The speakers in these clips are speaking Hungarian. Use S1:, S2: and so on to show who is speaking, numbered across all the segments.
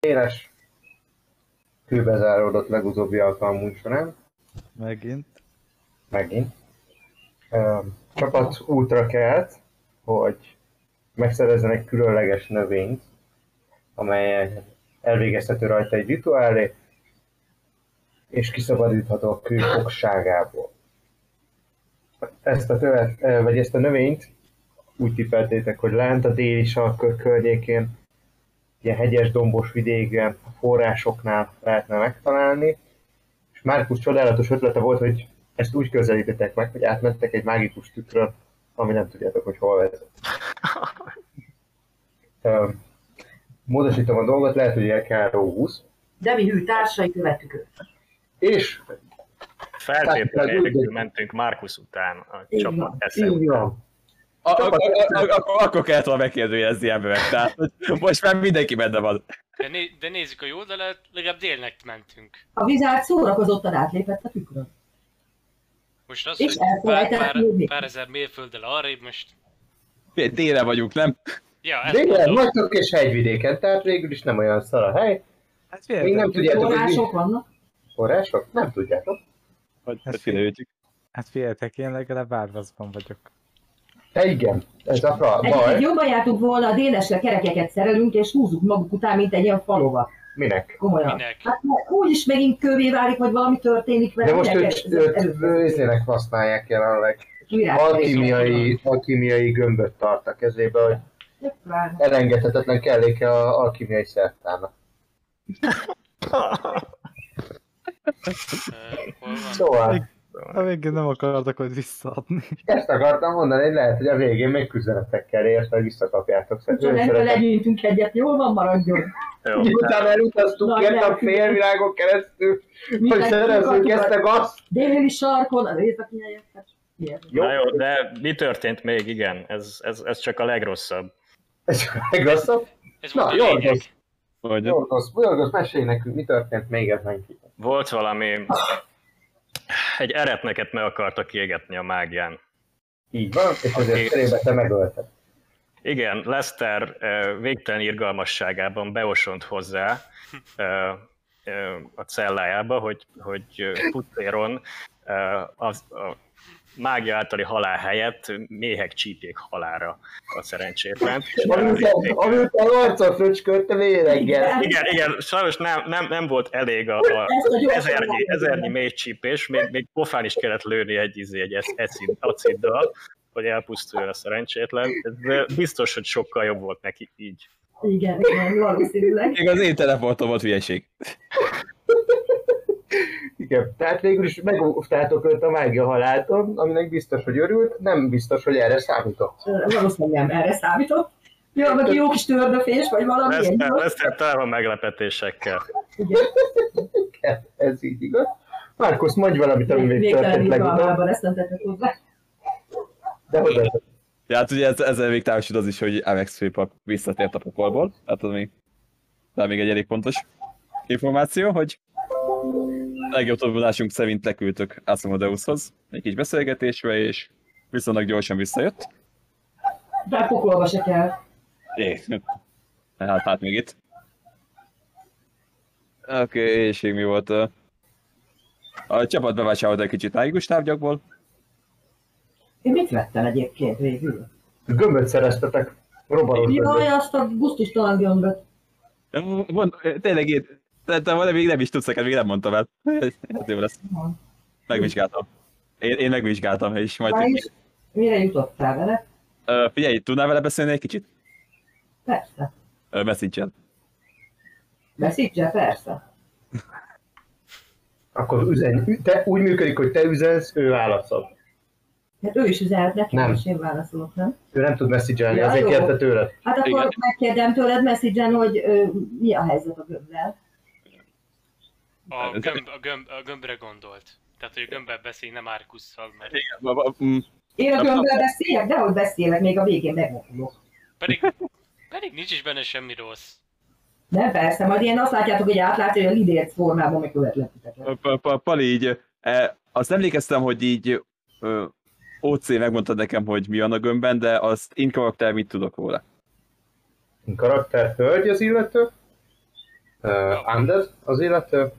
S1: Éles kőbe záródott legutóbbi alkalmunk során,
S2: Megint.
S1: megint. Ö, csapat útra kelt, hogy megszerezzenek különleges növényt, amely elvégezhető rajta egy rituálé, és kiszabadítható a kő fogságából. Ezt a, tövet, ö, vagy ezt a növényt úgy tippeltétek, hogy lent a déli sarkör környékén ilyen hegyes, dombos vidéken, a forrásoknál lehetne megtalálni. És Márkus csodálatos ötlete volt, hogy ezt úgy közelítettek meg, hogy átmentek egy mágikus tükrön, ami nem tudjátok, hogy hol vezet. Öm, Módosítom a dolgot, lehet, hogy elkáró 20.
S3: De mi hű társai követtük őt.
S1: És
S4: Feltétlenül
S1: Tehát,
S4: nélkül
S1: úgy-
S4: mentünk Márkusz után a
S3: Így van,
S4: csapat
S1: így
S4: eszembe.
S1: van.
S5: A- a- a- a- Akkor akkor kellett volna megkérdőjelezni emberek, tehát hogy most már mindenki benne van.
S6: De, né- de nézzük a jó oldalát, legalább délnek mentünk.
S3: A vizár szórakozottan átlépett a tükrön.
S6: Most az,
S3: És
S6: hogy pár,
S3: elfelejtett
S6: pár,
S3: hívni.
S6: pár ezer mérfölddel arrébb most...
S5: Fél- Tére vagyunk, nem?
S6: Ja, ezt
S1: Délen,
S6: mondom.
S1: nagytok és hegyvidéken, tehát végül is nem olyan szar a hely.
S2: Hát
S1: Még nem
S2: félretettük,
S1: tudjátok, hogy mi
S3: Források vannak.
S1: források? Nem tudjátok.
S5: Hogy
S2: Hát
S5: hát kinőjük.
S2: hát féltek, én legalább árvaszban vagyok.
S1: Te igen, ez a fra-
S3: Egyébként
S1: baj.
S3: jobban jártunk volna, a délesre kerekeket szerelünk, és húzzuk maguk után, mint egy ilyen falova.
S1: Minek?
S3: Komolyan.
S6: Minek?
S3: Hát mert úgyis megint kövé válik, vagy valami történik vele.
S1: De most
S3: minek
S1: őt,
S3: ez-
S1: őt,
S3: ez-
S1: őt
S3: ez-
S1: őzének használják jelenleg.
S3: Király.
S1: alkimiai, alkimiai gömböt tart a kezébe, hogy
S3: Tökvár.
S1: elengedhetetlen kelléke a alkimiai szertának.
S6: Ö, Hol van?
S1: Szóval
S2: A végén nem akartak, hogy visszaadni.
S1: ezt akartam mondani, hogy lehet, hogy a végén még küzdenetekkel ért, hogy visszakapjátok.
S3: Csak
S1: Szeretem.
S3: legyűjtünk egyet, jól van, maradjon.
S4: Jó.
S1: Miután elutaztunk,
S3: Nagy
S1: kértem a
S3: lelkű.
S1: félvilágon keresztül, hogy
S3: Mindenki
S1: szerezzünk
S3: akartuk
S1: ezt a
S3: a-
S1: gazt.
S3: Déli sarkon, a északi helyen. hát miért?
S1: Jó,
S4: Na jó, de mi történt még? Igen, ez, ez, ez csak a legrosszabb.
S1: ez a legrosszabb.
S6: Ez volt
S1: Na,
S6: a
S1: Jorgos,
S6: lényeg.
S5: Hogy
S1: Jorgos, Jorgos, mesélj nekünk, mi történt még ezen kívül.
S4: Volt valami... Egy eretneket meg akartak égetni a mágián.
S1: Így van, és
S4: Oké.
S1: azért cserébe te megölted.
S4: Igen, Lester ö, végtelen irgalmasságában beosont hozzá ö, ö, a cellájába, hogy, hogy ö, pucéron ö, az, a mágia általi halál helyett méhek csípjék halára a szerencsétlen. És
S1: Amiután,
S4: elvitték.
S1: amiután arccal fröcskölte véreggel.
S4: Igen, igen, sajnos nem, nem, nem volt elég a, a
S3: Ezt a gyorsan
S4: ezernyi,
S3: elmondom.
S4: ezernyi mély csípés, még, még pofán is kellett lőni egy, izé, egy esz- ecid, aciddal, hogy elpusztuljon a szerencsétlen. Ez ö, biztos, hogy sokkal jobb volt neki így.
S3: Igen, igen, valószínűleg.
S5: Még az én teleportom volt hülyeség.
S1: Igen, tehát végül is megóvtátok őt a mágia haláltól, aminek biztos, hogy örült, nem biztos, hogy erre számított.
S3: Ö, Valószínűleg nem erre számított. Jó, meg jó kis tördöfés, vagy valami. egy-
S4: Leszter, Leszter tele van meglepetésekkel.
S3: Igen.
S1: Igen, Ez így igaz. Márkusz, mondj valamit, ami még
S3: Végtelen
S1: történt legutóbb,
S3: irgalmában ezt nem tettek hozzá.
S1: de oda.
S5: Tehát ugye ez, ezzel még távosod az is, hogy Amex Flip visszatért a pokolból. Hát az még, de még egy elég fontos információ, hogy legjobb tudásunk szerint leküldtök Asmodeushoz egy kis beszélgetésre, és viszonylag gyorsan visszajött.
S3: De pokolba se kell.
S5: É. Hát, hát még itt. Oké, okay, és még mi volt? ö? A csapat bevásárolt egy kicsit mágikus tárgyakból.
S3: Én mit vettem egyébként végül?
S1: Gömböt szereztetek, robbanó
S3: Jaj,
S1: gömböt.
S3: azt a gusztustalan gömböt.
S5: Mond, tényleg én, te, te valami még nem is tudsz, neked még nem mondtam el. Hát jó lesz. Megvizsgáltam. Én, én megvizsgáltam, és majd...
S3: Már is mire jutottál vele?
S5: Ö, figyelj, tudnál vele beszélni egy kicsit?
S3: Persze.
S5: Ö, messenger
S3: Beszítse, persze.
S1: Akkor üzen, te úgy működik, hogy te üzensz, ő válaszol.
S3: Hát ő is üzelt nekem,
S1: Nem.
S3: és én válaszolok, nem?
S1: Ő nem tud messzigelni,
S3: Ja,
S1: ezért
S3: jó.
S1: kérte tőle.
S3: Hát akkor
S5: Igen.
S3: megkérdem tőled messzigen, hogy ö, mi a helyzet a gömbbel.
S6: A, gömb, a, gömb, a gömbre gondolt. Tehát, hogy a gömbbel beszélj, nem Márkusszal, mert
S3: Én a
S1: Hát-
S5: Nem,
S3: gömbbel beszélek, de hogy beszélek, még a végén megmokulok.
S6: pedig, pedig nincs is benne semmi rossz.
S3: Nem persze, majd én azt látjátok, hogy átlátja, hogy a lidért formában megkövetlek titeket.
S5: Pa- pa- Pali, így... e, Azt emlékeztem, hogy így... ö, OC megmondta nekem, hogy mi van a gömbben, de azt én karakter mit tudok róla.
S1: Karakter hölgy az illető, uh, undead az illető,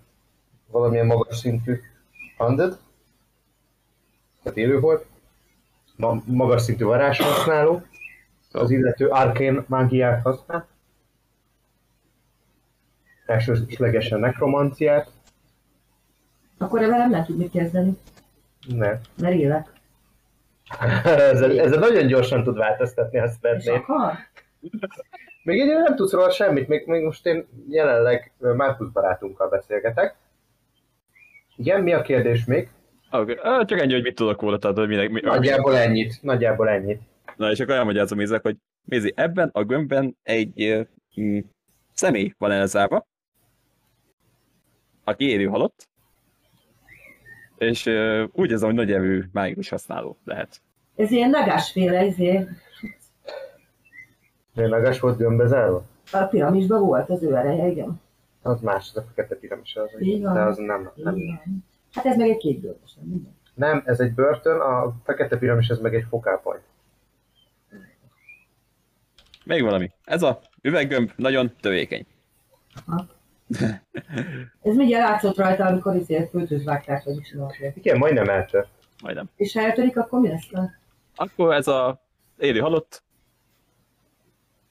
S1: valamilyen magas szintű undead, tehát élő volt, ma- magas szintű varázs használó, az illető arkén mágiát használ, elsőslegesen nekromanciát,
S7: Akkor velem nem tud mit kezdeni,
S1: nem.
S7: mert élek.
S1: ezzel, ezzel, nagyon gyorsan tud változtatni, azt
S7: És
S1: vetném.
S7: akar?
S1: Még egyre nem tudsz róla semmit, még, még most én jelenleg ö, Márkusz barátunkkal beszélgetek. Igen, mi a kérdés még?
S5: Okay. Ah, csak ennyi, hogy mit tudok róla, tehát hogy minek, mi,
S1: Nagyjából ennyit, nagyjából ennyit.
S5: Na és akkor elmagyarázom Izek, hogy Mézi, ebben a gömbben egy ö, mm, személy van elzárva, aki élő halott, és ö, úgy érzem, hogy nagy erő mágikus használó lehet.
S7: Ez ilyen nagásféle, izé,
S1: Tényleges volt gömbezárva?
S7: a piramisban volt az ő ereje, igen.
S1: Az más, az a fekete piramis az.
S7: Így van.
S1: De az nem, nem,
S7: igen. Hát ez meg egy két bőrös, nem minden.
S1: nem, ez egy börtön, a fekete piramis ez meg egy fokápaj.
S5: Még valami. Ez a üveggömb nagyon tövékeny.
S7: Ez mindjárt látszott rajta, amikor izé földhöz vágták, vagy mit csinálták.
S1: Igen, majdnem eltört.
S5: Majdnem.
S7: És ha eltörik, akkor mi lesz? vele?
S5: Akkor ez a élő halott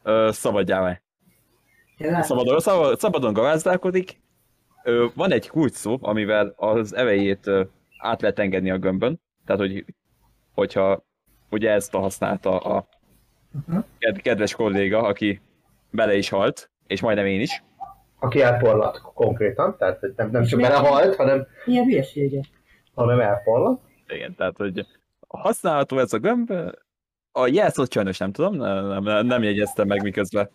S5: ö, szabadjá vált.
S7: Tényleg?
S1: Szóval-
S5: Szabadon, szabad- szabadon garázdálkodik. Ö, Van egy kulcsszó, amivel az erejét ö, át lehet engedni a gömbön. Tehát, hogy, hogyha ugye ezt a használta a
S7: Mhm.
S5: ked- kedves kolléga, aki bele is halt, és majdnem én is.
S1: Aki elporlat konkrétan, tehát hogy nem, nem csak
S7: És
S1: belehalt, hanem,
S7: Ilyen hülyesége.
S1: hanem elporlat.
S5: Igen, tehát, hogy használható ez a gömb. A jelszót sajnos nem tudom, nem, nem, nem jegyeztem meg miközben.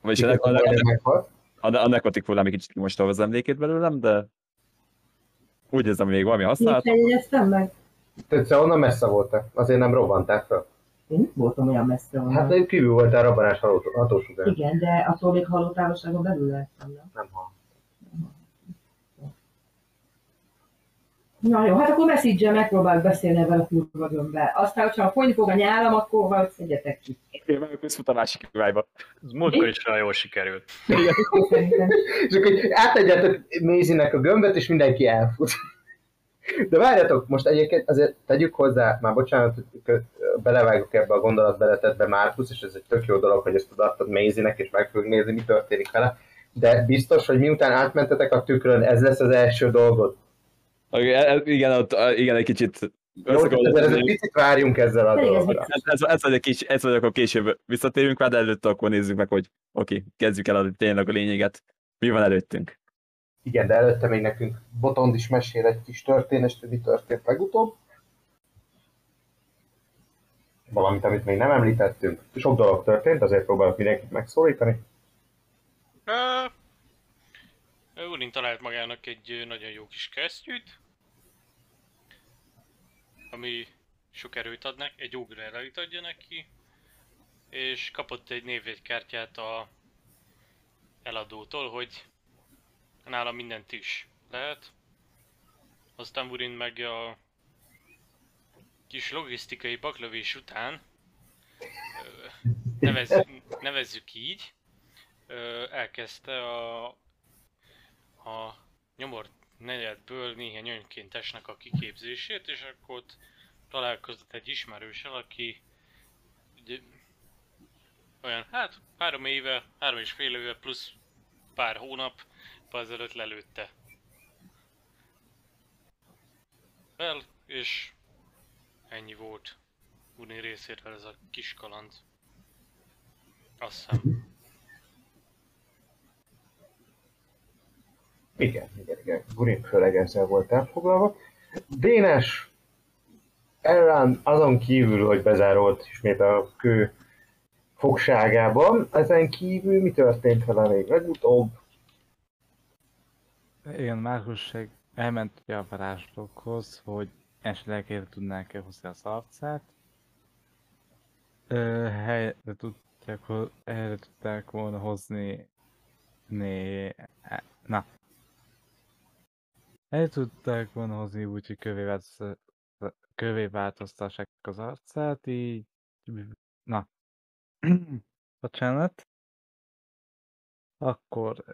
S5: Vagyis a, ne- a, ne-
S1: majdnem meghalt.
S5: a, a nekrotik hullám egy kicsit most az emlékét belőlem, de úgy érzem, hogy még valami
S7: Miért
S1: Szóval-
S5: használat.
S7: feljegyeztem meg?
S1: Tehát te onnan messze voltál, azért nem robbanták fel.
S7: Én nem voltam olyan messze onnan.
S1: Hát de kívül voltál robbanás haló- hatósugár.
S7: Igen, de attól még halott távolságon belül lehettem, nem?
S1: Nem hal.
S7: Na jó, hát akkor message megpróbálok beszélni ebben a kurva gömbbe. Aztán, hogyha folyni fog a nyálam, akkor valahogy szedjetek ki.
S5: Én meg közfut a másik irányba.
S4: Ez múltkor is olyan jól sikerült.
S7: Szerintem.
S1: És akkor így átadjátok Mézinek a gömböt, és mindenki elfut. De várjatok, most egyébként azért tegyük hozzá, már bocsánat, hogy kö- belevágok ebbe a gondolatbeletetbe Márkusz, és ez egy tök jó dolog, hogy ezt odaadtad Mézinek, és meg fogjuk nézni, mi történik vele. De biztos, hogy miután átmentetek a tükrön, ez lesz az első dolgod.
S5: e, Igen, ott, ö, igen, egy kicsit
S1: Jó, tehát
S5: összekollom.
S1: ezért egy picit várjunk ezzel a
S7: Pedig ez
S1: dologra.
S5: Ez, ez, ez, vagy a kis, ez vagy akkor később visszatérünk rá, de előtte akkor nézzük meg, hogy oké, kezdjük el a, tényleg a lényeget. Mi van előttünk?
S1: Igen, de előtte még nekünk Botond is mesél egy kis történést, hogy mi történt legutóbb. Valamit, amit még nem említettünk. Sok dolog történt, azért próbálok mindenkit megszólítani.
S6: Ö, Hát, ö, Urin talált magának egy ö, nagyon jó kis kesztyűt, ami sok erőt ad neki, egy ugra erőt adja neki, és kapott egy névjegykártyát a eladótól, hogy nála mindent is lehet. Aztán Urin meg a kis logisztikai baklövés után, ö, nevezzük, nevezzük így, ö, elkezdte a, a nyomor negyedből néhány önkéntesnek a kiképzését, és akkor ott találkozott egy ismerőssel, aki ugye, olyan, hát három éve, három és fél éve plusz pár hónap ezelőtt lelőtte. Fel, és ennyi volt Uni részéről ez a kis kaland. Azt hiszem.
S1: Igen, igen, igen. Gurin főleg ezzel volt elfoglalva. Dénes Ellen azon kívül, hogy bezárolt ismét a kő fogságában, ezen kívül mi történt vele még legutóbb?
S2: Igen, Márkusség elment ugye a varázslókhoz, hogy esetleg el tudnánk-e hozni az arcát. Ö, helyre tudták, ho- helyre tudták volna hozni... Né... á, Na. Helyre tudták volna hozni úgy, hogy kövé, változ... kövé változtassák az arcát, így... Na. Bocsánat. Akkor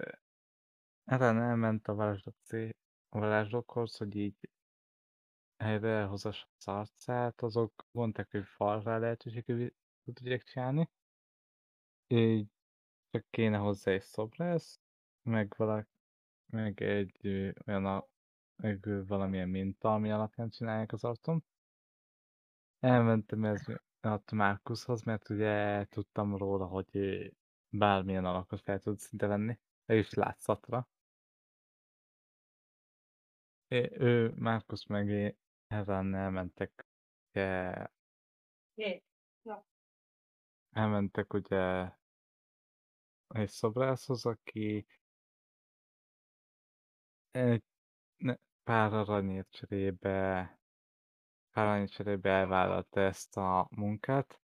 S2: Ellen Hát, elment a varázslók, cé- a varázslókhoz, hogy így helyre elhozas az arcát, azok mondták, hogy falra lehetőségű tudják csinálni. Így csak kéne hozzá egy szobrász, meg, valak, meg egy ö, olyan a, meg ö, valamilyen minta, ami alapján csinálják az arcom. Elmentem ez a Márkuszhoz, mert ugye tudtam róla, hogy ö, bármilyen alakot fel tudsz szinte venni, és látszatra. É, ő, Márkusz meg é- Evan elmentek, ugye,
S3: Hé,
S2: elmentek ugye egy szobrászhoz, aki egy ne- pár aranyért cserébe, pár aranyért cserébe elvállalta ezt a munkát.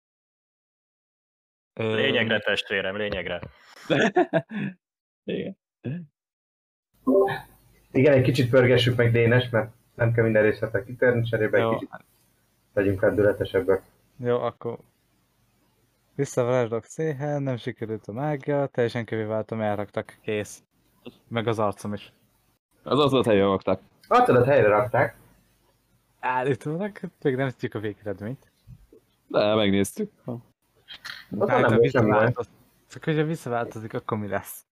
S2: Ö,
S4: Lényegre, testvérem, lényegre.
S5: Igen.
S1: Igen, egy kicsit pörgessük meg Dénes, mert nem kell minden részletre kitérni, cserébe egy
S2: Jó,
S1: kicsit legyünk lendületesebbek.
S2: Jó, akkor vissza varázslok széhez, nem sikerült a mágia, teljesen kövé váltam, elraktak, kész. Meg az arcom is.
S5: Az az volt, hogy javogtak.
S1: Arcodat helyre rakták,
S2: Állítólag, még nem tudjuk a végeredményt.
S5: De megnéztük.
S1: ott
S2: Hát,
S1: nem
S2: ha
S1: volt semmi baj.
S2: visszaváltoz- Csak hogyha visszaváltozik, akkor mi lesz?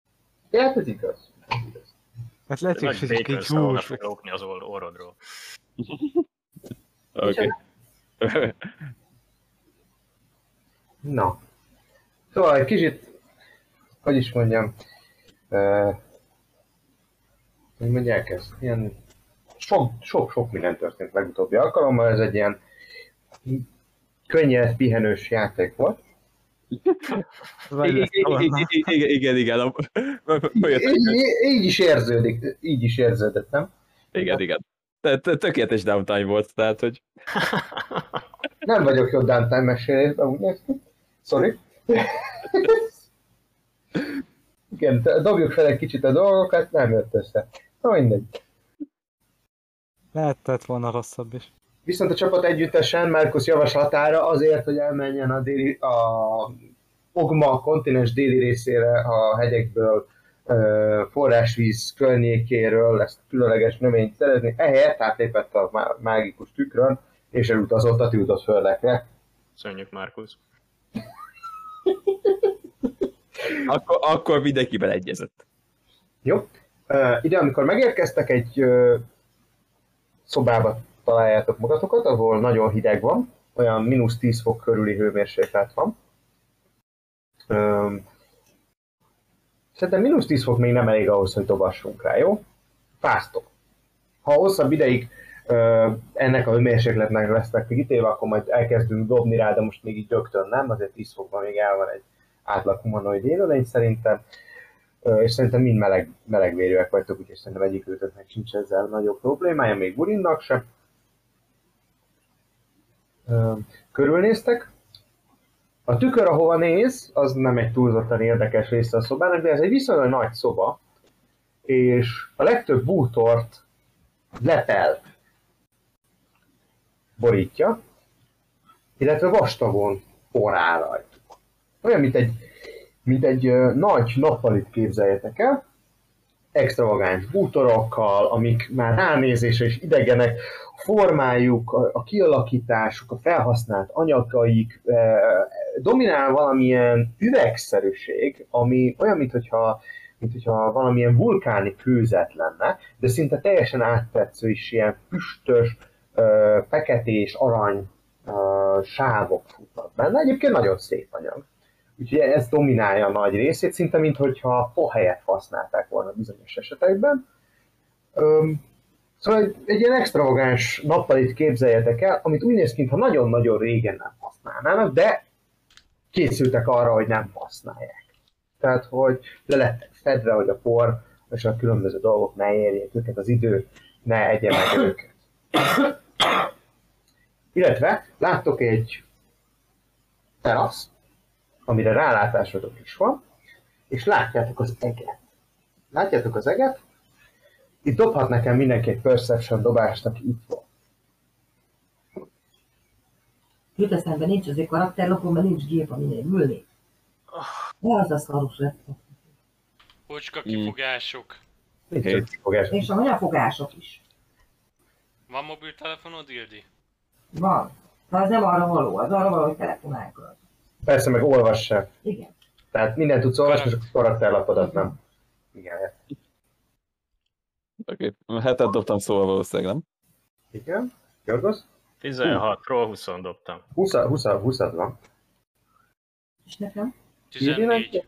S1: Ja, ez igaz.
S2: Hát lehetséges,
S4: Nagy
S2: hogy csak
S4: békön
S2: így
S4: szavona
S2: hús,
S4: fog lókni az orr- orrodról.
S5: Oké. Okay.
S1: Na. Szóval egy kicsit, hogy is mondjam, uh, hogy mondják ezt, ilyen sok, sok, sok minden történt legutóbbi alkalommal, ez egy ilyen könnyed, pihenős játék volt.
S2: vagy lesz szavonna.
S5: Igen, igen, igen. a-
S1: Így, így is érződik, így is érződött, nem?
S5: Igen, igen. Tehát tökéletes downtime volt, tehát hogy
S1: Nem vagyok jó Dante mesélésben, úgy néz ki. Sorry. Igen, te- dobjuk fel egy kicsit a dolgokat, nem jött össze. Na mindegy.
S2: Lehetett volna rosszabb is.
S1: Viszont a csapat együttesen Márkusz javaslatára azért, hogy elmenjen a, déli, a Ogma kontinens déli részére a hegyekből, ö, forrásvíz környékéről ezt különleges növényt szerezni, ehelyett átlépett a má- mágikus tükrön, és elutazott a tűzött földekre.
S4: Szönjük, Márkusz.
S5: akkor, akkor mindenki beleegyezett.
S1: Jó. Uh, ide, amikor megérkeztek, egy uh, szobába találjátok magatokat, ahol nagyon hideg van, olyan mínusz 10 fok körüli hőmérséklet van. Um, szerintem mínusz 10 fok még nem elég ahhoz, hogy dobassunk rá, jó? Fáztok. Ha hosszabb ideig uh, ennek a hőmérsékletnek lesznek kitéve, akkor majd elkezdünk dobni rá, de most még így rögtön nem, azért 10 fokban még el van egy átlag humanoid élőlény szerintem. Ö, és szerintem mind meleg, melegvérűek vagytok, úgyhogy szerintem egyik őtöknek sincs ezzel nagyobb problémája, még Burinnak se. Ö, Körülnéztek. A tükör, ahova néz, az nem egy túlzottan érdekes része a szobának, de ez egy viszonylag nagy szoba, és a legtöbb bútort lepel borítja, illetve vastagon orál rajtuk. Olyan, mint egy mint egy ö, nagy nappalit képzeljetek el, extravagáns bútorokkal, amik már ránézésre is idegenek, a formájuk, a, a kialakításuk, a felhasznált anyagaik, ö, dominál valamilyen üvegszerűség, ami olyan, mintha mint hogyha valamilyen vulkáni kőzet lenne, de szinte teljesen áttetsző is ilyen füstös, ö, feketés, arany ö, sávok futnak benne. Egyébként nagyon szép anyag. Úgyhogy ez dominálja a nagy részét, szinte mintha pohelyet használták volna bizonyos esetekben. Öm, szóval egy, egy ilyen extravagáns nappalit képzeljetek el, amit úgy néz ki, mintha nagyon-nagyon régen nem használnának, de készültek arra, hogy nem használják. Tehát, hogy le lettek fedve, hogy a por és a különböző dolgok ne érjék őket, az idő ne egye meg őket. Illetve láttok egy teraszt, amire rálátásotok is van, és látjátok az eget. Látjátok az eget? Itt dobhat nekem mindenki egy perception dobást, aki itt van.
S3: jut eszembe, nincs azért karakterlapom, mert nincs gép, aminél ülni. De az a szarus lett.
S6: Bocska kifogások.
S1: Nincs
S5: Hét.
S1: ott fogás.
S3: És a hanyafogások is.
S6: Van mobiltelefonod, Ildi?
S3: Van. De az nem arra való, az arra való, hogy telefonálkod.
S1: Persze, meg olvassák.
S3: Igen.
S1: Tehát mindent tudsz olvasni, csak a karakterlapodat nem. Igen.
S5: Oké, okay. hetet dobtam szóval valószínűleg, nem?
S1: Igen? Jorgos?
S4: 16-ról 20 dobtam.
S1: 20, 20, 20 van.
S3: És nekem?
S6: 14.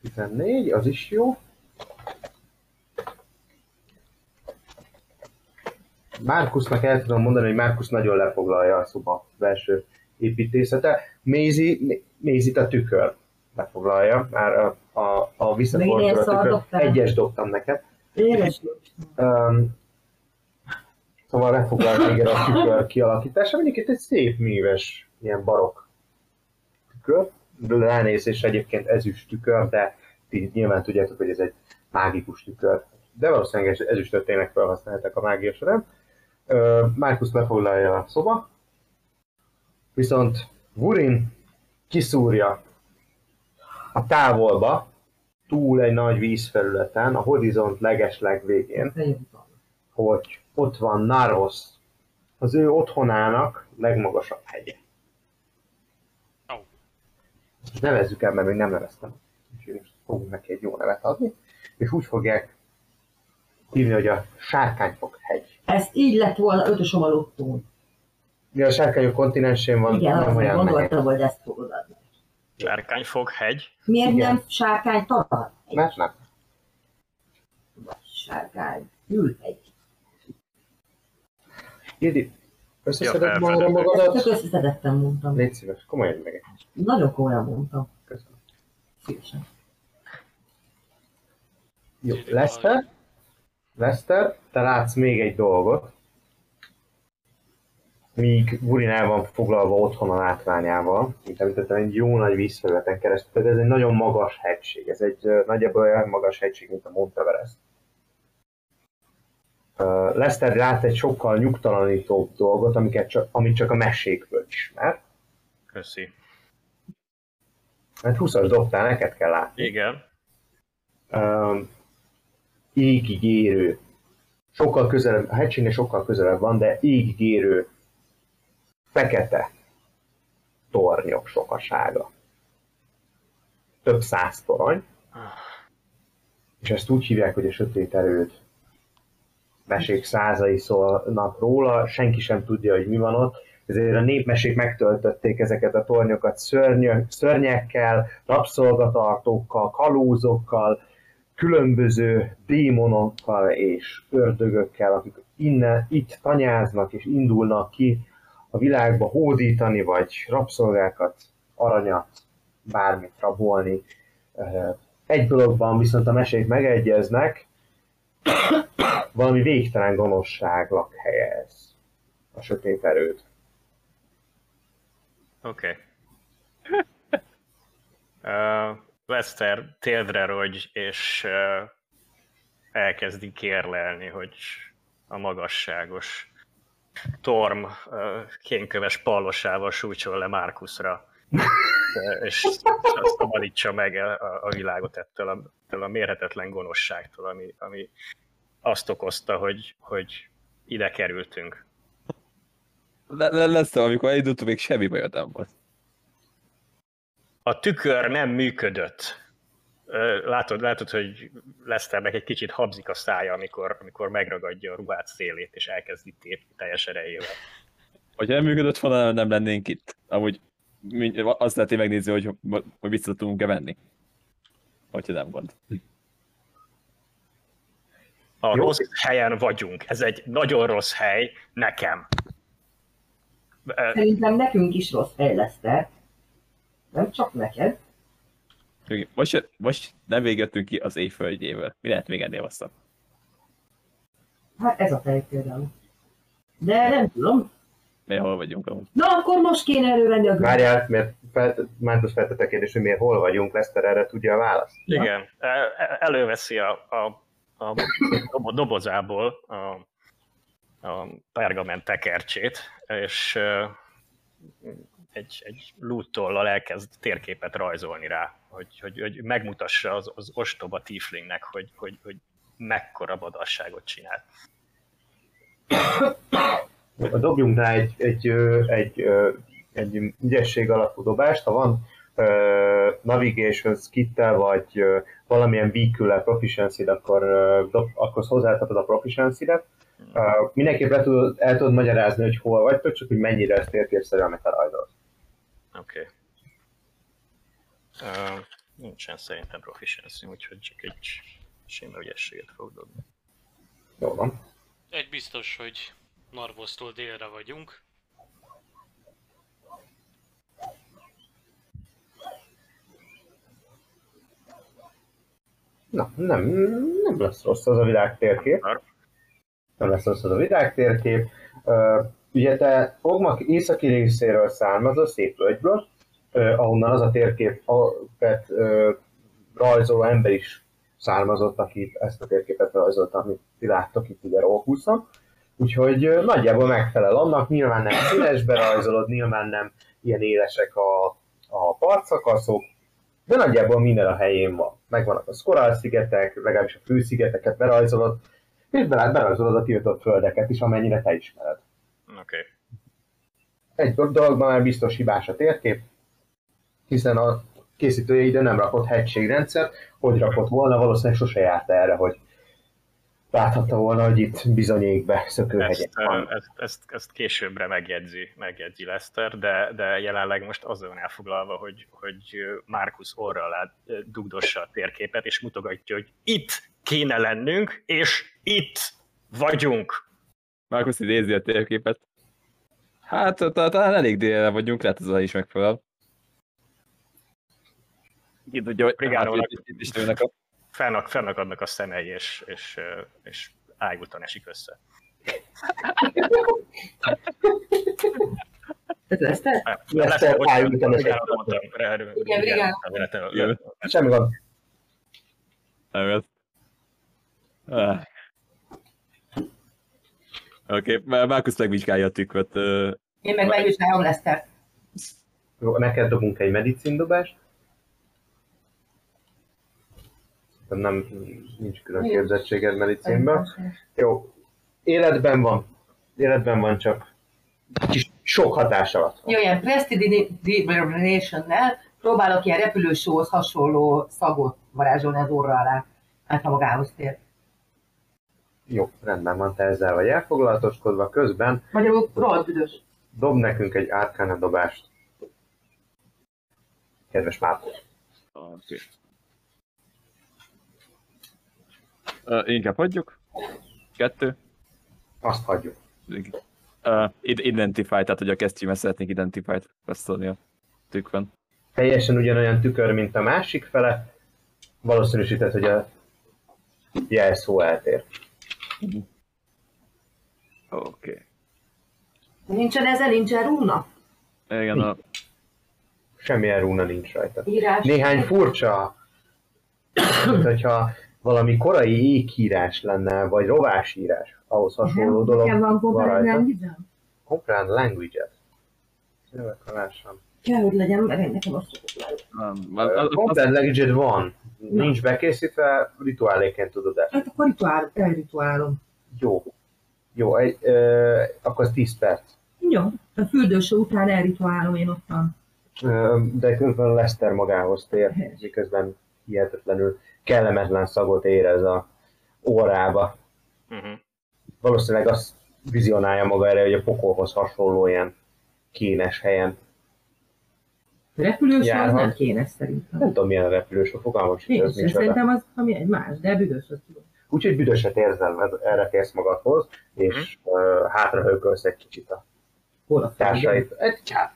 S1: 14, az is jó. Márkusznak el tudom mondani, hogy Márkusz nagyon lefoglalja a szoba belső építészete. Mézi, Mézit a tükör lefoglalja, már a, a, a
S3: Még ilyen
S1: visszaforduló
S3: szar
S1: tükör.
S3: dobtál?
S1: Egyes dobtam neked.
S3: Édes.
S1: Um, szóval lefoglal téged a tükör kialakítása. Mondjuk itt egy szép műves, ilyen barokk tükör. Ránézésre egyébként ezüst tükör, de ti nyilván tudjátok, hogy ez egy mágikus tükör. De valószínűleg ez- ezüstöt tényleg felhasználták a mágia során. Ö, Markus lefoglalja a szoba, viszont Vurin kiszúrja a távolba, túl egy nagy vízfelületen, a horizont legesleg végén,
S3: Eljutom.
S1: hogy ott van Narvos, az ő otthonának legmagasabb hegye.
S6: Ó.
S1: Most nevezzük el, mert még nem neveztem. Úgyhogy most fogunk neki egy jó nevet adni. És úgy fogják hívni, hogy a sárkányfok hegy.
S3: Ez így lett volna ötösom a lottón.
S1: Mi a sárkányok kontinensén van,
S3: Igen,
S1: nem olyan
S3: azt
S1: megyek.
S3: gondoltam, hogy ezt fogod adni.
S4: Sárkányfog, hegy.
S3: Miért
S1: Igen.
S3: nem sárkány talán? Egy
S1: Mert nem.
S3: sárkány. Ülhegy.
S1: Ildi, összeszedett
S4: Ja,
S1: magadra
S4: felfedezek.
S3: Ezt
S1: magadat?
S3: csak összeszedettem mondtam.
S1: Légy szíves, komolyan meg egy.
S3: Nagyon komolyan mondtam.
S1: Köszönöm.
S3: Szívesen.
S1: Jó, Lester, Lester, te látsz még egy dolgot, míg Gurin el van foglalva otthon a látványával, mint említettem, egy jó nagy vízfelületen keresztül, tehát ez egy nagyon magas hegység, ez egy ö, nagyjából olyan magas hegység, mint a Mount Everest. Ö, Lester lát egy sokkal nyugtalanítóbb dolgot, amiket csak, amit csak a mesékből ismer,
S4: Köszi.
S1: mert 20-as dobtál, neked kell látni.
S4: Igen.
S1: um, égig érő, sokkal közelebb, a hegységnél sokkal közelebb van, de égig érő, fekete tornyok sokasága. Több száz torony, és ezt úgy hívják, hogy a sötét erőd. Mesék százai szólnak róla, senki sem tudja, hogy mi van ott, ezért a népmesék megtöltötték ezeket a tornyokat szörnyök, szörnyekkel, rabszolgatartókkal, kalózokkal, különböző démonokkal és ördögökkel, akik innen, itt tanyáznak és indulnak ki a világba hódítani, vagy rabszolgákat, aranyat, bármit rabolni. Ö, Egy dologban viszont a mesék megegyeznek, valami végtelen gonoszság lakhelye ez, a sötét erőd.
S4: Oké. Okay. Uh, Lester téldre rogy, és uh, elkezdi kérlelni, hogy a magasságos torm uh, kénköves pallosával sújtson le Márkuszra, Ö, és szabadítsa meg a, a- a világot ettől a, ettől a mérhetetlen gonoszságtól, ami, ami azt okozta, hogy, hogy ide kerültünk.
S5: Le- le- lesz, amikor elindultunk, még semmi bajod nem volt.
S4: a tükör nem működött. Ö, Látod, látod, hogy Leszternek egy kicsit habzik a szája, amikor, amikor megragadja a ruhát szélét, és elkezdi tépni teljes erejével.
S5: Hogyha nem működött volna, nem lennénk itt. Amúgy mi- azt lehet megnézni, hogy, hogy vissza tudunk-e menni. Hogyha nem gond.
S4: A
S1: Jó.
S4: Jó. rossz helyen vagyunk. Ez egy nagyon rossz hely nekem. Ö,
S3: Szerintem nekünk is rossz hely lesz, te. Nem csak neked.
S5: Oké, Most, most nem végettünk ki az éjföldjével. Mi lehet még ennél vasszabb?
S3: Hát ez a fej például. De nem tudom.
S5: Mi hol vagyunk amúgy?
S3: Na akkor most kéne elővenni a gőzt.
S1: Várjál, mert fel, Márkusz feltette a kérdést, hogy miért hol vagyunk, Lester erre tudja a választ.
S4: Igen. Ö, Előveszi a, a, a dobo- dobozából a, a pergament tekercsét, és ö, egy, egy lúttollal elkezd térképet rajzolni rá, hogy, hogy, hogy megmutassa az, az ostoba tieflingnek, hogy, hogy, hogy mekkora badasságot csinált.
S1: Hát Dobjunk rá egy, egy, ö, egy, ö, egy ügyesség alapú dobást, ha van ö, navigation skittel, vagy ö, valamilyen weakül proficiency akkor, ö, dob, akkor hozzátapod a proficiency-re. Ö, mindenképp le tudod, el tudod magyarázni, hogy hol vagytok, csak hogy mennyire ezt térképszerű, amit elrajzolsz.
S4: Oké. Okay. Uh, nincsen szerintem proficiency, úgyhogy csak egy sima ügyességet fog dobni.
S1: Jó van.
S6: Egy biztos, hogy Narvosztól délre vagyunk.
S1: Na, nem, nem lesz rossz az a világtérkép. Nem lesz rossz az a világtérkép. Ö, Ugye te Ogmak északi részéről származol, szép völgyből, ö, ahonnan az a térkép, amit rajzoló ember is származott, aki ezt a térképet rajzolta, amit ti láttok itt ugye Rókuszon. Úgyhogy ö, nagyjából megfelel annak, nyilván nem színesbe rajzolod, nyilván nem ilyen élesek a, a partszakaszok, de nagyjából minden a helyén van. Megvannak a Skoral-szigetek, legalábbis a főszigeteket berajzolod, és bele- berajzolod a tiltott földeket is, amennyire te ismered
S4: Oké. Okay.
S1: egy do- dologban már biztos hibás a térkép, hiszen a készítője ide nem rakott hegységrendszert, hogy rakott volna, valószínűleg sose járt erre, hogy láthatta volna, hogy itt bizonyékbe szökőhegyek
S4: Ezt, ö,
S1: van.
S4: ezt, ezt, ezt későbbre megjegyzi, megjegyzi Lester, de, de jelenleg most azon elfoglalva, hogy, hogy Markus orral át dugdossa a térképet, és mutogatja, hogy itt kéne lennünk, és itt vagyunk.
S5: Márkusz idézi a térképet. Hát, ta- talán elég délre vagyunk, lehet ez a is megfelel. Ki tudja, hogy
S4: Brigánónak.
S5: hát, itt is nőnek a...
S4: Fennak, fennak adnak a szemei, és, és, ö, és ájultan esik össze.
S3: Ez lesz te?
S1: Lester ájultan esik
S4: Brigánó mondtam, Brigánó.
S7: Igen, Brigánó.
S4: Brigánó.
S5: Jövő.
S1: Semmi gond.
S5: Nem ez. Ah. Oké, okay, Márkusz megvizsgálja a tükröt. ö,
S7: Én meg megvizsgálom Lesztert.
S1: Jó, neked dobunk egy medicindodást. Nem, nincs külön
S7: Nincs.
S1: képzettséged medicinben. Jó. Életben van. Életben van csak. Kis sok hatás alatt.
S7: Jó, ilyen prestidivination-nel próbálok ilyen repülősóhoz hasonló szagot varázsolni az orra alá, hát ha magához tér.
S1: Jó, rendben van, te ezzel vagy elfoglalatoskodva. Közben
S7: Magyarul rohadt büdös.
S1: dob nekünk egy árkána dobást. Kedves Márkó.
S5: Oké. Ö, Inkább hagyjuk. Kettő.
S1: Azt hagyjuk.
S5: Uh, identify, tehát hogy a kesztyűmet szeretnék identify-t beszélni a tükben.
S1: Teljesen ugyanolyan tükör, mint a másik fele. Valószínűsített, hogy a jelszó eltér.
S5: Oké.
S3: Nincsen ezen, nincsen rúna?
S5: Okay. Igen, a...
S1: Semmilyen rúna nincs rajta.
S3: Írás.
S1: Néhány furcsa, mint hogyha valami korai ékírás lenne, vagy rovásírás, ahhoz hasonló dolog
S7: Nekem van
S1: van
S7: komplet,
S1: rajta.
S7: nem hiszem.
S1: Comprehend language-et. Jövök, ha lássam.
S3: Kell, hogy legyen, mert én nekem azt
S5: Nem, a- a- a-
S1: Comprehend language van. Nincs bekészítve, rituáléként tudod el.
S3: Hát akkor rituál, elrituálom.
S1: Jó. Jó, egy, ö, akkor az 10 perc.
S3: Jó, a fürdősó után elrituálom én ottan.
S1: Ö, de közben Lester magához tér, miközben hihetetlenül kellemetlen szagot érez a órába.
S4: Mhm.
S1: Valószínűleg azt vizionálja maga erre, hogy a pokolhoz hasonló ilyen kínes helyen.
S3: Repülősó az
S1: Járhat.
S3: nem kéne szerintem.
S1: Nem tudom, milyen a repülős, a fogalmam sincs,
S3: Nincs,
S1: ez nincs
S3: szerintem az ami egy más, de büdös az tudom.
S1: Úgyhogy büdöset érzel, ez- erre térsz magadhoz, és ö, hátrahőkölsz egy kicsit a
S3: Hol a felgel?
S1: társait. Egy csát.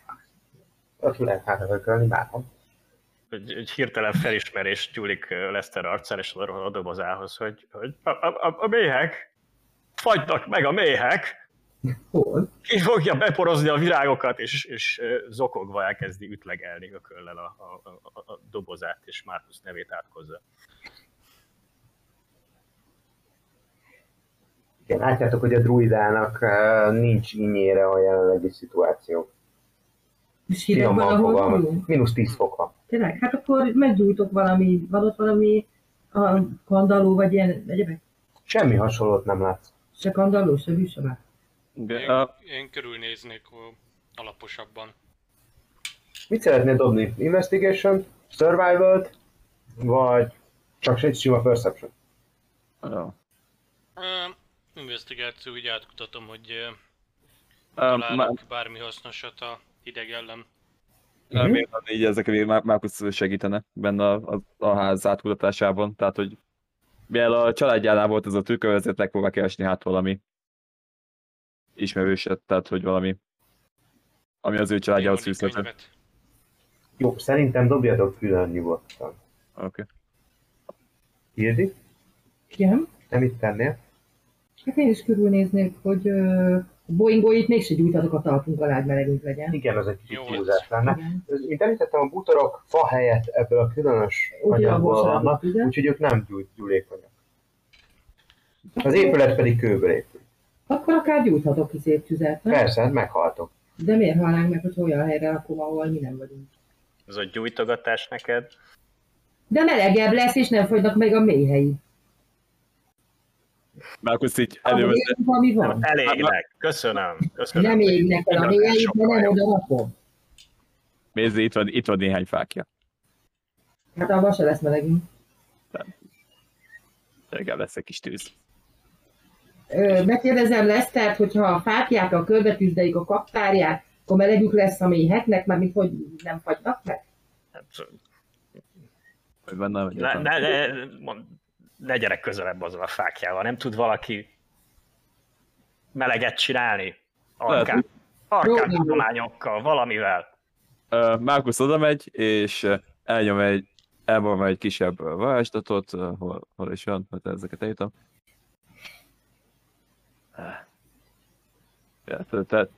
S1: Ott lehet hátrahőkölni, bárhol.
S4: egy, egy hirtelen felismerés gyúlik ö, Lester arcán és oda rohan a dobozához, hogy, hogy a, a, a, a méhek, fagynak meg a méhek,
S3: Hol?
S4: ki fogja beporozni a virágokat, és, és ö, zokogva elkezdi ütlegelni ököllel a, a, a, a dobozát, és Márkusz nevét átkozza.
S1: Igen, látjátok, hogy a druidának ö, nincs ínyére a jelenlegi szituáció.
S3: És hideg van,
S1: Finoman
S3: ahol
S1: fogalmaz.
S3: vagyunk?
S1: Mínusz 10 fok van.
S3: Tényleg? Hát akkor meggyújtok valami, van ott valami a kandalló, vagy ilyen egyebek?
S1: Semmi hasonlót nem látsz.
S8: Se kandalló, se bűsebá.
S5: Igen,
S6: Én,
S5: a-
S6: én körülnéznék ó, alaposabban.
S1: Mit szeretnél dobni? Investigation, survival vagy csak egy sima perception?
S5: Jó.
S6: Ö, Investigáció, úgy átkutatom, hogy ö,
S5: Ö,
S6: találok bármi hasznosat a hideg ellen.
S5: Már miért van így ezek, ami Má- Márkusz segítene benne a, a, a ház átkutatásában, tehát hogy mivel a családjánál volt ez a trükk, ezért megpróbál keresni hát valami ismerőset, tehát hogy valami ami az ő családjához
S6: Démoni
S5: fűzhető. Oké.
S6: könyvet.
S1: Jó, szerintem dobjatok külön nyugodtan.
S5: Okay.
S1: Hildi,
S3: Igen.
S1: te mit tennél?
S3: Hát én is körülnéznék, hogy ö, a boingóit mégse gyújtatok a talpunk alá, hogy melegünk legyen.
S1: Igen, ez egy kicsit
S6: Jó.
S1: túlzás lenne.
S3: Igen.
S1: Mint említettem, a bútorok fa helyett ebből a különös
S3: Ugye a
S1: anyagból
S3: borsában,
S1: vannak,
S3: ugye?
S1: úgyhogy ők nem gyújt, gyúlékonyak. Az épület pedig kőből épül.
S3: Akkor akár gyújthatok izét tüzet, nem?
S1: Persze, hát meghaltok.
S3: De miért halnánk meg, hogy olyan helyre lakom, ahol mi nem vagyunk?
S4: Ez a gyújtogatás neked.
S3: De melegebb lesz, és nem fogynak meg a mélyhei.
S5: Márkusz így
S3: Ahol
S5: elővette,
S3: értünk, ami
S4: Nem,
S3: van.
S4: elégnek. Köszönöm. Köszönöm.
S3: Hát, Nem égnek el a
S4: Igazán
S3: mélyeit, de
S4: sokkal
S3: nem
S4: jobb.
S3: oda rakom.
S5: nézd, itt van, itt van néhány fákja.
S3: Hát abban se lesz melegünk.
S5: Legalább lesz egy kis tűz.
S3: Ö, Megkérdezem Lesztert, hogyha a fákjákkal körbetűzdeik a kaptárját, akkor melegük lesz a mélyhetnek, mert mint hogy nem fagynak meg?
S4: Hát,
S5: Hogy benne vagy
S4: Ne,
S5: ne,
S4: ne, ne, mond- ne gyerek közelebb azzal a fákjával, nem tud valaki meleget csinálni? Arkán,
S5: Lehet,
S4: arkán
S3: Jó,
S4: tudományokkal, valamivel.
S5: Ö, Márkusz oda megy, és ö, elnyom egy, elmondom egy kisebb ö, varázslatot, ö, hol, hol is van, mert ezeket eljutom. Ja, te- te-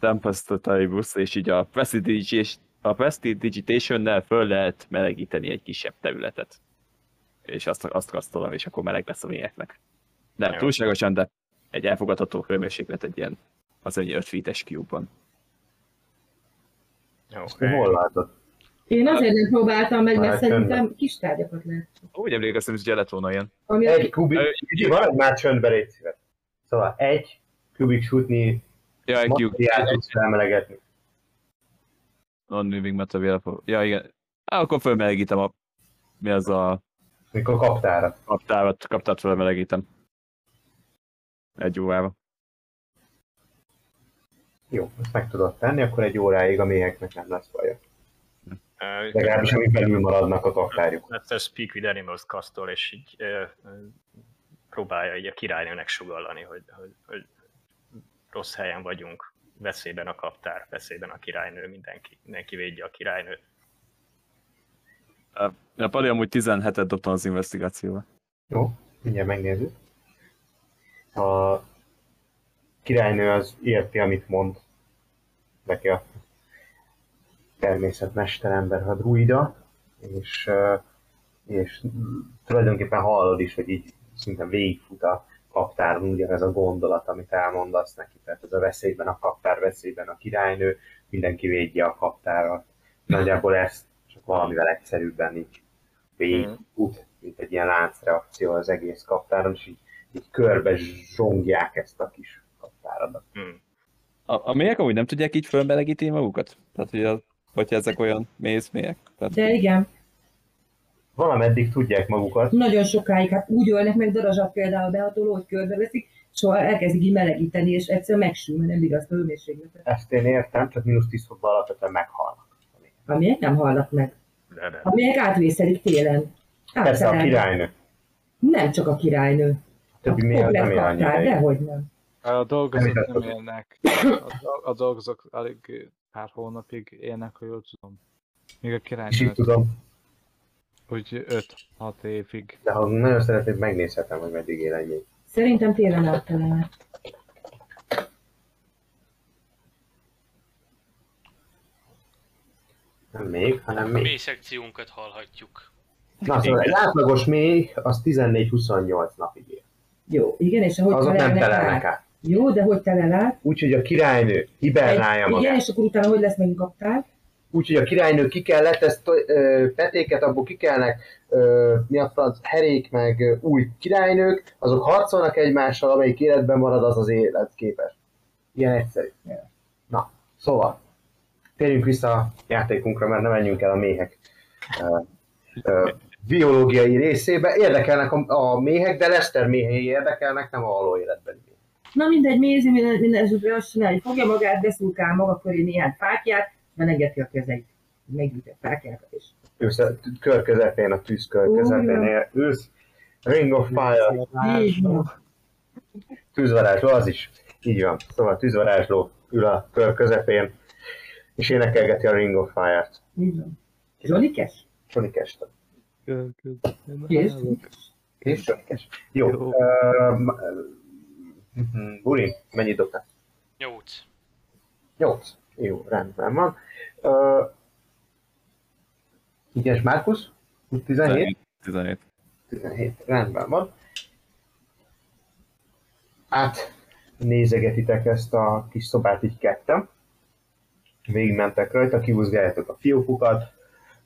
S5: Tempestativus, és így a Prestidigitation- a Prestidigitation-nel föl lehet melegíteni egy kisebb területet. És azt, azt kasztolom, és akkor meleg lesz a mélyeknek. Nem
S4: Jó.
S5: túlságosan, de egy elfogadható hőmérséklet egy ilyen, az egy 5 feet-es cube-ban.
S1: Te
S4: Okay.
S1: hol látod?
S3: Én azért nem próbáltam meg, mert
S1: Hát,
S3: szerintem kis tárgyakat lehet.
S5: Úgy emlékeztem, hogy lett volna ilyen.
S3: Ami
S1: Egy kubik...
S5: Ö,
S1: Kicsi, maradj már csöndbe, légy szíves. Szóval egy kubik sütni
S5: Ja, egy Q.
S1: materiált tudsz felmelegetni.
S5: Non-moving material. for- Ja, igen. Á, akkor fölmelegítem a... Mi az a
S1: Mikor kaptára.
S5: kaptárat, kaptárat fölmelegítem. Egy órába.
S1: Jó, ezt meg tudod tenni, akkor egy óráig a méheknek nem lesz baja. Legalábbis
S4: Uh,
S1: amíg belül maradnak a kaptárjuk.
S4: Let's speak with animals kasztol, és így ö, ö, próbálja így a királynőnek sugallani, hogy, hogy, hogy rossz helyen vagyunk, veszélyben a kaptár, veszélyben a királynő, mindenki, mindenki védje a királynőt.
S5: Ja, Pali amúgy 17-et dobtam az investigációba.
S1: Jó, mindjárt megnézzük. A királynő az érti, amit mond neki a természetmesterember, a druida, és, ö, és tulajdonképpen hallod is, hogy így szinte végigfut a kaptáron ugyanez a gondolat, amit elmondasz neki. Tehát ez a veszélyben a kaptár, veszélyben a királynő, mindenki védje a kaptárat. Nagyjából ezt csak valamivel egyszerűbben így végigfut, mint egy ilyen láncreakció az egész kaptáron, és így, így körbe zsongják ezt a kis kaptáradat.
S4: Hmm.
S5: A, a mélyek amúgy nem tudják így fölmelegíteni magukat? Tehát, hogy a, hogyha ezek olyan méz mélyek? Tehát,
S3: De igen,
S1: Valameddig tudják magukat,
S3: nagyon sokáig, hát úgy ölnek meg darazsat például behatoló, hogy körbeveszik, soha elkezdik így melegíteni, és egyszer megsül, mert nem bír azt a hőmérsékletet.
S1: ezt én értem, csak mínusz 10 fokban alapvetően meghalnak.
S3: Amilyek nem halnak meg.
S4: De, de.
S3: Amilyek átvészelik télen.
S1: Persze a
S3: Általában.
S1: királynő,
S3: Nem csak a királynő.
S1: a többi miatt nem él annyira
S3: kaptár,
S1: ideig.
S3: dehogy nem.
S2: A dolgozók
S1: Említett
S2: nem
S1: az-
S2: élnek. A, do- a dolgozók alig pár hónapig élnek, ha jól tudom. Még a
S1: És így
S2: királynő
S1: tudom,
S2: úgy 5-6 évig.
S1: de ha nagyon szeretnéd, megnézhetem, hogy meddig él ennyi.
S3: Szerintem télen áttalál.
S1: Nem még, hanem
S6: A
S1: még.
S6: mély szekciónkat hallhatjuk.
S1: Na, szóval egy átlagos még, az 14-28 napig él.
S3: Jó, igen, és ahogy
S1: Azok nem
S3: telelnek
S1: telelnek
S3: át.
S1: át.
S3: Jó, de hogy telel át?
S1: Úgyhogy a királynő hibernálja
S3: Igen,
S1: magát.
S3: és akkor utána hogy lesz megint kaptál?
S1: úgyhogy a királynő ki kell letesz to- ö, petéket, abból ki kellnek ö, mi a franc, herék, meg ö, új királynők, azok harcolnak egymással, amelyik életben marad, az az életképes. Ilyen egyszerű. Na, szóval, térjünk vissza a játékunkra, mert nem menjünk el a méhek ö, ö, biológiai részébe. Érdekelnek a, a méhek, de Lester méhei érdekelnek, nem a való életben.
S7: Na mindegy, Mézi minden, minden esetre azt csinálja, hogy fogja magát, beszúrkál maga köré néhány fákját, menegeti a kezeit. Meggyűjtött fákjákat is.
S1: Ősz a t- kör közepén, a tűz kör
S7: Ó,
S1: közepén ősz. Ring of Fire,
S7: Így van.
S1: tűzvarázsló, az is. Így van. Szóval tűzvarázsló ül a kör közepén, és énekelgeti a Ring of Fire-t.
S7: Így van. Zsonikes?
S1: Sonic este.
S7: Kész?
S1: És Sonikes? Jó.
S2: Jó.
S1: Jó. Buri, mennyit dobtál?
S6: 8.
S1: 8. Jó, rendben van. Ö, Ügyes Márkusz? 17?
S5: 17.
S1: 17, rendben van. Át nézegetitek ezt a kis szobát így ketten. Végigmentek rajta, kihúzgáljátok a fiókukat.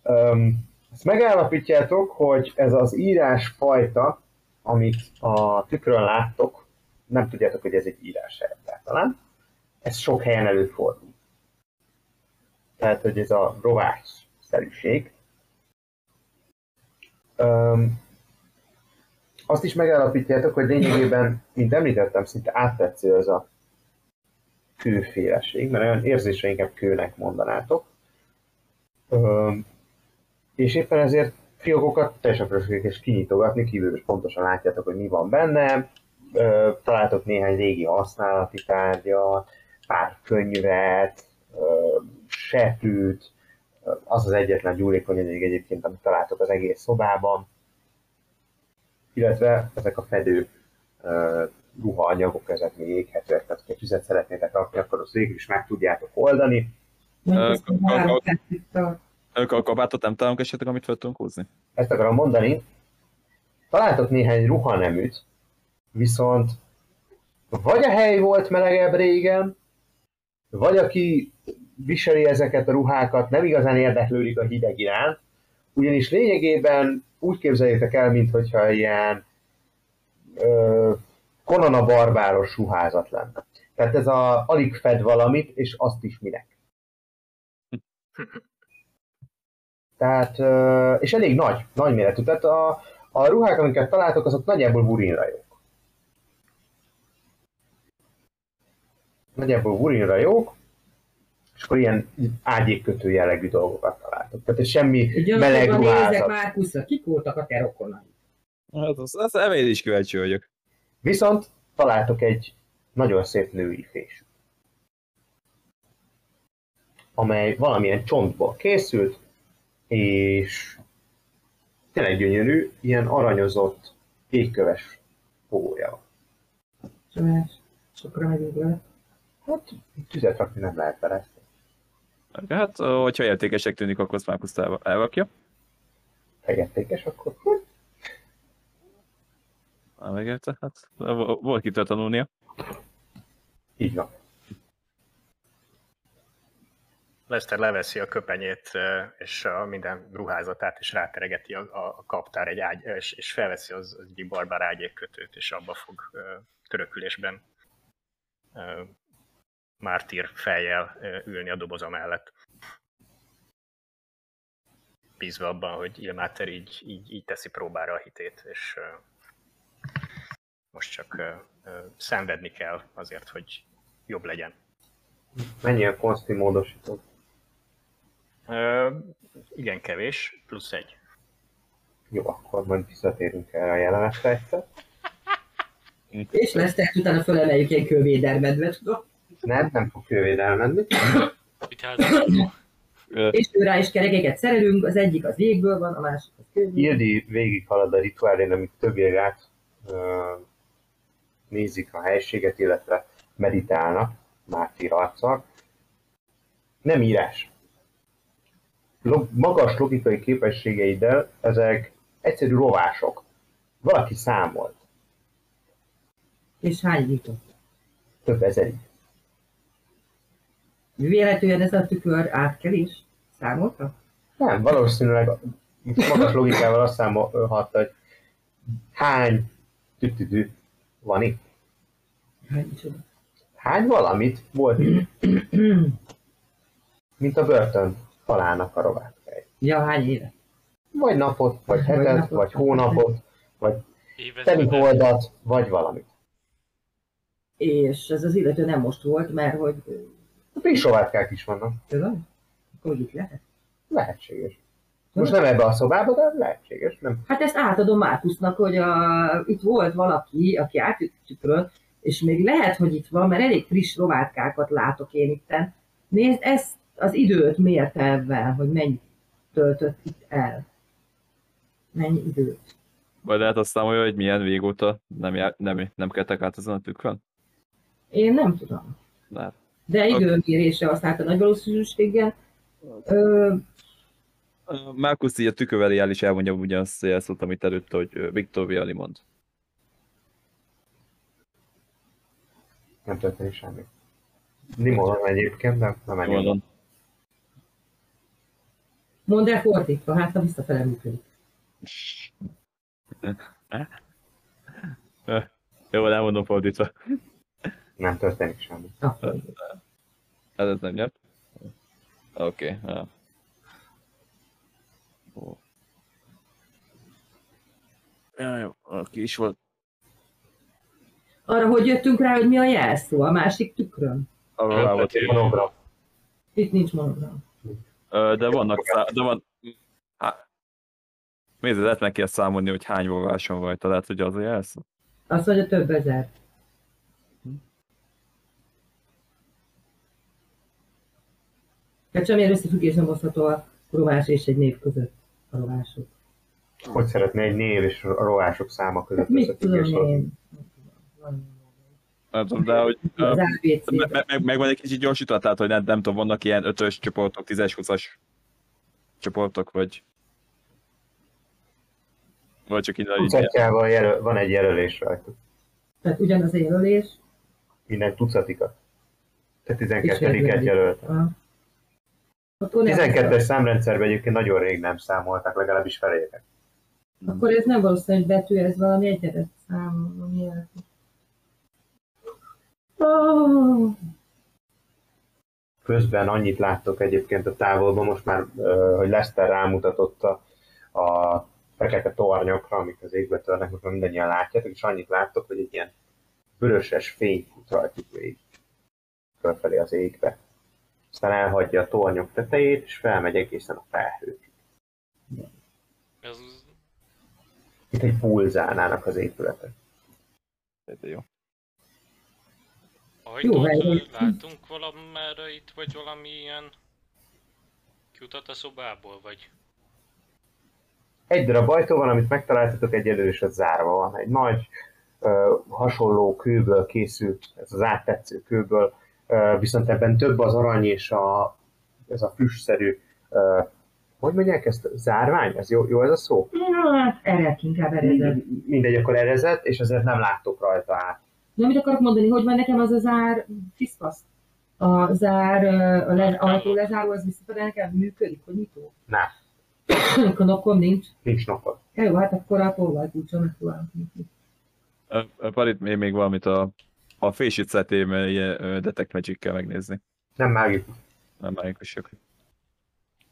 S1: Öm, ezt megállapítjátok, hogy ez az írásfajta, amit a tükrön láttok, nem tudjátok, hogy ez egy írás egyáltalán. Ez sok helyen előfordul. Tehát, hogy ez a rovás szerűség. Öm, azt is megállapítjátok, hogy lényegében, mint említettem, szinte áttetsző ez a kőféleség, mert olyan érzésre inkább kőnek mondanátok. Öm, és éppen ezért fiókokat teljesen és kinyitogatni, kívül is pontosan látjátok, hogy mi van benne. Ö, találtok néhány régi használati tárgyat, pár könyvet, ö, setűt, Ö, az az egyetlen gyúlékony anyag egyébként, amit találtok az egész szobában illetve ezek a fedő ö, ruhaanyagok, ezek még éghetőek, tehát ha tüzet szeretnétek rakni, akkor azt végül is meg tudjátok oldani.
S7: Mondjuk ezt
S5: Ö,
S7: a három
S5: ö,
S7: tett itt a-
S5: Ők a kabátot nem találunk esetleg, amit fel tudunk húzni?
S1: Ezt akarom mondani, találtok néhány ruhaneműt, viszont vagy a hely volt melegebb régen, vagy aki viseli ezeket a ruhákat, nem igazán érdeklődik a hideg iránt, ugyanis lényegében úgy képzeljétek el, mintha ilyen ö, Conan a barbáros ruházat lenne. Tehát ez a, alig fed valamit, és azt is minek. Tehát, ö, és elég nagy, nagy méretű. Tehát a, a ruhák, amiket találtok, azok nagyjából burinra jók. Nagyjából burinra jók, és akkor ilyen ágyékkötő jellegű dolgokat találtok. Tehát ez semmi
S7: Egy olyan
S1: meleg
S7: sorban nézek
S1: ruházat.
S7: Márkuszra, kik voltak a te rokonai?
S5: Hát az, az elmélyre is kíváncsi vagyok.
S1: Viszont találtok egy nagyon szép női fésűt, amely valamilyen csontból készült, és tényleg gyönyörű, ilyen aranyozott, égköves pólója van.
S7: Csomás. Sokra megyünk vele.
S1: Hát tüzet rakni nem lehet vele.
S5: Hát, ö, hogyha értékesek tűnik, akkor azt Márkusz elva- elvakja.
S1: Fegettékes, akkor hm,
S5: Nem megérte, hát vo- volt kitől tanulnia.
S1: így van.
S4: Lester leveszi a köpenyét ö, és a minden ruházatát, és ráteregeti a, a, a kaptár egy ágy, és, és felveszi az, az egyik barbár ágyékkötőt, és abba fog ö, törökülésben ö, mártír fejjel ö, ülni a doboza mellett. Bízva abban, hogy Ilmáter így, így, így teszi próbára a hitét, és ö, most csak ö, ö, szenvedni kell azért, hogy jobb legyen.
S1: Mennyi a konszti módosító?
S4: Ö, igen, kevés, plusz egy.
S1: Jó, akkor majd visszatérünk erre a jelenetre egyszer.
S7: És lesz, tehát utána fölemeljük egy kővédermedve, tudod?
S1: Nem, nem fog kővéd elmenni.
S6: Mit házasodó?
S7: És ő rá is kerekeket szerelünk, az egyik az jégből van, a másik az kőből.
S1: Ildi végighalad a rituálén, amit többiek át ö, nézik a helységet, illetve meditálnak mártír arccal. Nem írás. Log, magas logikai képességeiddel ezek egyszerű rovások. Valaki számolt.
S7: És hány nyitott?
S1: Több ezerig.
S7: Véletlenül ez a tükör átkelés?
S3: Számolta?
S1: Nem, valószínűleg itt magas logikával azt számolhatta, hogy hány tütüdű van itt.
S3: Hát, micsoda.
S1: Hány Hát valamit volt itt. Mint a börtön falának a rovátkei.
S3: Ja, hány éve?
S1: Vagy napot, vagy hetet,
S3: napot.
S1: vagy hónapot, vagy teli
S6: Évezredek.
S1: holdat, vagy valamit.
S3: És ez az illető nem most volt, mert hogy...
S1: A pisovátkák is vannak.
S3: Tudom? Akkor itt lehet?
S1: Lehetséges. Most nem ebbe a szobába, de lehetséges. Nem.
S3: Hát ezt átadom Márkusznak, hogy a, itt volt valaki, aki átjött tükről, és még lehet, hogy itt van, mert elég friss rovátkákat látok én itten. Nézd ezt az időt mértelvel, hogy mennyit töltött itt el. Mennyi időt.
S5: Vagy lehet azt számolja, hogy milyen végóta nem, jár, nem, nem keltek át ezen a tükrön?
S3: Én nem tudom.
S5: Lehet.
S3: De időmérésre használta nagy valószínűséggel. Ö,
S5: Márkusz így a tükörvel el is elmondja ugyanazt, hogy elszóltam itt előtt, hogy ö, Viktor Viali mond.
S1: Nem történik semmi. Limonon egyébként, nem, nem engem.
S5: Mondom.
S3: mondd el fordítva, hát ha visszafele működik.
S5: Jó, nem mondom fordítva.
S1: Nem történik semmi.
S3: Akkor jó.
S5: Ez, ez nem nyert. Oké. Okay. ah. Ó. Ja, jó, aki is volt.
S3: Arra, hogy jöttünk rá, hogy mi a jelszó a másik tükrön.
S5: Arra rá volt.
S1: Monobra.
S3: Itt nincs monogram.
S5: Ö, De vannak szá... De van... Há... Nézd, lehet meg kell számolni, hogy hány vováson vagy, te lehet, hogy az a jelszó.
S3: Azt mondja több ezer. Tehát semmilyen Hát összefüggés nem hozható a rovás és egy név között a rovások.
S1: Hogy szeretné egy név és a rovások száma között
S3: Hát mit
S1: összefüggés
S3: tudom
S1: hozni?
S3: én? Van
S5: Nem tudom, de hogy... ö,
S3: Az ABC.
S5: Me- me- meg, meg van egy kicsit gyorsítva, tehát hogy nem, nem tudom, vannak ilyen ötös csoportok, 10-es, 20-as csoportok, vagy... Vagy csak így így...
S1: Tucatjával jelöl, van egy jelölés rajta.
S3: Tehát ugyanaz a jelölés.
S1: Minden tucatikat. Te
S3: És
S1: 12-et
S3: jelölik.
S1: jelölt.
S3: Aha. Akkor, nem,
S1: 12-es számrendszerben egyébként nagyon rég nem számolták, legalábbis felének.
S3: akkor ez nem valószínű, hogy betű, ez valami egyedet szám. valami ilyesmi. Ó,
S1: Közben annyit láttok egyébként a távolban, most már, ö, hogy Lester rámutatott a, a fekete tornyokra, amik az égbe törnek, most már mindannyian látjátok, és annyit láttok, hogy egy ilyen vöröses fény fut rajtuk végig. Fölfelé az égbe. Aztán elhagyja a tornyok tetejét, és felmegy egészen a felhőt.
S6: Ez
S1: Itt egy pulzálnának az épületek.
S5: Jó.
S3: Jó,
S6: Ajtót
S3: várj.
S6: látunk valamára itt, vagy valami ilyen kiutat a szobából, vagy
S1: Egy darab ajtó van, amit megtaláltatok, egyelőre is az zárva van. Egy nagy, ö, hasonló kőből készült, ez az áttetsző kőből, ö, viszont ebben több az arany és a, ez a füstszerű, ö, hogy mondják ezt, zárvány? Ez jó, jó ez a szó?
S3: Hát, erre inkább erre.
S1: Mindegy, akkor erezett, és ezért nem láttok rajta át.
S3: Nem mit akarok mondani, hogy van nekem az a zár, fiszfasz. A zár, ö, a le, ajtó lezáró, az visszafelé nekem működik, hogy nyitó.
S1: Nem,
S3: Knokom nincs.
S1: nincs napod.
S3: Ja, jó, hát akkor a hát tolvajkulcsom megpróbálom nyitni.
S5: Ö, ö, Parit, még, még valamit a, a Fésít szeretném ö, ilyen ö, Detect magic kell megnézni.
S1: Nem mágikus.
S5: Nem mágikusok.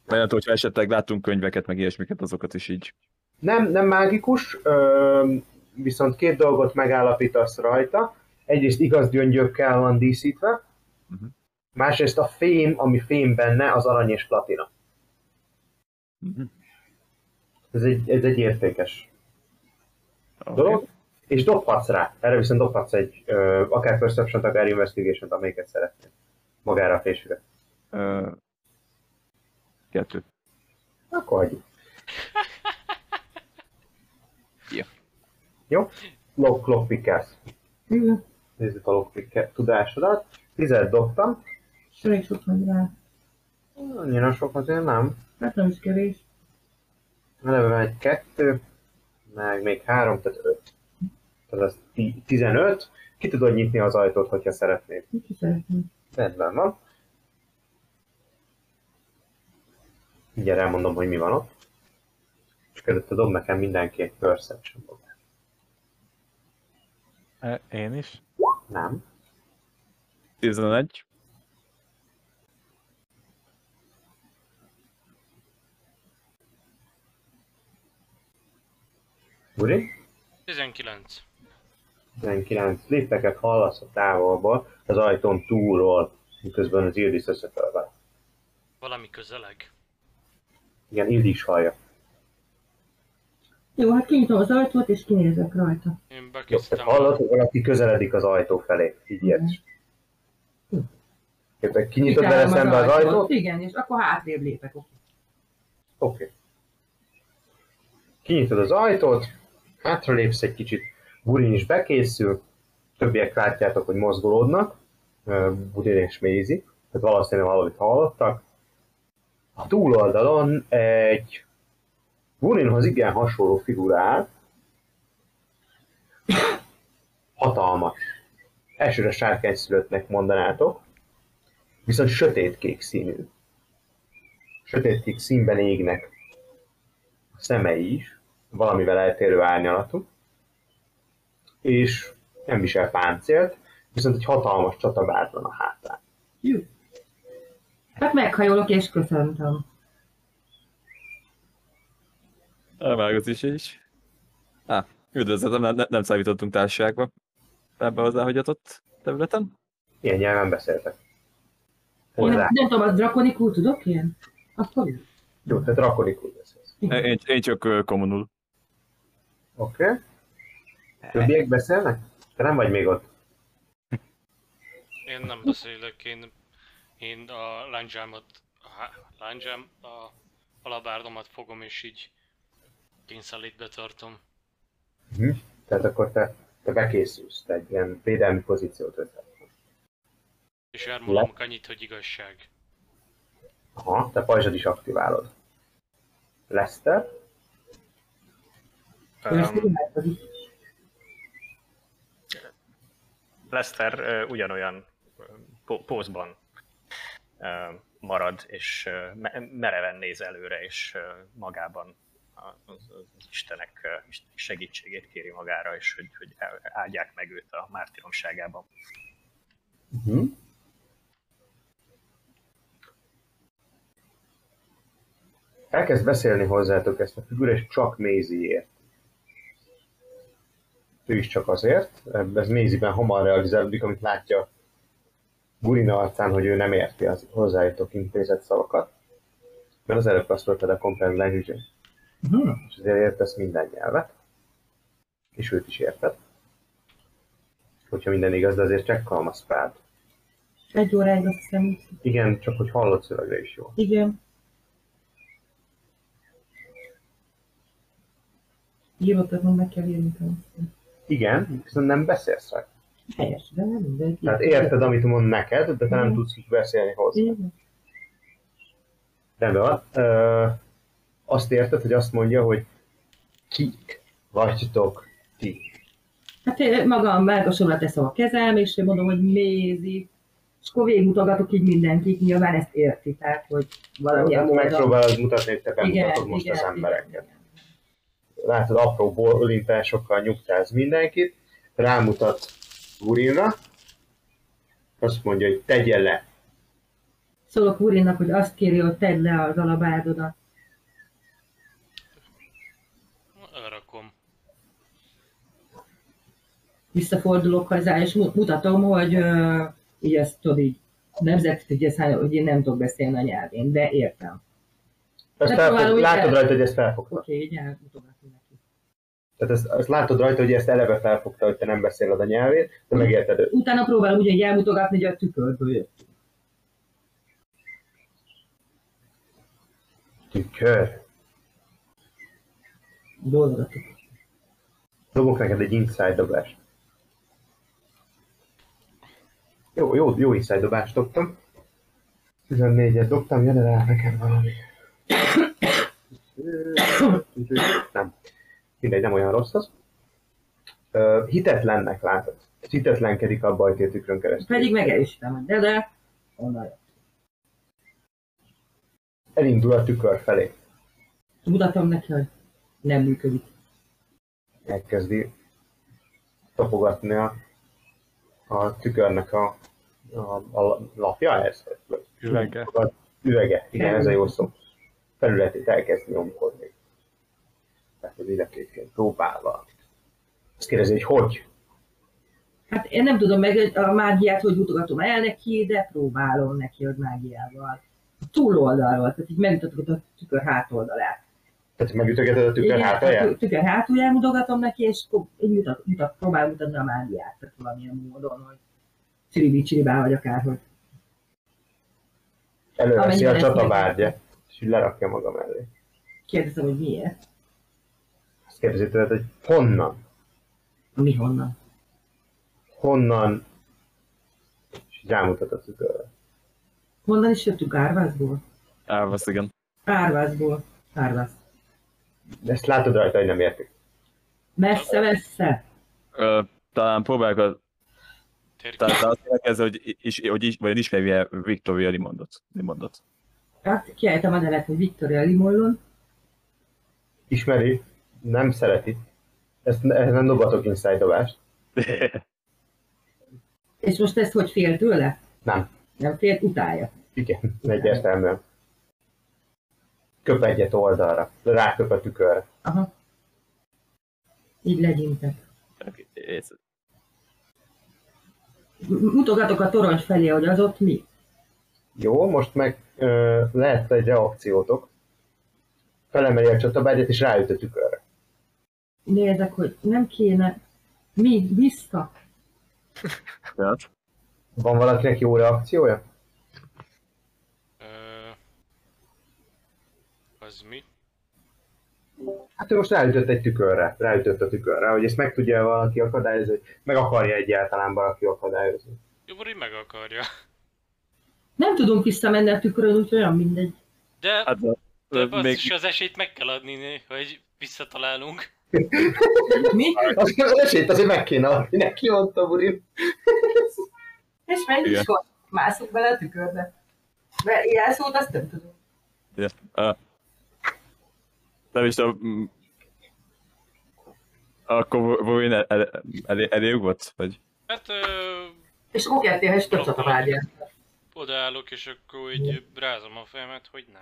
S5: Mert hogyha esetleg láttunk könyveket, meg ilyesmiket, azokat is így.
S1: Nem, nem mágikus, ö, viszont két dolgot megállapítasz rajta. Egyrészt igaz gyöngyökkel van díszítve,
S5: Mhm.
S1: uh-huh. másrészt a fém, ami fém benne, az arany és platina.
S5: Mhm.
S1: Ez egy, ez egy értékes okay.
S5: Oké.
S1: dolog. És dobhatsz rá, erre viszont dobhatsz egy, ö, akár perception akár investigation-t, amelyiket szeretnél. Magára a fésüre.
S5: Ö, Kettő.
S1: Akkor hagyjuk.
S5: Jó.
S1: Jó? Lock, lockpickelsz.
S3: Jó,
S1: Nézzük a lockpick tudásodat. Tizet dobtam.
S3: és elég sok megy rá.
S1: Annyira sok azért nem.
S3: Hát nem is kevés.
S1: Eleve van egy kettő, meg még három, tehát öt. Tehát az ti- 15. Ki tudod nyitni az ajtót, hogyha szeretnéd.
S3: Mit is szeretném?
S1: Rendben van. Mindjárt elmondom, hogy mi van ott. És előtte dob nekem mindenki egy perception dobást.
S2: Ö, Én is?
S1: Nem.
S5: 11.
S1: Uri?
S6: 19.
S1: 19 lépteket hallasz a távolból, az ajtón túlról, miközben az Ildis összetör vele.
S6: Valami közeleg.
S1: Igen, Ildi is hallja.
S3: Jó, hát kinyitom az ajtót, és kinézek rajta.
S6: Én
S1: Jó, tehát
S6: bekészítem.
S1: hallod, hogy valaki közeledik az ajtó felé. Így ilyet. Jó, tehát kinyitod
S3: Kitárom
S1: vele szembe Mhm. az ajtót?
S3: Igen, és akkor hátrébb lépek. Oké.
S1: Oké. Kinyitod az ajtót, hátralépsz egy kicsit, Burin is bekészül, többiek látjátok, hogy mozgolódnak, Ö, Burin és Mézi, tehát valószínűleg valamit hallottak. A túloldalon egy Burinhoz igen hasonló figurát, hatalmas, elsőre sárkányszülöttnek mondanátok, viszont sötétkék színű sötétkék színben égnek a szemei is, valamivel eltérő árnyalatú, és nem visel páncélt, viszont egy hatalmas csatabár van a hátán.
S3: Hát meghajolok, és köszöntöm.
S5: Elvágott is is. Á, üdvözletem, nem, nem számítottunk társaságba. Ebben az elhagyatott területen.
S1: Ilyen nyelven beszéltek.
S3: Én
S1: Hozzá.
S3: nem, nem tudom, az drakonikul tudok én? Akkor jó.
S1: Jó, tehát rakonikul beszélsz.
S5: Én, én csak ö, kommunul.
S1: Oké. Okay. Többiek beszélnek? Te nem vagy még ott.
S6: Én nem beszélek, én, én a lándzsámat, a há- lándzsám, a alabárdomat fogom és így kényszerlétbe tartom.
S1: Tehát akkor te, te bekészülsz, te egy ilyen védelmi pozíciót veszel.
S6: És elmondom annyit, hogy igazság.
S1: Aha, te pajzsod is aktiválod. Lester,
S4: Um, Lester ö, ugyanolyan ö, pó- pózban ö, marad, és ö, me- mereven néz előre, és ö, magában a- az, az Istenek ö, is- segítségét kéri magára, és hogy, hogy á- áldják meg őt a mártíromságában.
S1: Uh-huh. Elkezd beszélni hozzátok ezt a figura, és csak Méziért. Ő is csak azért, ez Méziben hamar realizálódik, amit látja Gurina arcán, hogy ő nem érti az hozzájutok intézett szavakat. Mert az előbb azt mondtad a Comprehend language és azért értesz minden nyelvet, és őt is érted. Hogyha minden igaz, de azért csak kalmaszpád.
S3: Egy óráig azt hiszem.
S1: Igen, csak hogy hallott szövegre is jó.
S3: Igen. Írottatnom meg kell írni. persze.
S1: Igen, viszont nem beszélsz rá.
S3: Helyes, de nem mindegy.
S1: Tehát Hát érted, amit mond neked, de te nem tudsz így beszélni hozzá.
S3: Igen.
S1: Rendben van. Ö, azt érted, hogy azt mondja, hogy kik vagytok ti.
S3: Hát én magam melkosomra teszem a kezem, és én mondom, hogy mézi. És akkor végigmutogatok így mindenkit, nyilván ezt érti, tehát, hogy valamilyen
S1: Hát
S3: módon.
S1: Megpróbálod mutatni, hogy te bemutatod most
S3: igen,
S1: az
S3: igen.
S1: embereket. látod apró bolintásokkal nyugtáz mindenkit, rámutat Gurinra, azt mondja, hogy tegye le.
S3: Szólok Úrinnak, hogy azt kéri, hogy tedd le az alabádodat.
S6: Elrakom.
S3: Visszafordulok hozzá, és mu- mutatom, hogy uh, így ezt tudod így nemzet, hogy, ezt, hogy én nem tudok beszélni a nyelvén, de értem.
S1: Ezt
S3: Hát próbálom,
S1: felfog,
S3: hogy
S1: látod
S3: el-
S1: rajta, hogy ezt felfogta.
S3: Oké, így elmutogatom neki.
S1: Tehát ezt, ezt, látod rajta, hogy ezt eleve felfogta, hogy te nem beszéled a nyelvét, de megérted őt.
S3: Utána próbálom ugyanúgy elmutogatni, hogy a tükörből jött.
S1: Tükör.
S3: Boldog a tükör.
S1: Dobok neked egy inside dobást. Jó, jó, jó inside dobást dobtam. 14-et dobtam, jön el nekem valami. nem. Mindegy, nem olyan rossz az. Ö, hitetlennek látod. Hitetlenkedik abba a két tükrön keresztül.
S3: Pedig megerősítem, hogy de, de, onnan jött.
S1: elindul a tükör felé.
S3: Tudatom neki, hogy nem működik.
S1: Elkezdi tapogatni a, a tükörnek a, a, a lapja ez?
S2: Üvege.
S1: A üvege, igen, ez a jó szó. Felületét elkezd nyomkodni. Tehát az illetékén próbálva. Azt kérdezi, hogy hogy?
S3: Hát én nem tudom meg a mágiát, hogy mutogatom el neki, de próbálom neki, hogy mágiával. Túloldalról, tehát így megmutatok a tükör hátoldalát.
S1: Tehát megütögeted a tükör
S3: Igen, hát
S1: hátalját?
S3: a tükör hátulján mutogatom neki, és ko- így mutat, mutat, próbál mutatni a mágiát, tehát valamilyen módon, hogy csiribí csiribá, vagy akárhogy.
S1: Előveszi
S3: Amennyiben
S1: a
S3: ezt
S1: csatabárgyat, és így lerakja maga mellé.
S3: Kérdezem, hogy miért?
S1: Azt kérdezi tőled, hogy honnan?
S3: Mi honnan?
S1: Honnan? És így rámutat a tükörre.
S3: Honnan is jöttünk Árvázból?
S5: Elvasz, igen.
S3: Árvázból. Árváz.
S1: De ezt látod rajta, hogy nem értik.
S3: Messze, messze.
S5: Ö, talán próbáljuk a...
S6: Térkép.
S5: Talán azt érkező, hogy, is, hogy is, vagy ismerje Victoria Limondot. Limondot.
S3: Hát kiejtem a nevet, hogy Victoria Limollon.
S1: Ismeri, nem szereti. Ezt, ezt nem dobatok inside dobást.
S3: És most ezt hogy fél tőle?
S1: Nem.
S3: Nem fél, utálja.
S1: Igen, egyértelműen. Köp egyet oldalra, ráköp a tükörre.
S3: Aha. Így legyintek.
S5: És-
S3: M- Mutogatok a torony felé, hogy az ott mi.
S1: Jó, most meg ö, lehet egy reakciótok. Felemeli a csatabárgyat és ráüt a tükörre.
S3: Nézek, hogy nem kéne. Mi, vissza.
S5: Tehát,
S1: Van valakinek jó reakciója?
S6: Ö, az mi?
S1: Hát ő most ráütött egy tükörre, ráütött a tükörre, hogy ezt meg tudja valaki akadályozni, meg akarja egyáltalán valaki akadályozni.
S6: Jobban, meg akarja.
S3: Nem tudunk visszamenni a tükrön, úgyhogy olyan mindegy.
S6: De,
S5: hát ö,
S6: de basszus,
S5: még
S6: az esélyt meg kell adni, né, hogy visszatalálunk.
S3: Mi?
S1: Azt kell, az esélyt azért meg kéne adni, neki mondta Burin.
S3: És menjünk
S5: Igen.
S3: sor. Mászunk bele a tükörbe. Mert ilyen szót azt nem tudunk.
S5: Ö, nem is tudom... mm, Akkor Bovin el, el, elé, eléjük volt? Vagy?
S6: Hát ö,
S3: És okertél, és több csatavágyál.
S6: odaállok, és akkor így rázom a fejemet, hogy ne.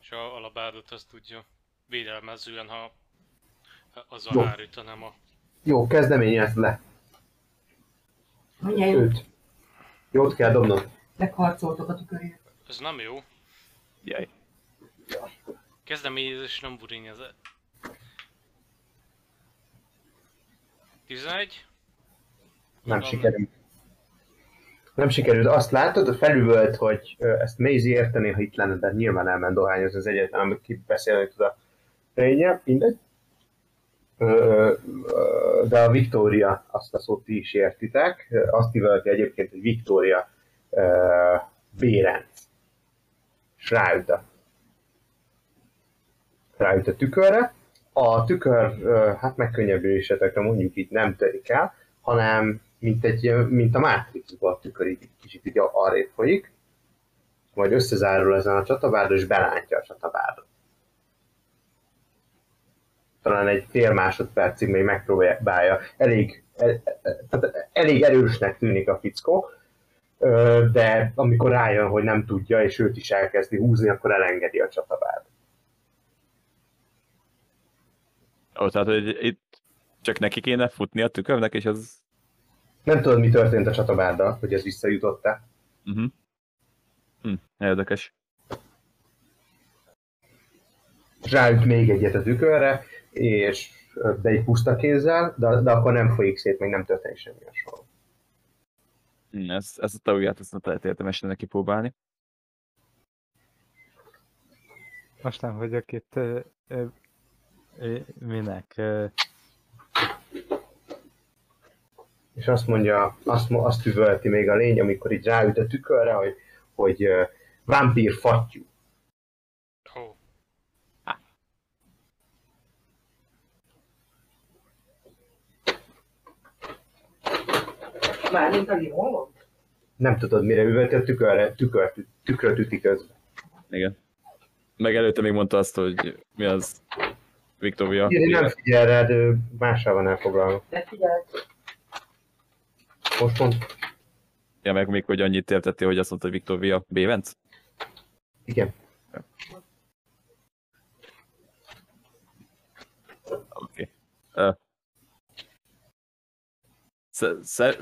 S6: És a alabádot azt tudja védelmezően, ha ha az
S1: Jó.
S6: a hárít, nem a...
S1: Jó, kezdeményezd le
S3: Milyen jó,
S1: őt. Jót kell dobnod.
S3: megharcoltok a tükörért.
S6: Ez nem jó.
S5: Jaj.
S6: Kezdeményezés nem buríny ez. 11?
S1: Nem
S6: Tudom.
S1: sikerült. Nem sikerült. Azt látod, felüvölt, hogy ö, ezt Maisie értené, ha itt lenne, de nyilván elment dohányozni az egyetlen, amit kibeszélni tud a lénye, mindegy. Ö, ö, ö, De a Victoria, azt a szót ti is értitek, Ö, azt ivölti egyébként, hogy Victoria ö, Bérenc. És ráüt a, ráüt a tükörre. A tükör, ö, hát megkönnyebbülésetekre mondjuk így nem törik el, hanem mint, egy, ilyen- mint a Matrixba a tükör így kicsit így arrébb folyik, majd összezárul ezen a csatabárdon, és belántja a csatabárdot. Talán egy fél másodpercig még megpróbálja. Elég, el, el- tehát elég erősnek tűnik a fickó, ö, de amikor rájön, hogy nem tudja, és őt is elkezdi húzni, akkor elengedi a csatabárdot.
S5: Ó, tehát, hogy itt csak neki kéne futni a tükörnek, és az...
S1: Nem tudod, mi történt a csatabárdal, hogy ez visszajutott-e.
S5: Uh-huh. Hm, érdekes.
S1: ráüt még egyet a tükörre, és de egy puszta kézzel, de, de akkor nem folyik szét, még nem történik semmi hasonló.
S5: Hm, ez, ez a tagját, ezt nem lehet értemesen neki próbálni.
S2: Most nem vagyok itt... Ö, ö, ö, minek? Ö,
S1: És azt mondja, azt, mo- azt üvölti még a lény, amikor így ráüt a tükörre, hogy, hogy ö, vámpír fattyú.
S6: Ó, oh,
S3: Mármint a limon?
S1: Nem tudod, mire üvölti a tükörre, tükör, tükröt üti közben.
S5: Igen. Meg előtte még mondta azt, hogy mi az Viktória.
S1: Én nem figyel rád, ő mással van elfoglalva.
S3: De figyelj,
S1: Most mond,
S5: Ja, meg még, hogy annyit értettél, hogy azt mondta, hogy Viktória Bévenc.
S1: igen.
S5: Oké. Okay. Uh, szer...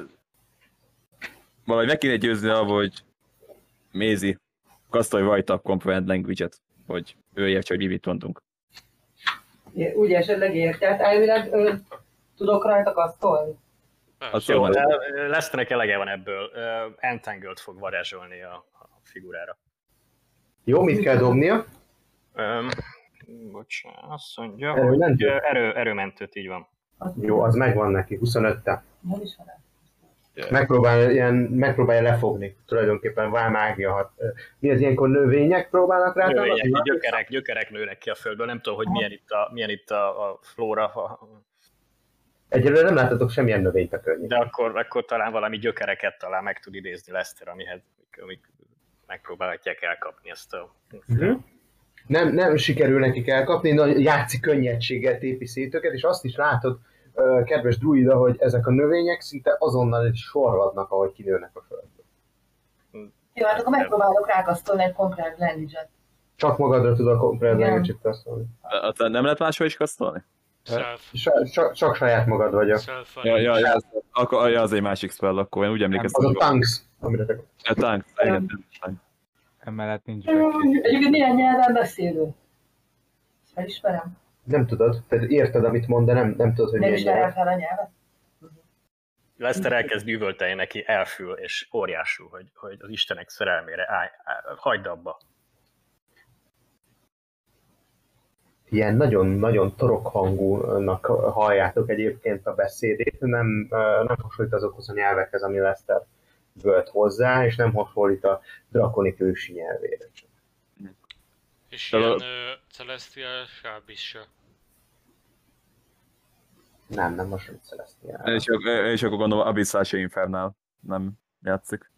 S5: Valahogy meg kéne győzni abba, hogy Mézi, kasztolj rajta a Comprehend Language-et, hogy ő értse, hogy mi mit mondunk.
S3: é- úgy esetleg érti, hát elvileg ö, tudok rajta kasztolni.
S5: Azt
S6: Persze.
S5: jól
S4: Jó,
S5: mondom.
S4: ö, Leszternek elege van ebből. Ö, Entangled fog varázsolni a, a figurára.
S1: Jó, mit kell dobnia?
S4: Öm, bocsánat, azt mondja,
S1: Erő
S4: hogy
S1: mentő?
S4: ö, erő, erőmentőt így van.
S1: Jó, az megvan neki, 25-tel.
S3: Nem is van el.
S1: Megpróbál, ilyen, megpróbálja lefogni, tulajdonképpen vál mágia hat. ö, Mi az ilyenkor növények próbálnak rá?
S4: Növények,
S1: támadni?
S4: így gyökerek, gyökerek nőnek ki a földből. Nem tudom, hogy milyen itt a, milyen itt a, a flóra, a-
S1: Egyelőre nem láthatok semmilyen növényt a környéken.
S4: de akkor, akkor talán valami gyökereket talán meg tud idézni Leszter, amihez amik megpróbálhatják elkapni ezt a...
S1: Mhm.
S3: Mhm.
S1: nem, nem sikerül nekik elkapni, na, játszik könnyedséggel tépi szét őket, és azt is látod, ö, kedves druida, hogy ezek a növények szinte azonnal is sorvadnak, ahogy kinőnek a földből.
S3: Jó, hát akkor megpróbálok rákasztolni egy konkrét language
S1: Csak magadra tudok
S3: Igen.
S1: komprendálni, csak azt mondani.
S5: Aztán nem lehet máshol is kasztolni?
S6: Self.
S1: Sa- sa- Csak saját magad vagyok.
S6: Self.
S5: Ja, ja, ja, az, akkor, ja, az egy másik spell, akkor én úgy
S1: Az
S4: Szóval-
S1: a
S5: emlékeztem.
S1: tanks, amire te
S5: A tank. Igen, nem tank.
S2: Emellett nincs
S3: Egyébként milyen nyelven beszélő? Ezt Felismerem.
S1: nem tudod, tehát érted, amit mond, de nem, nem tudod, hogy
S3: Nem
S1: milyen
S3: ismerem
S1: nyelv.
S3: fel a nyelvet.
S4: Leszter elkezd üvölteni neki, elfül, és óriású, hogy, hogy az Istenek szerelmére állj, állj, hagyd abba.
S1: Ilyen nagyon-nagyon torokhangúnak halljátok egyébként a beszédét, nem, ö, nem hasonlít azokhoz a nyelvekhez, ami Lester völt hozzá, és nem hasonlít a drakonik ősi nyelvére.
S6: És
S5: Tehát a-
S6: ilyen ö, celestial sábissa.
S1: Nem, nem hasonlít Celestiára.
S5: És, ak- és akkor gondolom Abyssal se Infernál nem játszik.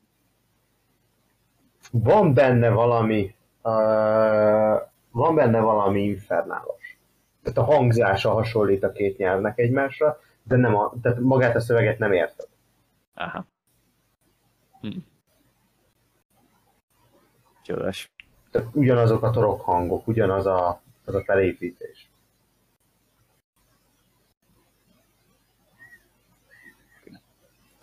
S1: Van benne valami, uh, van benne valami infernálos. Tehát a hangzása hasonlít a két nyelvnek egymásra, de nem a, tehát magát a szöveget nem érted.
S5: Aha. Hm. Csodás.
S1: Tehát ugyanazok a torokhangok, ugyanaz a, az a felépítés.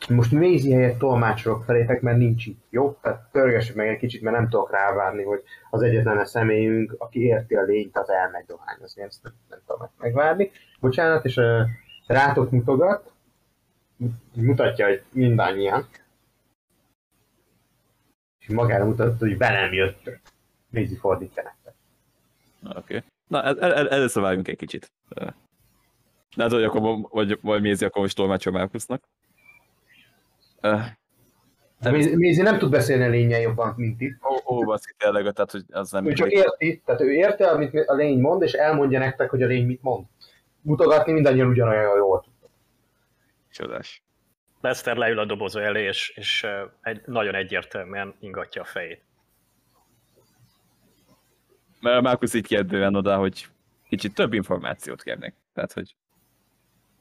S1: Most Mézi helyett tolmácsolok felétek, mert nincs itt, jó? Tehát pörgessük meg egy kicsit, mert nem tudok rávárni, hogy az egyetlen a személyünk, aki érti a lényt, az elmegy dohányozni. Ezt nem, nem tudom meg- megvárni. Bocsánat, és uh, rátok mutogat, mutatja, hogy mindannyian. És magára mutatta, hogy velem jöttök. Mézi fordítja nektek.
S5: Oké. Okay. Na, el, el, el- először várjunk egy kicsit. Ö. Na, hát, hogy akkor, mo- vagy, vagy Mézi, akkor most tolmácsol Márkusznak. Eh, Ö, Nem
S1: Mézi- Mézi nem tud beszélni a lényen jobban, mint itt.
S5: Ó, ó, baszki, tényleg, tehát, hogy az nem...
S1: Ő csak érti, tehát ő érti, amit a lény mond, és elmondja nektek, hogy a lény mit mond. Mutogatni mindannyian ugyanolyan jól tud.
S5: Csodás.
S4: Lester leül a dobozó elé, és, és ö, egy, nagyon egyértelműen ingatja a fejét.
S5: Mert a Márkusz így kért bőven oda, hogy kicsit több információt kérnek. Tehát, hogy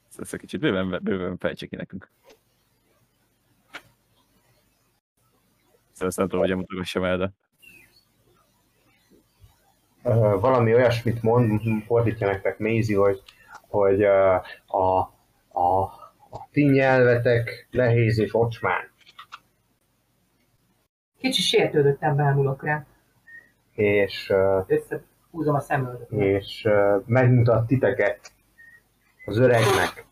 S5: ezt- ezt egy kicsit bőven, bőven fejtse ki nekünk. Szóval ezt nem tudom, hogy mutogassam el, de...
S1: Ö, Valami olyasmit mond, fordítja nektek Mézi, hogy, hogy ö, a, a, a ti nyelvetek nehéz és ocsmány.
S3: Kicsi sértődöttem, bámulok rá.
S1: És ö,
S3: Összehúzom a szemöldöt.
S1: és ö, megmutat titeket az öregnek.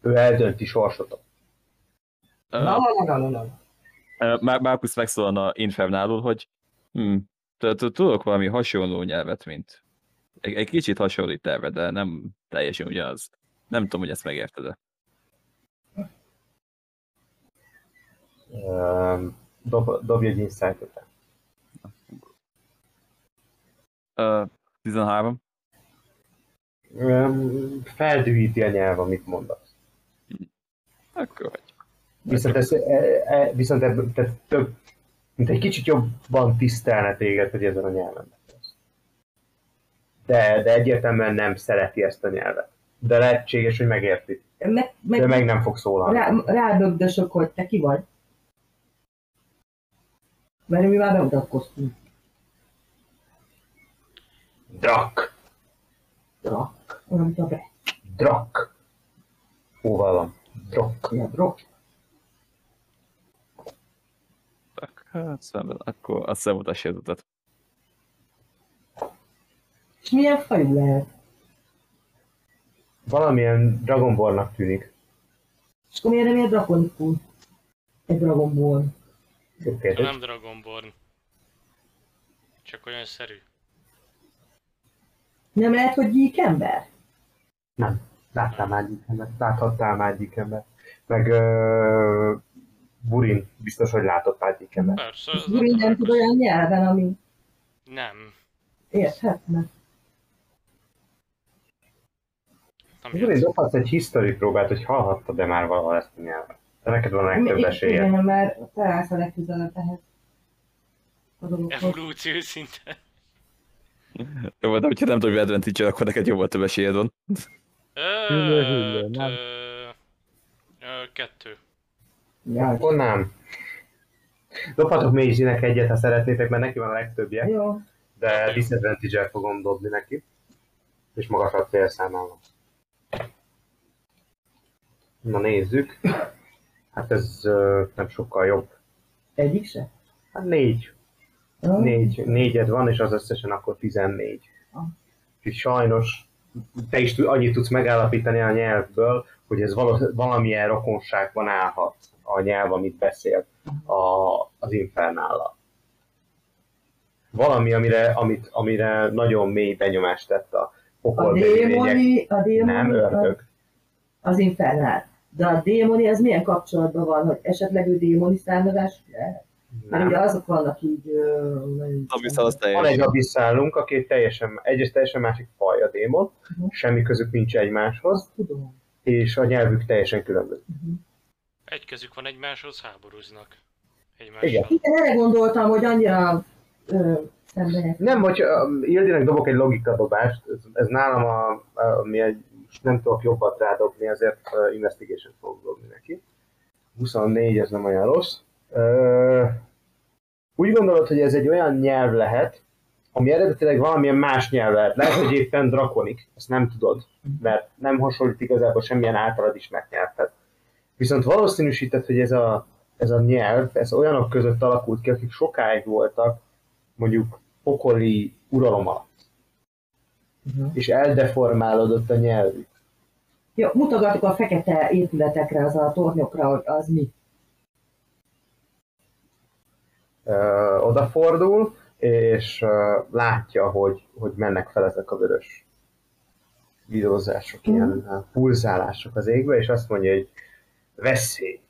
S1: Ő eldönti sorsotok.
S3: Na, na, na, na, na.
S5: Már Márkusz megszólalna Infernálul, hogy hm, t- t- tudok valami hasonló nyelvet, mint egy, egy kicsit hasonlít erre, de nem teljesen ugyanaz. Nem tudom, hogy ezt megérted-e.
S1: Ö, Dob, dobj egy insight
S5: Ö, 13.
S1: Öm, feldühíti a nyelv, amit mondasz.
S5: Akkor vagy.
S1: Viszont, ez, e, e, viszont ebből, tehát több mint egy kicsit jobban tisztelne téged, hogy ezen a nyelven beszélsz. De, de egyértelműen nem szereti ezt a nyelvet. De lehetséges, hogy megérti.
S3: Meg,
S1: De
S3: meg,
S1: meg nem fog szólalni.
S3: rá, rádögdösök, hogy te ki vagy. Mert mi már beutatkoztunk.
S1: Drak!
S3: Drak. Olyan, mint a be.
S1: Drak! Hóval van. Drak.
S3: Ilyen drak.
S5: Hát, szemben, akkor azt hiszem, utasd jutott.
S3: És milyen fajú lehet?
S1: Valamilyen Dragonbornak tűnik.
S3: És akkor miért nem ilyen drakonikus? Egy dragonból.
S1: Jó
S6: De
S1: kérdés.
S6: nem Dragonborn. Csak olyan szerű.
S3: Nem lehet, hogy gyík ember?
S1: Nem. Láttál már egyik embert. Láthattál már egyik embert. Meg uh, Burin biztos, hogy látott már egyik embert.
S6: Persze, az
S3: Gyuri nem tud olyan nyelven, ami
S6: Nem,
S3: érthetne.
S6: nem
S1: Burin,
S6: játszom.
S1: dobhatsz egy history próbát, hogy hallhattad-e már valahol ezt a nyelvet. De neked van a legtöbb esélyed.
S3: Igen, mert te állsz a legközelebb ehhez. A dologhoz.
S6: Evolúció szinten.
S5: Jó, de hogyha nem tudod, hogy advantage akkor neked jóval több esélyed van.
S2: Hüllő, hüllő,
S6: Öt,
S2: nem.
S6: ö, ö, Kettő.
S3: Jaj.
S1: Akkor nem. Dobhatok mélyzinek egyet, ha szeretnétek, mert neki van a legtöbbje.
S3: Jó.
S1: de disadvantage fogom dobni neki, és magasat félszámolom. Na nézzük. Hát ez ö, nem sokkal jobb.
S3: Egyik se?
S1: Hát négy.
S3: Jó.
S1: négy. Négyed van, és az összesen akkor 14.
S3: Ah.
S1: És sajnos te is tud- annyit tudsz megállapítani a nyelvből, hogy ez valo- valamilyen rokonságban állhat a nyelv, amit beszél a, az infernállal. Valami, amire, amit, amire nagyon mély benyomást tett a
S3: A
S1: pokolbeli lények.
S3: démoni, a démoni,
S1: Nem,
S3: a-
S1: ördög.
S3: az infernál. De a démoni, ez milyen kapcsolatban van, hogy esetleg ő démoni származás? Lehet. Mert ugye
S1: Nem.
S3: azok vannak így... ö, nagyon-
S5: Az viszont az
S1: Van egy
S5: teljesen.
S1: abisszálunk, aki teljesen, egyrészt teljesen másik faj a démon,
S3: Mhm.
S1: semmi közük nincs egymáshoz,
S3: Tudom.
S1: és a nyelvük teljesen különböző.
S6: Egy kezük van egymáshoz, háborúznak.
S1: Igen.
S6: Egymással.
S3: Igen, erre gondoltam, hogy annyira ö, szemben
S1: Nem, hogy um, Ildinek dobok egy logika dobást, ez, ez nálam a, a, mi egy, most nem tudok jobbat rádobni, ezért uh, investigation fogok dobni neki. 24, ez nem olyan rossz. Uh, úgy gondolod, hogy ez egy olyan nyelv lehet, ami eredetileg valamilyen más nyelv lehet. Lehet, hogy éppen drakonik, ezt nem tudod, mert nem hasonlít igazából semmilyen általad ismert nyelvhez. Viszont valószínűsített, hogy ez a, ez a nyelv, ez olyanok között alakult ki, akik sokáig voltak mondjuk pokoli uralom alatt.
S3: Mhm.
S1: És eldeformálódott a nyelvük.
S3: Ja, mutogatok a fekete épületekre, az a tornyokra, hogy az mi.
S1: Ö, odafordul, és ö, látja, hogy, hogy mennek fel ezek a vörös videózások,
S3: Mhm.
S1: ilyen ö, pulzálások az égbe, és azt mondja, hogy veszély,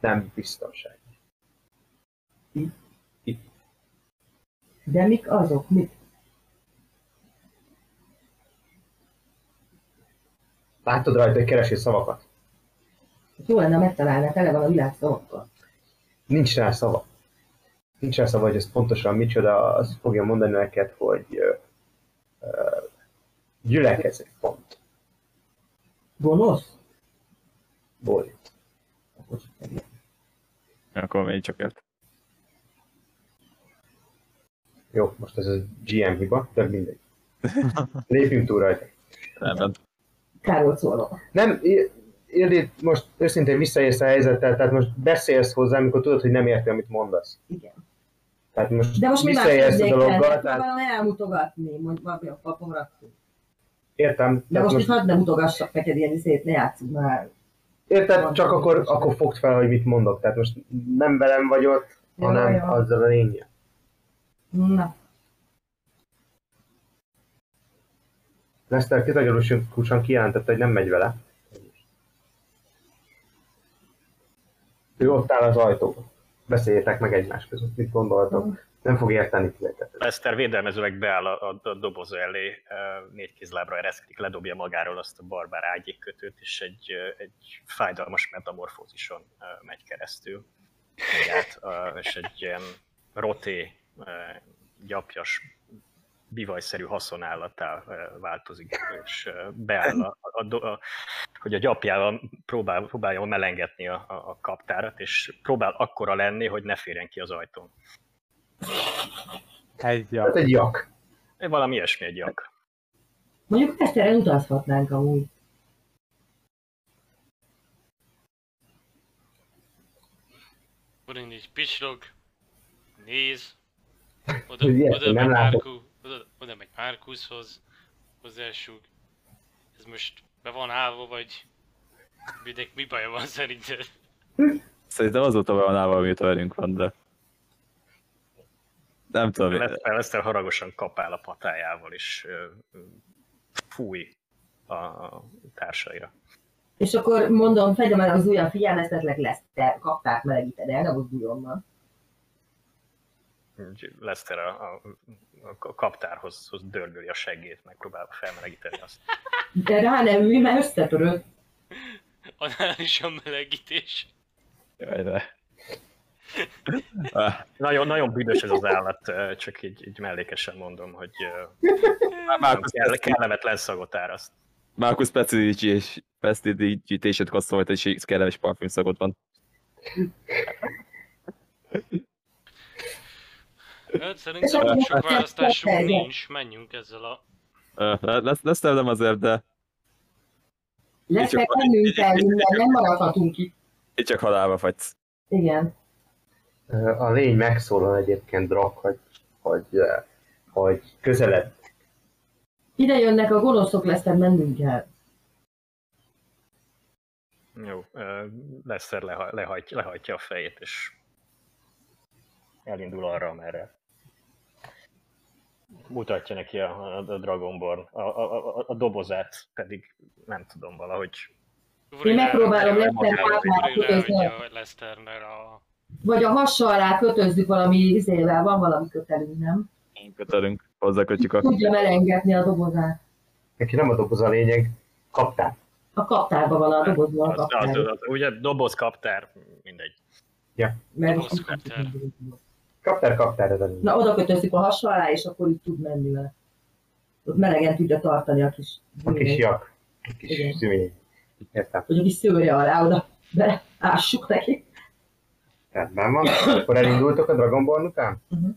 S1: nem biztonság.
S3: De mik azok? Mit?
S1: Látod rajta, hogy keresi a szavakat?
S3: Hát Jó lenne megtalálni, tele van a világ szavakkal.
S1: Nincs rá szava. Nincs rá szava, hogy ez pontosan micsoda, azt fogja mondani neked, hogy ö, ö, gyülekezet pont.
S3: Gonosz?
S1: borít.
S5: Akkor még csak el.
S1: Jó, most ez a GM hiba, de mindegy. Lépjünk túl rajta.
S5: Rendben.
S3: Károlt szólok.
S1: Nem, I- Ildi, most őszintén visszaérsz a helyzettel, tehát most beszélsz hozzá, amikor tudod, hogy nem érti, amit mondasz.
S3: Igen.
S1: Tehát most,
S3: De most mi más
S1: visszaérsz a
S3: tudnék
S1: dologgal,
S3: tenni?
S1: tehát
S3: Próbálom elmutogatni, mondjuk valami a papomra.
S1: értem,
S3: De
S1: tehát
S3: most, most
S1: most,
S3: hadd ne mutogassak neked ilyen izét, ne játszunk már.
S1: értem, csak akkor, akkor fogd fel, hogy mit mondok. Tehát most nem velem vagy ott,
S3: Jó,
S1: hanem
S3: jó.
S1: azzal a lénye.
S3: Na,
S1: Lester kitagyarúsan kijelentette, hogy nem megy vele. Ő ott áll az ajtóban. Beszéljétek meg egymás között, mit gondoltok. Nem fog érteni titeket.
S4: Lester védelmezőleg beáll a, a, a doboz elé, ö, négy kézlábra ereszkedik, ledobja magáról azt a barbár ágyékkötőt, és egy, ö, egy fájdalmas metamorfózison ö, megy keresztül. magát, a- és egy ilyen roté, eh, gyapjas, bivajszerű haszonállattá eh, változik, és eh, beáll, a, a, do- a, hogy a gyapjával próbál, próbálja melengetni a, a, a kaptárat, és próbál akkora lenni, hogy ne férjen ki az ajtón.
S2: Egy
S1: Hát
S2: a...
S1: egy jak.
S4: Valami ilyesmi egy jak.
S3: Mondjuk Eszteren utazhatnánk amúgy.
S6: Burin így pislog, néz, oda,
S1: Hogy ilyet,
S6: oda,
S1: nem
S6: megy
S1: látok.
S6: Márku, oda, oda megy Márkuszhoz, hozzásúg. Ez most be van állva, vagy mindenki mi baja van szerinted?
S5: Szerintem azóta van állva, amióta velünk van, de... Nem tudom, én-
S4: Lester haragosan kapál a patájával, és ö, ö, fúj a a társaira.
S3: És akkor mondom, fedem el az ujjam, figyelm, esetleg lesz, te kapták melegíted el, ne mozduljonnak.
S4: Így Lester a, a, a kaptárhoz hoz dörgöli a seggét, megpróbálva felmelegíteni azt.
S3: De rá nem ülj, mert összetörök.
S6: Anális a melegítés.
S5: Jaj, de...
S4: Nagyon, nagyon büdös ez az állat, ö, csak így, így mellékesen mondom, hogy ö,
S5: Márkusz
S4: kell, kellemetlen szagot áraszt.
S5: Márkusz Pecidici és Pestidigitését kasszolt, és így kellemes parfümszagot van.
S6: Hát szerintem
S3: És
S6: sok
S3: akkor-
S6: választásunk
S3: akkor-
S6: nincs, menjünk ezzel a...
S5: Ö, Lesz, lesz nem azért, de
S3: Lesznek
S5: Csak-
S3: bennünk kell minden, nem maradhatunk itt.
S5: itt csak halálba fagysz.
S3: Igen.
S1: Ö, A lény megszólal egyébként Drak, hogy, hogy, ö, hogy közelebb.
S3: Ide jönnek a gonoszok, lesznek mennünk kell.
S4: Jó, ö, Lester leha, lehajt, lehajtja a fejét, és elindul arra, amerre. Mutatja neki a, a, a Dragonborn, a, a, a, a dobozát pedig nem tudom valahogy.
S6: Burin
S3: megpróbálom
S6: elhagyja-
S3: Lester pártját
S6: Burin
S3: kötözni.
S6: elhagyja Lesternél a...
S3: Vagy a hassa alá kötözzük valami izével, van valami kötelünk, nem?
S5: Én kötelünk, hozzákötjük a...
S3: Tudja melengetni a dobozát.
S1: Neki nem a doboz a lényeg, kapták.
S3: A kaptárba van a dobozban a
S4: Hát, Az, az,
S3: kaptár.
S4: az, az, ugye doboz kaptár, mindegy.
S3: Mert
S6: doboz kaptár.
S1: Kaptár, kaptár ez a lényeg.
S3: Na, oda kötözzük a hassa alá, és akkor így tud menni vele. Ott melegen tudja tartani a kis...
S1: A kis jak. A
S3: Igen.
S1: kis szümény. Értem.
S3: Vagy a kis szőre alá, oda beleássuk neki.
S1: Rendben van. Akkor elindultok a Dragonborn után?
S3: Mhm.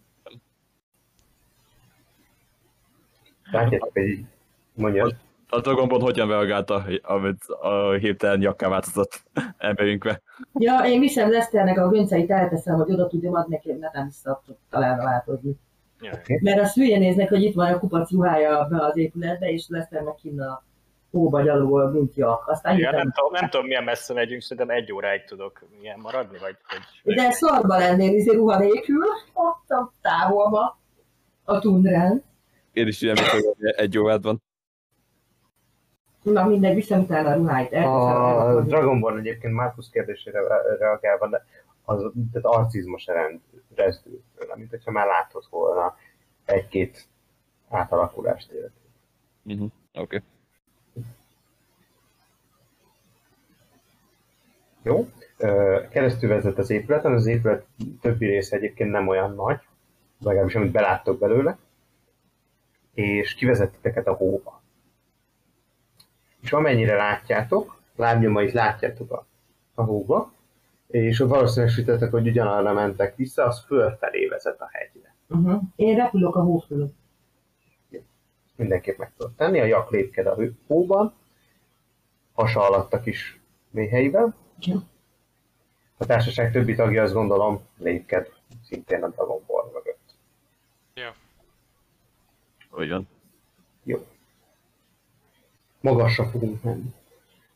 S1: Látjátok, hogy így mondja.
S5: A Dragonborn hogyan reagálta, amit a hirtelen jakká változott emberünkbe?
S3: Ja, én viszem Leszternek a gönceit, elteszem, hogy oda tudjam adni neki, hogy ne nem vissza tud találra változni.
S4: Jaj.
S3: Mert azt hülye néznek, hogy itt van a kupac ruhája be az épületbe, és Leszter meg kinn a hóba gyalogol, mint jak. Aztán
S4: Igen,
S3: hirtelen
S4: nem, tudom, nem tudom, milyen messze megyünk, szerintem egy óráig tudok ilyen maradni, vagy... vagy
S3: De szarba lennél izé ruha nélkül, ott a távolba, a tundrán.
S5: Én is ugye egy órát van.
S3: Na mindegy, viszem utána a ruháit.
S1: A
S3: elteszem.
S1: Dragonborn egyébként Markus kérdésére reagálva, de az, tehát arcizmos rend, rezdül, mint hogyha már látott volna egy-két átalakulást élet.
S5: Uh-huh. Oké.
S1: Jó. Ö, Keresztül vezet az épületen, az épület többi része egyébként nem olyan nagy, legalábbis amit beláttok belőle, és kivezettiteket a hóba. És amennyire látjátok, lábnyomait látjátok a, a hóba, és valószínűsítettek, hogy ugyanarra mentek vissza, az fölfelé vezet a hegyre.
S3: Uh-huh. Én repülök a hó fölött.
S1: Mindenképp meg tudod tenni, a jak lépked a hő- hóban, hasa alatt a kis méheiben,
S3: Igen.
S1: A társaság többi tagja azt gondolom lépked szintén a Dragonborn mögött.
S5: Úgy van.
S1: Jó. Magasra fogunk menni.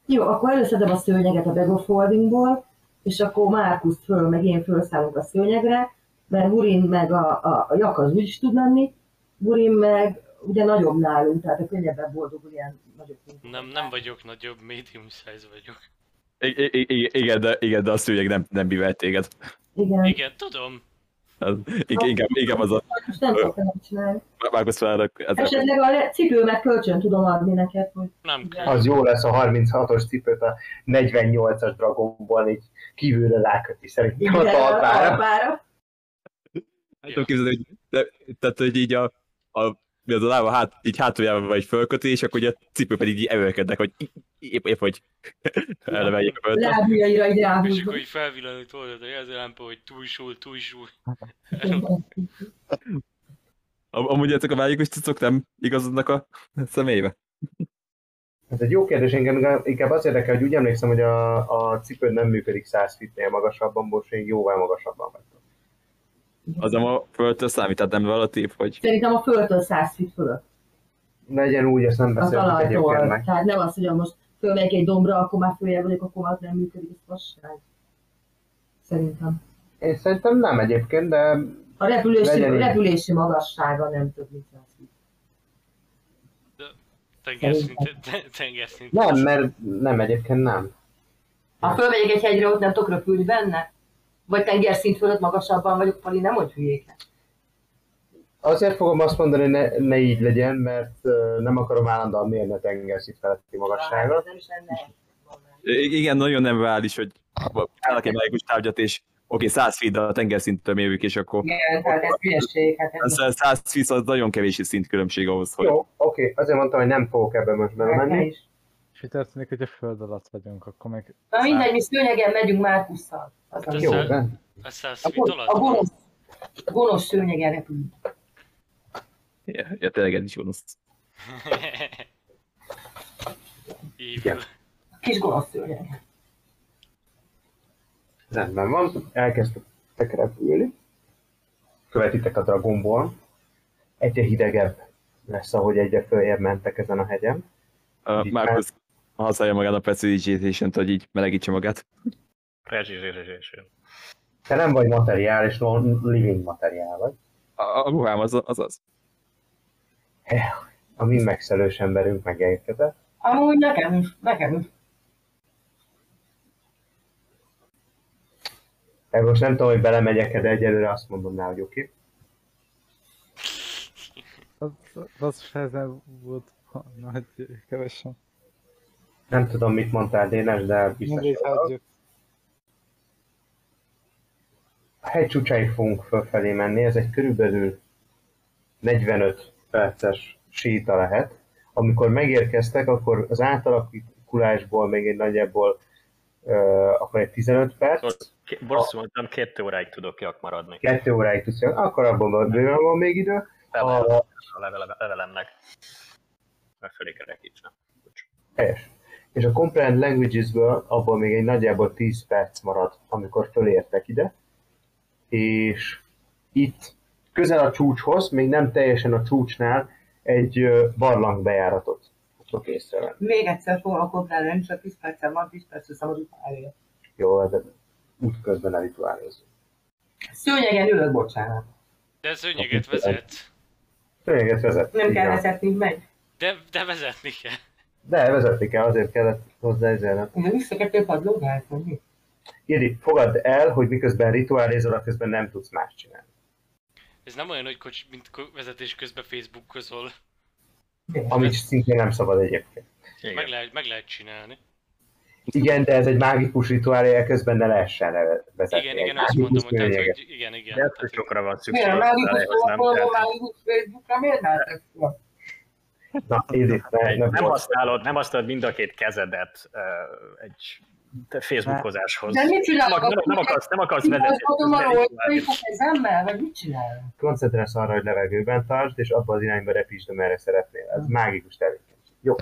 S3: Jó, akkor előszedem a szőnyeget a Bag of Holdingból, és akkor Márkuszt föl, meg én fölszállunk a szőnyegre, mert Burin meg a, a, a jak az úgy is tud lenni, Burin meg ugye nagyobb nálunk, tehát a könnyebben boldogul ilyen nagyobb.
S6: Nem, nem vagyok nagyobb, medium size vagyok.
S5: I- I- I- igen, de, igen, de a szőnyeg nem, nem bivelt téged.
S3: Igen.
S6: Igen, tudom.
S5: Az, ing- inkább, inkább az a
S3: Most nem tudok nem csinálni.
S5: Marcus Ferrer ezzel.
S3: Esetleg a le- cipőmet kölcsön tudom adni neked, hogy
S6: Nem kell.
S1: Az jó lesz a 36-os cipőt a 48-as dragonban így kívülre ráköti szerintem a talpára.
S3: talpára.
S5: Nem tudom képzelni, hogy de, tehát, hogy így a, a mi az a lába hát, így hátuljában vagy fölköti, és akkor ugye a cipő pedig így emelkednek, hogy épp, épp hogy elemeljék a földre.
S3: Lábjaira így
S6: És
S3: ráhúzva.
S6: akkor így felvillanult oldalt a jelzőlámpa, hogy túlsúl, túlsúl.
S5: Am- Amúgy ezek a vágyik is cuccok nem igazodnak a személybe.
S1: Ez egy jó kérdés, engem inkább az érdekel, hogy úgy emlékszem, hogy a, a cipőd nem működik 100 fitnél magasabban, most én jóval magasabban vagyok.
S5: Az nem a földtől számít, tehát nem relatív, hogy
S3: Szerintem a földtől 100 feet fölött.
S1: Legyen úgy, ezt nem
S3: Az
S1: beszéltük egyébként
S3: alajtól.
S1: meg.
S3: Tehát nem az, hogy ha most fölmegyek egy dombra, akkor már följebb vagyok, akkor már nem működik, ez fasság. Szerintem.
S1: Én szerintem nem egyébként, de
S3: A repülési,
S1: Legyen így.
S3: repülési magassága nem több mint 100 feet.
S6: Tengerszinte, te- tengerszinte.
S1: nem, mert nem egyébként nem.
S3: Ha fölmegyek egy hegyre, ott nem tudok röpülni benne? Vagy tengerszint fölött magasabban vagyok, Pali, nem hogy hülyék.
S1: Azért fogom azt mondani, hogy ne, ne így legyen, mert ö, nem akarom állandóan mérni a tengerszint feletti magasságot.
S3: Nem is lenne.
S5: I- igen, nagyon nem reális, hogy állnak egy mágikus tárgyat, és oké, 100 feet a tengerszinttől mérjük, és akkor
S3: Igen, hát ez hülyeség. Hát ez
S5: Ez a 100 feet az nagyon kevés szintkülönbség ahhoz, hogy
S1: Jó, oké, azért mondtam, hogy nem fogok ebbe most
S3: ne
S1: belemenni.
S3: is.
S2: És mi történik, hogyha föld alatt vagyunk, akkor meg...
S3: Na mindegy, mi szőnyegen megyünk Márkusszal. Az a,
S6: Ez
S1: Jó,
S3: jó.
S6: Persze.
S1: rendben.
S6: A száz
S3: A,
S6: feet
S3: gon-
S6: alatt?
S3: a gonosz, a gonosz szőnyegen repülünk.
S5: ja, ja, tényleg ez is gonosz.
S6: Evil.
S3: Kis gonosz szőnyegen.
S1: rendben van. Elkezdtek repülni. Követitek a Dragonból. Egyre hidegebb lesz, ahogy egyre följebb mentek ezen a hegyen.
S5: Uh, Marcus használja magát a precision hogy így melegítse magát.
S4: Precision.
S1: Te nem vagy materiális, non-living materiál vagy.
S5: A, a ruhám az az. az.
S1: A mi megszelős emberünk megérkezett.
S3: Amúgy nekem is, nekem is.
S1: Ebben most nem tudom, hogy belemegyek, de egyelőre azt mondom rá, hogy oké.
S2: Az, az se ezen volt nagy kevesen.
S1: Nem tudom, mit mondtál Dénes, de biztos.
S2: Mindig hagyjuk.
S1: A hegy csúcsáig fogunk fölfelé menni, ez egy körülbelül 45 perces séta lehet. Amikor megérkeztek, akkor az átalakulásból még egy nagyjából ö, akkor egy 15 perc,
S4: Bosszú mondtam, két óráig tudok jak maradni.
S1: 2 óráig tudsz, jönni, akkor abban bőven van még idő.
S4: Levelem, a levelem, levelemnek. Mert fölé kerekítve.
S1: Helyes. És a Comprehend Languages-ből abból még egy nagyjából 10 perc marad, amikor fölértek ide. És itt, közel a csúcshoz, még nem teljesen a csúcsnál, egy ö, barlang bejáratot tudtok észrevenni.
S3: Még egyszer foglalkozni ellen, csak 10 percen van, 10 percre szabad elő.
S1: Jó, hát de útközben elituálnézunk.
S3: Szőnyegen ülök, bocsánat.
S6: De szőnyeget vezet.
S1: Tényleg vezet.
S3: Nem
S1: Igen.
S3: kell vezetni, megy.
S6: De, de vezetni kell.
S1: De vezetni kell, azért kellett hozzá ezzel.
S3: Ugye vissza kell több adlóg elfogyni.
S1: Iri, fogadd el, hogy miközben rituálézol, közben nem tudsz más csinálni.
S6: Ez nem olyan, hogy kocs, mint ko- vezetés közben Facebook közol.
S1: Amit szintén nem szabad egyébként.
S6: Meg
S4: Igen.
S6: lehet, meg lehet csinálni.
S1: Igen, de ez egy mágikus rituálé, elkezdben ne lehessen le- vezetni.
S6: Igen,
S1: egy
S6: igen, azt
S1: mágikus
S6: mondom, hogy, tehát,
S1: lényeget.
S6: hogy igen, igen.
S4: De
S6: Tehát,
S4: ettől
S6: hogy
S4: sokra van szükség.
S3: Miért? Már úgy
S4: az nem,
S3: foglalkozom,
S4: tehát-
S3: már úgy Facebookra, miért mentek?
S1: Na, Édi, ne,
S4: nem,
S1: nem,
S4: nem,
S1: volt.
S4: használod, nem használod mind a két kezedet ö, egy Facebookozáshoz.
S3: De mit
S4: nem,
S3: csinálok?
S4: ak- nem, nem, akarsz, nem akarsz vezetni.
S3: Fogom arról, hogy folyik a kezemmel, vagy mit csinálok?
S1: koncentrálsz arra, hogy levegőben tartsd, és abba az irányba repítsd, amerre szeretnél. Ez mágikus tevékenység. Jó.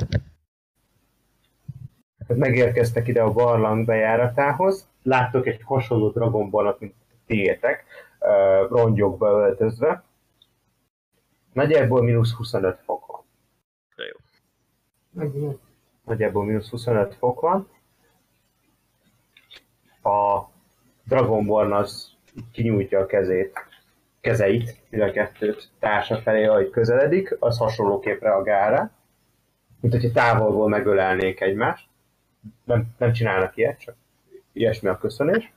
S1: Tehát megérkeztek ide a barlang bejáratához, láttok egy hasonló dragonbalat, mint tiétek, ö, rongyokba öltözve. Nagyjából mínusz 25 fok van. nagyjából mínusz 25 fok van. A Dragonborn az kinyújtja a kezét, kezeit, mind a kettőt társa felé, ahogy közeledik, az hasonlóképp reagál rá, mint hogyha távolból megölelnék egymást. Nem, nem csinálnak ilyet, csak ilyesmi a köszönés.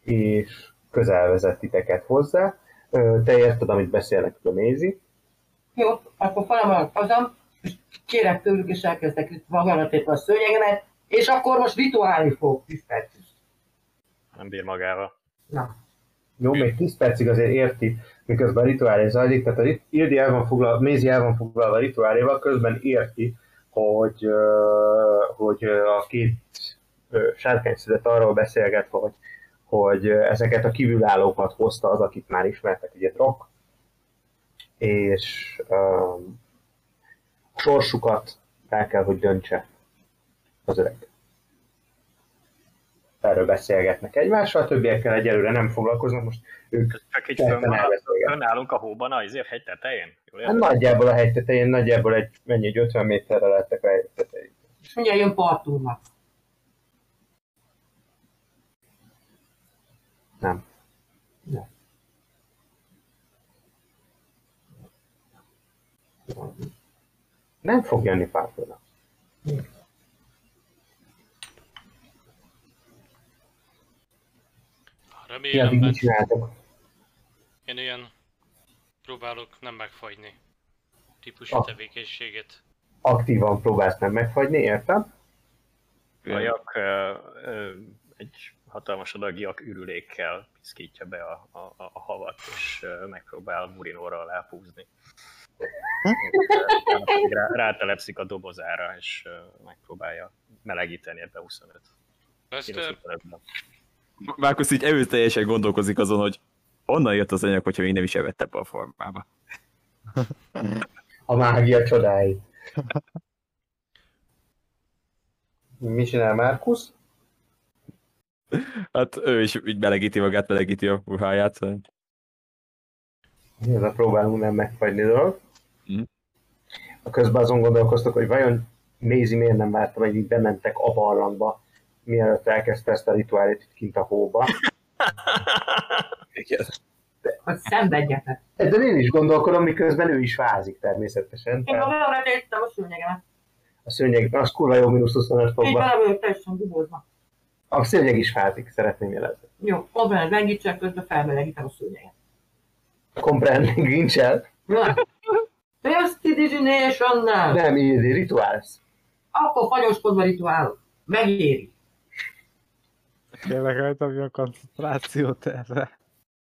S1: És közel vezet titeket hozzá. Ö, Te érted, amit beszélnek a Mézi.
S9: Jó, akkor felemelek hazam, és kérek tőlük, és elkezdek itt magamra tépni a szőnyegemet, és akkor most rituálni fogok. tíz percig.
S4: nem bír magával.
S9: Na,
S1: Jó, még 10 percig azért érti, miközben a rituálé zajlik, tehát a rit- Ildi el van foglalva, Mézi el van foglalva a rituáléval, közben érti, hogy, ö, hogy ö, a két ö, sárkány szület arról beszélget, hogy, hogy ö, ezeket a kívülállókat hozta az, akit már ismertek, ugye Trok, és ö, sorsukat el kell, hogy döntse az öreg erről beszélgetnek egymással, a többiekkel egyelőre nem foglalkoznak, most ők
S4: Csak így
S1: Teljesen
S4: fönn van-
S1: elbeszélgetnek.
S4: fönn állunk a hóban, az a hegy tetején. Jól
S1: hát
S4: értem?
S1: nagyjából a hegy tetején, nagyjából egy, mennyi, egy 50 méterre lettek a hegy tetején.
S9: és mindjárt jön partúrnak.
S1: Nem. Nem fog jönni pártona. Ti
S6: Remélem,
S1: addig mit
S6: mert
S1: csináltok?
S6: én ilyen próbálok nem megfagyni típusú
S1: Ah.
S6: tevékenységet.
S1: Aktívan próbálsz nem megfagyni, értem?
S4: A jak ö, ö, egy hatalmas adag jak ürülékkel piszkítja be a, a, a a havat, és ö, megpróbál Murinóra alápúzni. Rá, rátelepszik a dobozára, és ö, megpróbálja melegíteni ebbe 25.
S6: Lester,
S4: 25
S5: Márkusz így erőteljesen gondolkozik azon, hogy onnan jött az anyag, hogyha még nem is evett ebbe a formába.
S1: A mágia csodái. Mi csinál Márkusz?
S5: Hát ő is így melegíti magát, melegíti a ruháját.
S1: Ez a próbálunk nem megfagyni dolog.
S5: Mhm.
S1: A közben azon gondolkoztok, hogy vajon Mézi miért nem várta, hogy így bementek a barlangba, mielőtt elkezdte ezt a rituálét itt kint a hóba.
S5: Igen.
S9: Hogy szenvedjetek.
S1: Ezzel én is gondolkodom, miközben ő is vázik természetesen.
S9: Én
S1: Tehát
S9: magamra tettem a szőnyegemet.
S1: a szőnyeg, az kurva jó, mínusz 25
S9: Így
S1: fokban.
S9: vele vagyok teljesen gubózva.
S1: A szőnyeg is fázik, szeretném jelezni.
S9: Jó, abban melegítsek, közben felmelegítem a szőnyeget.
S1: Komprending nincs el?
S9: Na. Prestidigination-nel!
S1: Nem, így rituálsz.
S9: Akkor fagyoskodva rituálok. Megéri.
S2: Tényleg eltapja a koncentrációt erre.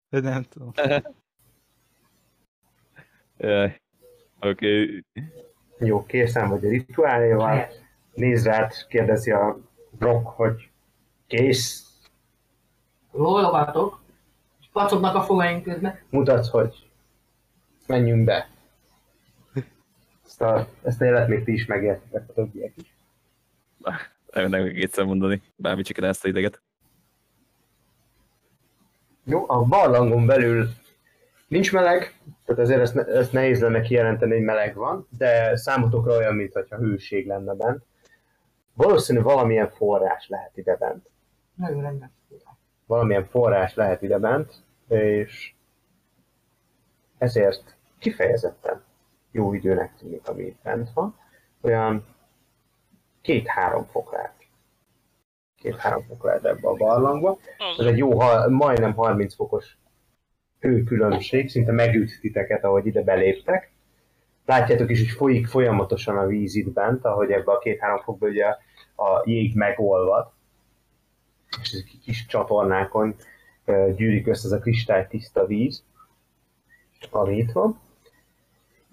S2: De nem tudom.
S5: Oké, okay.
S1: Jó, készen vagy a rituáléval. Nézd rád, kérdezi a Brock, hogy kész,
S9: Lólogatok. és Pacognak a fogaink közben.
S1: mutatsz, hogy menjünk be. Ezt a, ezt a jelet még ti is megértitek a többiek is.
S5: nem, nem kétszer mondani, bármi csak ezt a ideget.
S1: Jó, a barlangon belül nincs meleg, tehát ezért ezt, ne- ezt nehéz lenne kijelenteni, hogy meleg van, de számotokra olyan, mintha hőség lenne bent. Valószínű valamilyen forrás lehet ide bent.
S9: Nagyon rendben.
S1: valamilyen forrás lehet ide bent, és ezért kifejezetten jó időnek tűnik, ami itt bent van. Olyan két-három fok lehet. Két-három fok lehet ebbe a barlangba. Ez
S6: az
S1: egy jó, ha- majdnem 30 fokos hőkülönbség, szinte megüt titeket, ahogy ide beléptek. Látjátok is, hogy folyik folyamatosan a víz itt bent, ahogy ebbe a két-három fokba ugye a jég megolvad, és ezek kis csatornákon ö, gyűlik össze ez a kristály tiszta víz, ami itt van,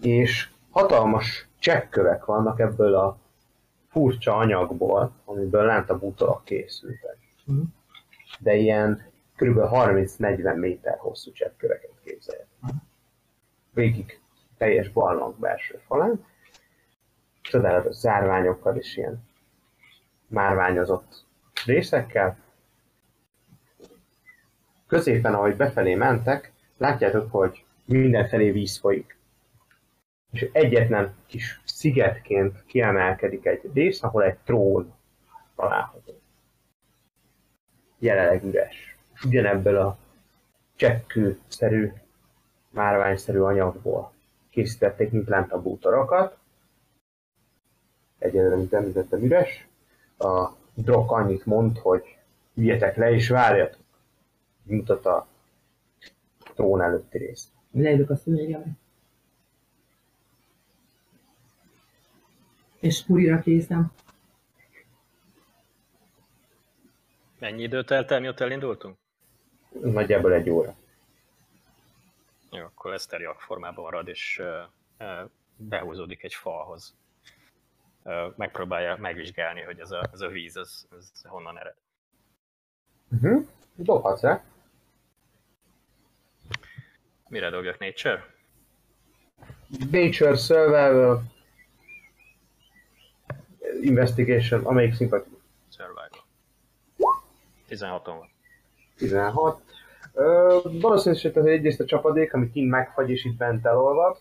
S1: és hatalmas csekkövek vannak ebből a furcsa anyagból, amiből lánt a bútorok készültek de ilyen kb. 30-40 méter hosszú cseppköveket képzelj. Végig teljes barlang belső falán, csodálatos zárványokkal és ilyen márványozott részekkel. Középen, ahogy befelé mentek, látjátok, hogy mindenfelé víz folyik. És egyetlen kis szigetként kiemelkedik egy rész, ahol egy trón található jelenleg üres. És ugyanebből a csekkőszerű, márványszerű anyagból készítették, mint lent a bútorokat. Egyelőre, mint említettem, üres. A drok annyit mond, hogy üljetek le és várjatok. Mutat a trón előtti részt.
S3: leülök a szőnyegemre. És purira készem.
S4: Mennyi időt eltelni, ott elindultunk?
S1: Nagyjából egy óra.
S4: Jó, akkor Leszter jakformában marad, és ö, ö, behúzódik egy falhoz. Ö, Megpróbálja megvizsgálni, hogy ez a, ez a víz, ez, ez honnan ered.
S1: Uh-huh. Dobhatsz rá.
S4: Mire dobjak Nature?
S1: Nature Survival Investigation, amelyik szimpatikus.
S4: Survival. 16 van.
S1: 16. Ö, valószínűség, hogy egyrészt a csapadék, ami kint megfagy és itt bent elolvad,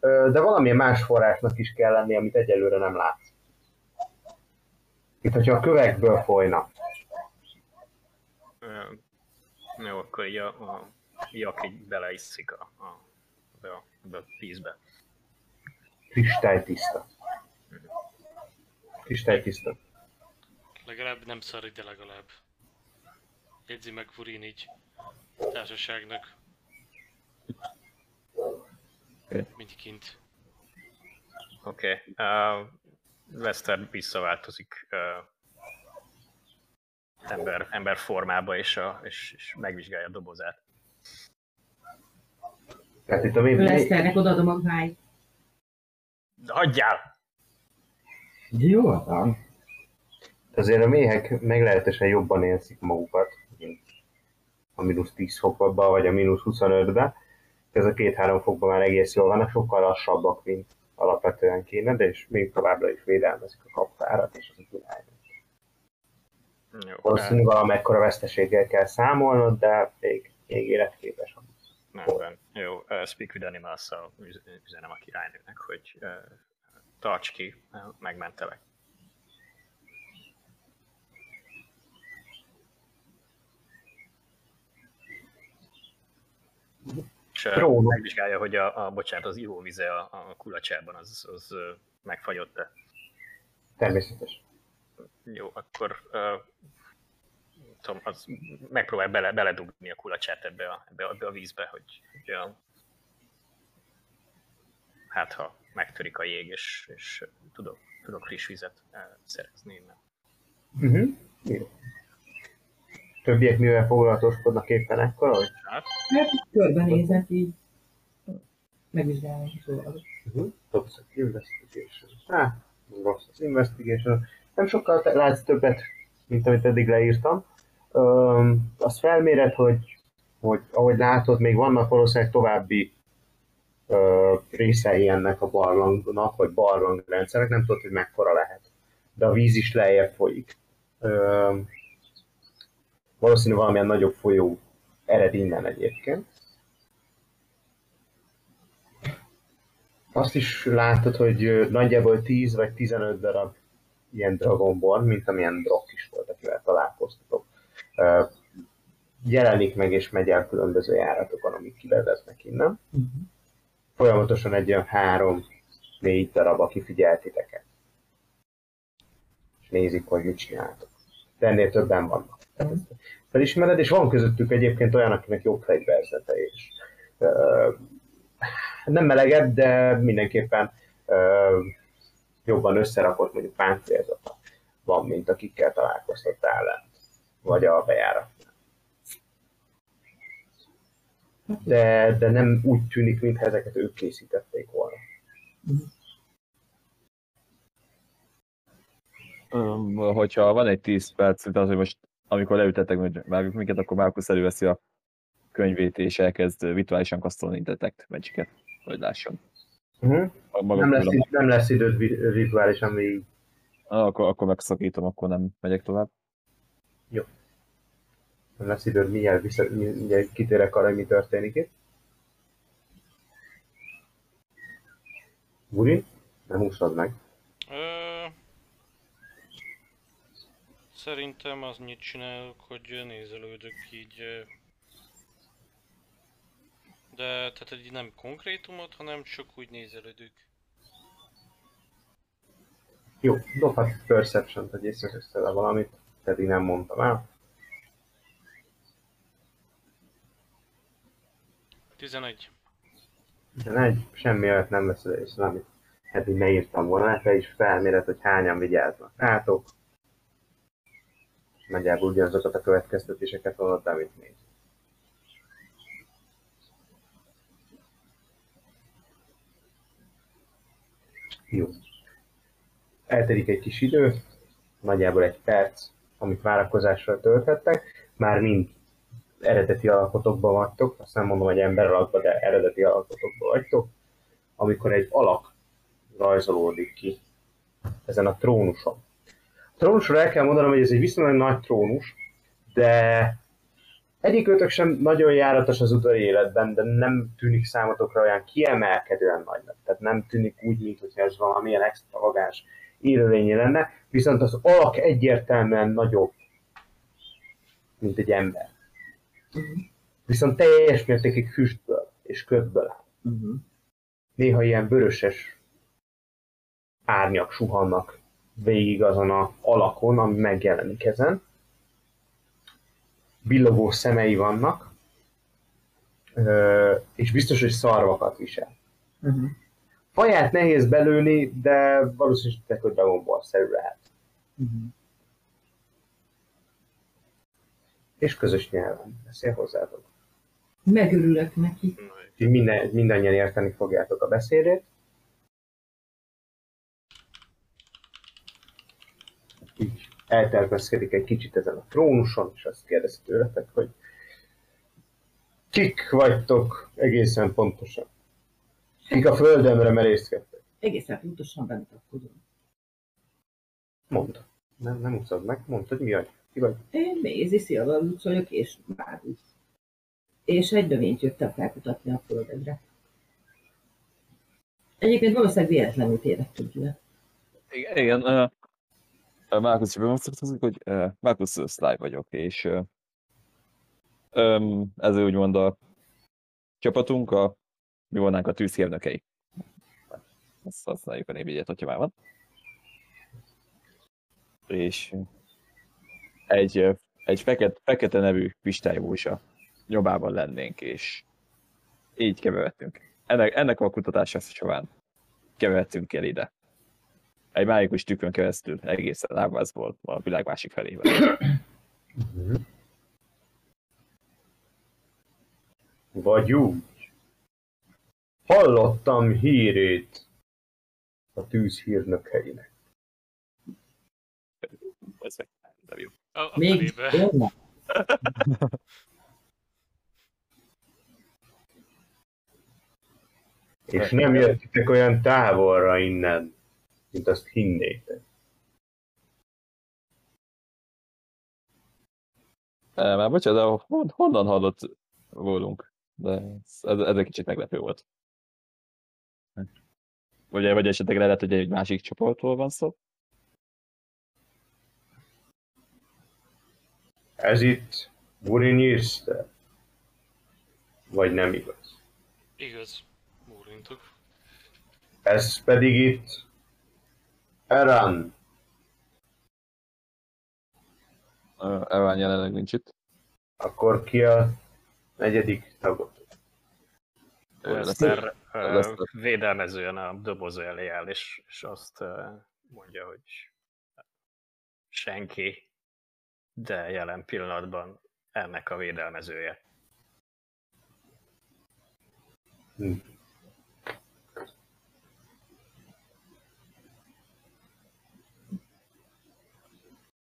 S1: ö, de valamilyen más forrásnak is kell lenni, amit egyelőre nem látsz. Itt, hogyha a kövekből folyna.
S4: Ö, Jó, akkor így a, a jak így beleiszik a, a, ebbe a, ebbe a vízbe.
S1: kristálytiszta. Kristálytiszta.
S6: Legalább nem szar ide legalább. Jegyzi meg Furin így társaságnak.
S5: Oké.
S6: Mint kint.
S4: Oké. Okay. Uh, Lester visszaváltozik uh, ember, ember formába, és, a, és, és megvizsgálja a dobozát.
S1: Tehát itt a mi...
S3: Leszternek odaadom a gályt.
S4: De Hagyjál!
S1: Jó van. Azért a méhek meglehetősen jobban érzik magukat, mint a mínusz 10 fokban, vagy a mínusz 25-ben. Ez a két-három fokban már egész jól vannak, sokkal lassabbak, mint alapvetően kéne, de és még továbbra is védelmezik a kaptárat és az irányát.
S4: Jó, nem,
S1: Valószínűleg valamekkora veszteséggel kell számolnod, de még, még életképes.
S4: nem, nem. Jó, uh, speak with animals-szal üz- üzenem a királynőnek, hogy uh, tarts ki, uh, megmentelek. És uh,
S1: Trónok.
S4: megvizsgálja, hogy a, a, bocsánat, az ivóvize a, a kulacsában az, az ö, megfagyott-e.
S1: Természetes.
S4: Jó, akkor uh, tudom, az megpróbál bele, beledugni a kulacsát ebbe a, ebbe, a- ebbe a vízbe, hogy, hogy a, hát ha megtörik a jég, és, és tudok, tudok friss vizet uh, szerezni innen.
S1: Uh-huh. Jó. Többiek mivel foglalatoskodnak éppen ekkor, hogy
S3: Hát így körbenézek így. Megvizsgálom. Szóval.
S1: Dobsz egy investigation. Á, rossz az investigation. Nem sokkal te- látsz többet, mint amit eddig leírtam. Öm, azt felméred, hogy, hogy ahogy látod, még vannak valószínűleg további ö, részei ennek a barlangnak, vagy barlangrendszerek, nem tudod, hogy mekkora lehet. De a víz is lejjebb folyik. Öm, valószínű valamilyen nagyobb folyó ered innen egyébként. Azt is látod, hogy ö, nagyjából 10 vagy 15 darab ilyen dragonborn, mint amilyen drog is volt, akivel találkoztatok. Ö, Jelenik meg és megy el különböző járatokon, amik kivezetnek innen. Uh-huh. Folyamatosan egy olyan három, négy darab, aki figyel titeket. És nézik, hogy mit csináltok. De ennél többen vannak. Tehát ezt Felismered, és van közöttük egyébként olyan, akinek jobb fegyverzete is. Ö, nem melegebb, de mindenképpen ö, jobban összerakott, mondjuk páncélzata van, mint akikkel találkoztattál lent, vagy a bejárat. De, de nem úgy tűnik, mintha ezeket ők készítették volna.
S5: Öm, hogyha van egy 10 perc, tehát hogy most amikor leültetek, hogy várjuk minket, akkor Márkusz előveszi a könyvét és elkezd virtuálisan kasztolni Detect magic hogy lásson.
S1: Uh-huh.
S5: Ha maga
S1: Nem, lesz,
S5: tudom,
S1: id- nem lesz időd vi- virtuálisan végig
S5: ah, akkor, akkor megszakítom, akkor nem megyek tovább.
S1: Nem lesz időd, mindjárt, vissza, mindjárt kitérek arra, hogy mi történik itt. Buri, nem úszod meg.
S6: Ö... Szerintem annyit csinálok, hogy nézelődök így. ö, De tehát egy nem konkrétumot, hanem csak úgy nézelődök.
S1: Jó, dobhat perception-t, hogy észreveszed valamit, pedig nem mondtam el.
S6: 11.
S1: 11, semmi olyat nem vesz észre, amit eddig ne írtam hát volna, mert le is felméret, hogy hányan vigyáznak rátok. Nagyjából ugyanazokat a következtetéseket vonod, amit néz. Jó. Eltelik egy kis idő, nagyjából egy perc, amit várakozással tölthettek. Már mind eredeti alakotokban vagytok, azt nem mondom, hogy ember alakban, de eredeti alakotokban vagytok, amikor egy alak rajzolódik ki ezen a trónuson. A trónusról el kell mondanom, hogy ez egy viszonylag nagy trónus, de egyikőtök sem nagyon járatos az udvari életben, de nem tűnik számotokra olyan kiemelkedően nagynak. Tehát nem tűnik úgy, mintha ez valamilyen extravagáns élőlényé lenne, viszont az alak egyértelműen nagyobb, mint egy ember. Viszont teljes mértékig füstből és ködből áll.
S5: Uh-huh.
S1: Néha ilyen vöröses árnyak suhannak végig azon a alakon, ami megjelenik ezen. Billogó szemei vannak, ö, és biztos, hogy szarvakat visel.
S5: Uh-huh.
S1: Faját nehéz belőni, de valószínűleg hogy Dragon Ball-szerű lehet.
S5: Uh-huh.
S1: És közös nyelven beszél hozzátok.
S3: Megörülök neki.
S1: Úgyhogy minden, mindannyian érteni fogjátok a beszédét. Így eltervezkedik egy kicsit ezen a trónuson, és azt kérdezi tőletek, hogy kik vagytok egészen pontosan? Kik a földömre merészkedtek?
S3: Egészen pontosan benutakodom.
S1: Mondd. Nem, nem úszod meg, mondd, hogy mi vagy. Ki vagy?
S3: Én Mézi Szilva Luc vagyok, és Mágus. És egy növényt jöttem felkutatni a földedre. Egyébként valószínűleg véletlenül tévedtünk ide.
S5: Igen, igen uh, Márkusz bemutatkozik, hogy uh, Márkusz Sly vagyok, és uh, um, ez úgymond a csapatunk, a, mi volnánk a tűzhérnökei. Ezt használjuk a névjegyet, hogyha már van. És egy, uh, egy feket, fekete nevű pistályvúsa nyomában lennénk, és így keveredtünk. Ennek, ennek a kutatása során keveredtünk el ide egy mágikus tükrön keresztül egészen lábászból a világ másik felébe.
S1: Vagy úgy. Hallottam hírét a tűzhírnökeinek.
S5: Ez meg nem jó.
S6: A, a
S3: Még
S6: felébe.
S1: És nem jöttetek olyan távolra innen, mint azt hinnétek.
S5: E, Már bocsánat, de hon, honnan hallott rólunk? De ez, ez, ez egy kicsit meglepő volt. Vagy, vagy esetleg lehet, hogy egy másik csoportról van szó?
S1: Ez itt Burinirster. Vagy nem igaz.
S6: Igaz. Múlintuk.
S1: Ez pedig itt Eran.
S5: Ö, Elvány jelenleg nincs itt.
S1: Akkor ki a negyedik tagot?
S5: Ö, lesz-
S4: Lester
S5: Lester.
S4: ö, védelmezően a doboz elé áll, és, és azt ö, mondja, hogy senki, de jelen pillanatban ennek a védelmezője.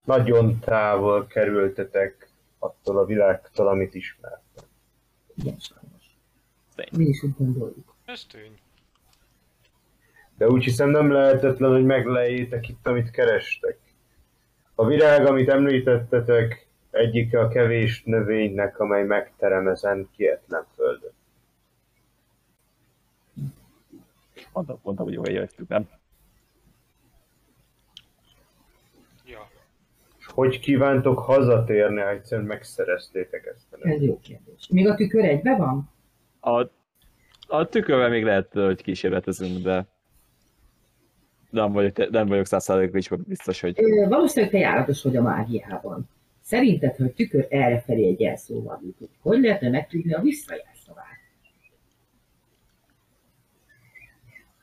S1: Nagyon távol kerültetek attól a világtól, amit ismert.
S3: Igen, sajnos. Mi is úgy gondoljuk.
S6: Ez tény.
S1: De úgy hiszem nem lehetetlen, hogy megleljétek itt, amit kerestek. A virág, amit említettetek, egyik a kevés növénynek, amely megterem ezen kietlen földön.
S5: Mondtam, mondtam hogy jól jöttük, nem?
S6: Ja.
S1: És hogy kívántok hazatérni, ha egyszer megszereztétek ezt a növényt?
S3: Ez jó kérdés. Még a tükör egybe van?
S5: A, a tükörben még lehet, hogy kísérletezünk, de nem vagyok, te- nem vagyok százszázalékban biztos, hogy
S3: Ö, valószínűleg te járatos vagy a mágiában. Szerinted, ha a tükör errefelé egy jelszóval jutott, hogy lehetne megtudni a visszajelszavát?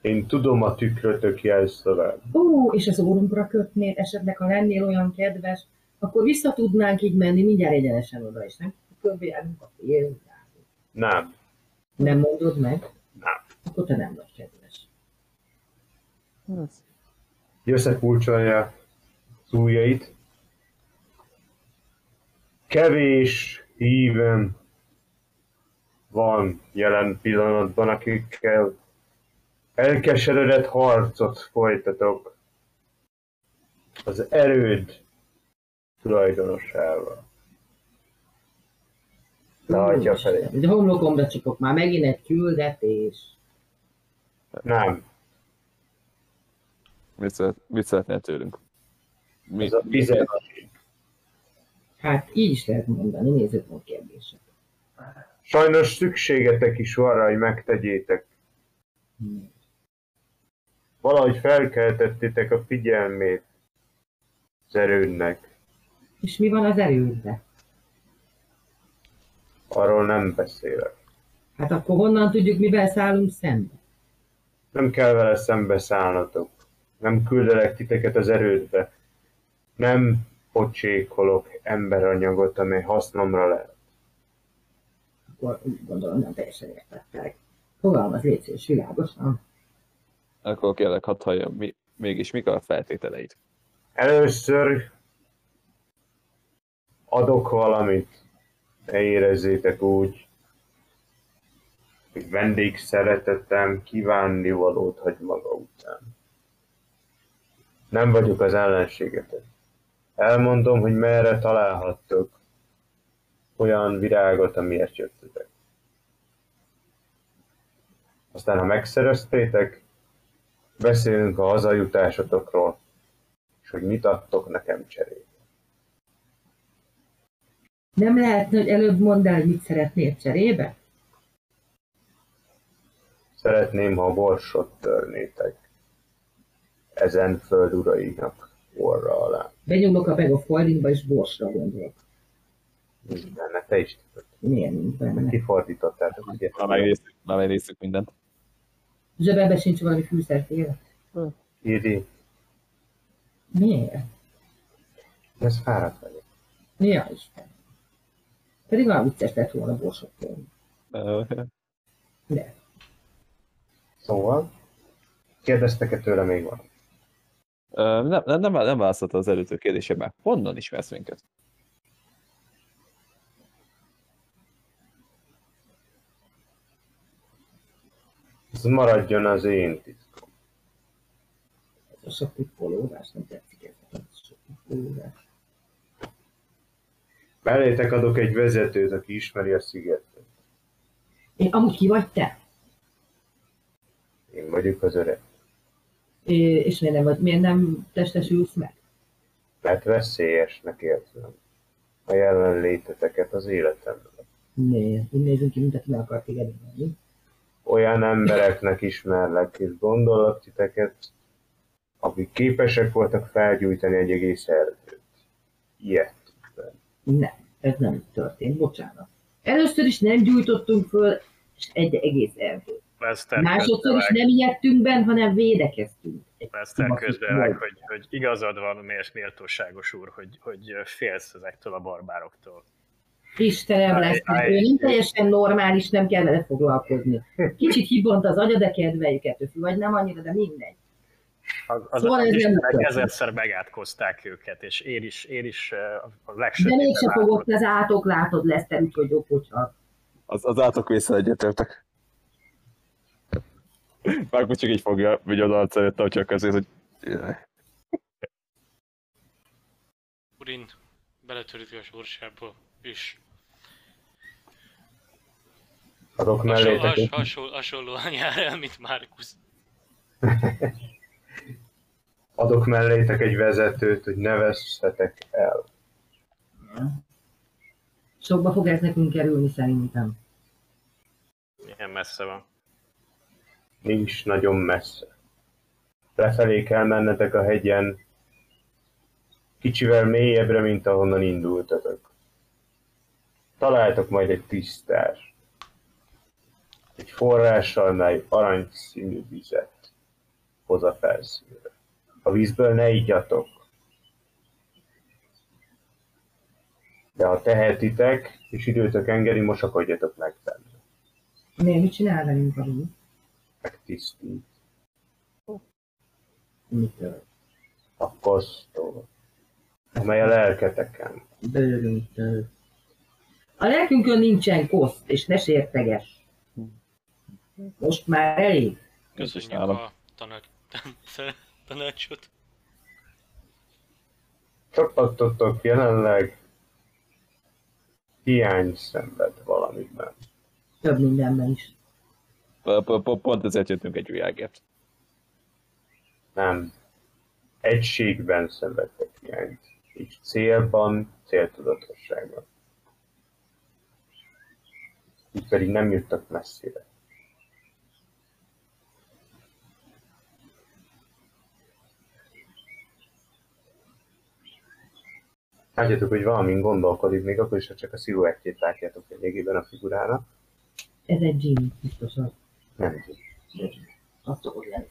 S1: Én tudom a tükrötök jelszavát.
S3: Ó, és az órunkra kötnéd, esetleg ha lennél olyan kedves, akkor vissza tudnánk így menni mindjárt egyenesen oda, és nem körbejárunk a fél.
S1: Nem.
S3: Nem mondod meg?
S1: Nem.
S3: Akkor te nem vagy kedves.
S1: Összekulcsolja az ujjait. Kevés hívem van jelen pillanatban, akikkel elkeseredett harcot folytatok az erőd tulajdonosával. Lehajtja a felé.
S3: De homlokomra csukok már megint egy küldetés.
S1: Nem.
S5: Mit, szeret, mit szeretnél tőlünk? Mi?
S1: Ez a bizony.
S3: Hát így is lehet mondani, nézőpont kérdése.
S1: Sajnos szükségetek is van rá, hogy megtegyétek. Valahogy felkeltettétek a figyelmét az erőnnek.
S3: És mi van az erődbe?
S1: Arról nem beszélek.
S3: Hát akkor honnan tudjuk, mivel szállunk szembe?
S1: Nem kell vele szembeszállnatok. Nem küldelek titeket az erődbe. Nem pocsékolok emberanyagot, amely hasznomra lehet.
S3: Akkor úgy gondolom, nem teljesen értettek. Fogalmaz légy szíves világosan.
S5: Akkor kérlek, hadd halljam, mi, mégis mik a feltételeid?
S1: Először adok valamit, ne érezzétek úgy, hogy vendég szeretetem kívánni valót hagy maga után. Nem vagyok az ellenségetek. Elmondom, hogy merre találhattok olyan virágot, amiért jöttetek. Aztán, ha megszereztétek, beszélünk a hazajutásotokról és hogy mit adtok nekem cserébe.
S3: Nem lehetne, hogy előbb mondd el, hogy mit szeretnél cserébe?
S1: Szeretném, ha a borsot törnétek ezen földurainak orra alá.
S3: Benyomok a Bag of Holdingba, és borsra gondolok.
S1: Minden, te is tudod.
S3: Milyen nincs benne.
S1: Kifordítottátok, ugye?
S5: Már megnéztük, már megnéztük mindent.
S3: Zsebebe sincs valami fűszerféle.
S1: Írj,
S3: Miért?
S1: ez fáradt vagyok.
S3: Mi a Isten? Pedig olyan vicces lett volna borsoktól.
S5: Ö,
S3: De.
S1: Szóval, kérdeztek-e tőle még van?
S5: ö, Nem, nem, nem, nem válaszolta az előző kérdésemben. Honnan ismersz minket?
S1: Ez maradjon az én titkom.
S3: Ez a sok tippolódás, nem tetszik ez. a sok tippolódás.
S1: Mellétek adok egy vezetőt, aki ismeri a szigetet.
S3: Én amúgy ki vagy te?
S1: Én vagyok az öreg.
S3: É, és miért nem, vagy- miért nem testesülsz meg?
S1: Mert veszélyesnek érzem a jelenléteteket az életemben.
S3: Miért? Úgy nézünk ki, mint aki meg akar téged imádni.
S1: olyan embereknek ismerlek és gondollak titeket, akik képesek voltak felgyújtani egy egész erdőt. Ilyet.
S3: Nem, ez nem történt, bocsánat. Először is nem gyújtottunk föl és egy egész erdőt.
S4: Lester
S3: Másodszor is
S4: közbevág,
S3: nem ijedtünk benn, hanem védekeztünk. Egy
S4: Lester
S3: baszott
S4: közbevág
S3: volt.
S4: hogy, hogy igazad van, és méltóságos úr, hogy, hogy félsz ezektől a barbároktól.
S3: Istenem
S4: Aj,
S3: lesz,
S4: aj.
S3: ő nem teljesen normális, nem kell vele foglalkozni. Kicsit hibont az agya, de kedveljük ettől, vagy nem annyira, de mindegy.
S4: Az, az
S3: Szóval
S4: szóval
S3: ez
S4: az
S3: nem
S4: Istenek
S3: történt.
S4: ezerszer megátkozták őket, és én is, én is eh, a
S3: De
S4: legsötétebb
S3: mégse fogod
S4: átkot-
S3: az átok, látod lesz, te úgyhogy okocsak.
S5: Az, az átok vészre egyetértek. Már csak így fogja, vagy oda arc előtt, hogy csak azért, hogy
S6: Urin beletörítik a sorsába, és
S1: Adok
S6: hasonló,
S1: mellétek
S6: has,
S1: egy,
S6: hasonló, hasonlóan jár el, mint Márkusz.
S1: adok mellétek egy vezetőt, hogy ne vesszetek el.
S3: Sokba fog ez nekünk kerülni szerintem.
S4: Milyen messze van.
S1: Nincs nagyon messze. Lefelé kell mennetek a hegyen, kicsivel mélyebbre, mint ahonnan indultatok. Találtok majd egy tisztás. Egy forrással, mely aranyszínű vizet hoz a felszínre. A vízből ne igyatok. De ha tehetitek, és időtök engedi, mosakodjatok meg benne.
S3: Miért mit csinál velünk a víz?
S1: Meg tisztít.
S9: Mitől?
S1: A kosztól. Amely a lelketeken.
S3: Bőrüntől. A lelkünkön nincsen koszt, és ne sérteges. Most már elég.
S6: Köszönjük
S5: Köszönöm.
S6: a tanács... tanácsot.
S1: Csapatotok jelenleg hiány szenved valamiben.
S3: Több mindenben is.
S5: Po- po- po- Pont ezért jöttünk egy világért.
S1: nem egységben szenvedtek hiányt, így célban, céltudatosságban. Így pedig nem juttak messzire. Látjátok, hogy valamin gondolkodik, még akkor is, ha csak a sziluettjét látjátok lényegében a figurának.
S3: Ez egy gin, biztosan.
S1: Nem tud.
S9: Azt szokott lenni.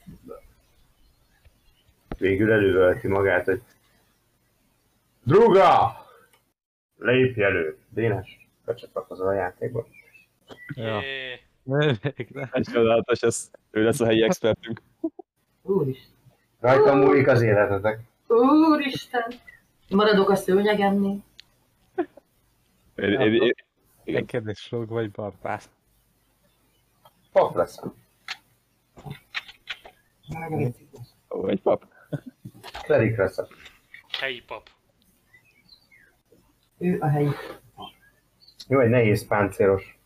S1: végül elővölti magát, hogy Druga! Lépj elő! Dénes, becsatlakozol a játékba.
S2: Ja.
S6: Jé,
S2: Végre.
S5: Egy csodálatos, ez, ő lesz a helyi expertünk.
S9: Úristen.
S1: Rajta múlik az életetek.
S9: Úristen. Maradok a szőnyegemnél.
S5: Én, én, én, Igen.
S2: Egy kérdés, rúg vagy barbár.
S1: Pap leszem.
S9: Maradok egy ciklus.
S5: ó, egy pap.
S1: Klerik leszek.
S6: helyi pap.
S9: Ő a helyi.
S1: Jó, egy nehéz páncélos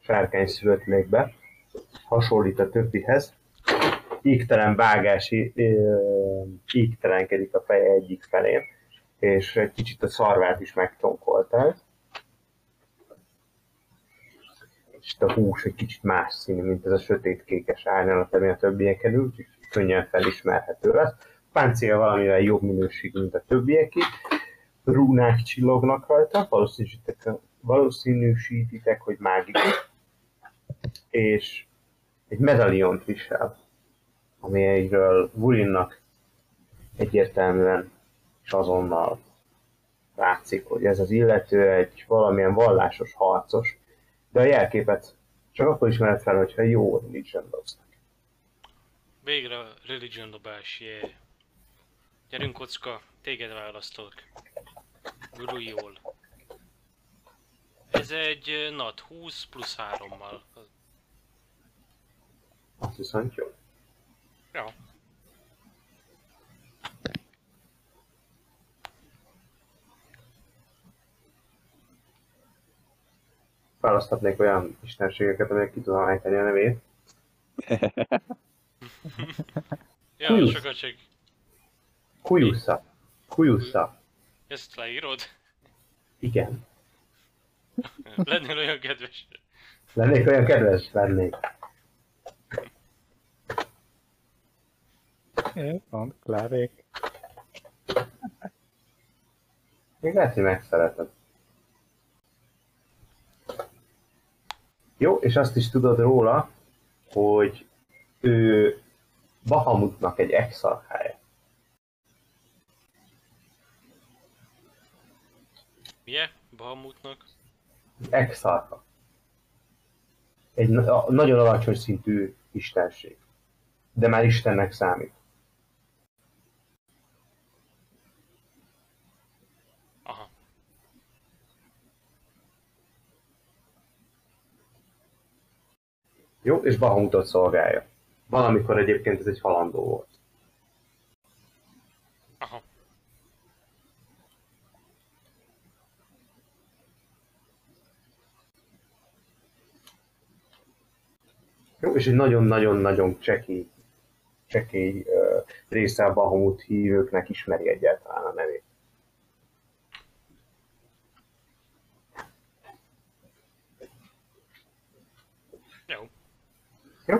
S1: sárkány szülött még be. Hasonlít a többihez. Ígtelen vágási, ö, ígtelenkedik a feje egyik felén. És egy kicsit a szarvát is megcsonkoltál. És itt a hús egy kicsit más színű, mint ez a sötétkékes árnyalat, ami a többieken ül, úgyhogy könnyen felismerhető lesz. A páncél valamivel jobb minőségű, mint a többieké. Rúnák csillognak rajta, valószínűsítek, valószínűsítitek, hogy mágikus. És egy medaliont visel, ami egyről Vulinnak egyértelműen és azonnal látszik, hogy ez az illető egy valamilyen vallásos harcos, de a jelképet csak akkor ismered fel, hogyha jó nincsen dobsz.
S6: Végre religion dobás, jé. Gyerünk kocka, téged választok. Gurujól. Ez egy ö, nat 20 plusz 3-mal.
S1: Azt viszont jó.
S6: Ja.
S1: Választhatnék olyan istenségeket, amelyek ki tudom ejteni a nevét.
S6: Ja,
S1: Húsz.
S6: sokat csak
S1: Kujusza. Kujusza.
S6: ezt leírod.
S1: Igen.
S6: Lennél olyan kedves.
S1: Lennék olyan kedves, lennék.
S2: Jó, Van, Klárék.
S1: Még lehet, hogy megszereted. Jó, és azt is tudod róla, hogy ő Bahamutnak egy exarchája.
S6: Milyen? Bahamutnak?
S1: Exarcha. Egy na- a- nagyon alacsony szintű istenség. De már Istennek számít.
S6: Aha.
S1: Jó, és Bahamutot szolgálja. Valamikor egyébként ez egy halandó volt.
S6: Aha.
S1: Jó, és egy nagyon-nagyon-nagyon csekély, csekély ö, része a Bahamut hívőknek ismeri egyáltalán a nevét.
S6: Jó.
S1: Jó?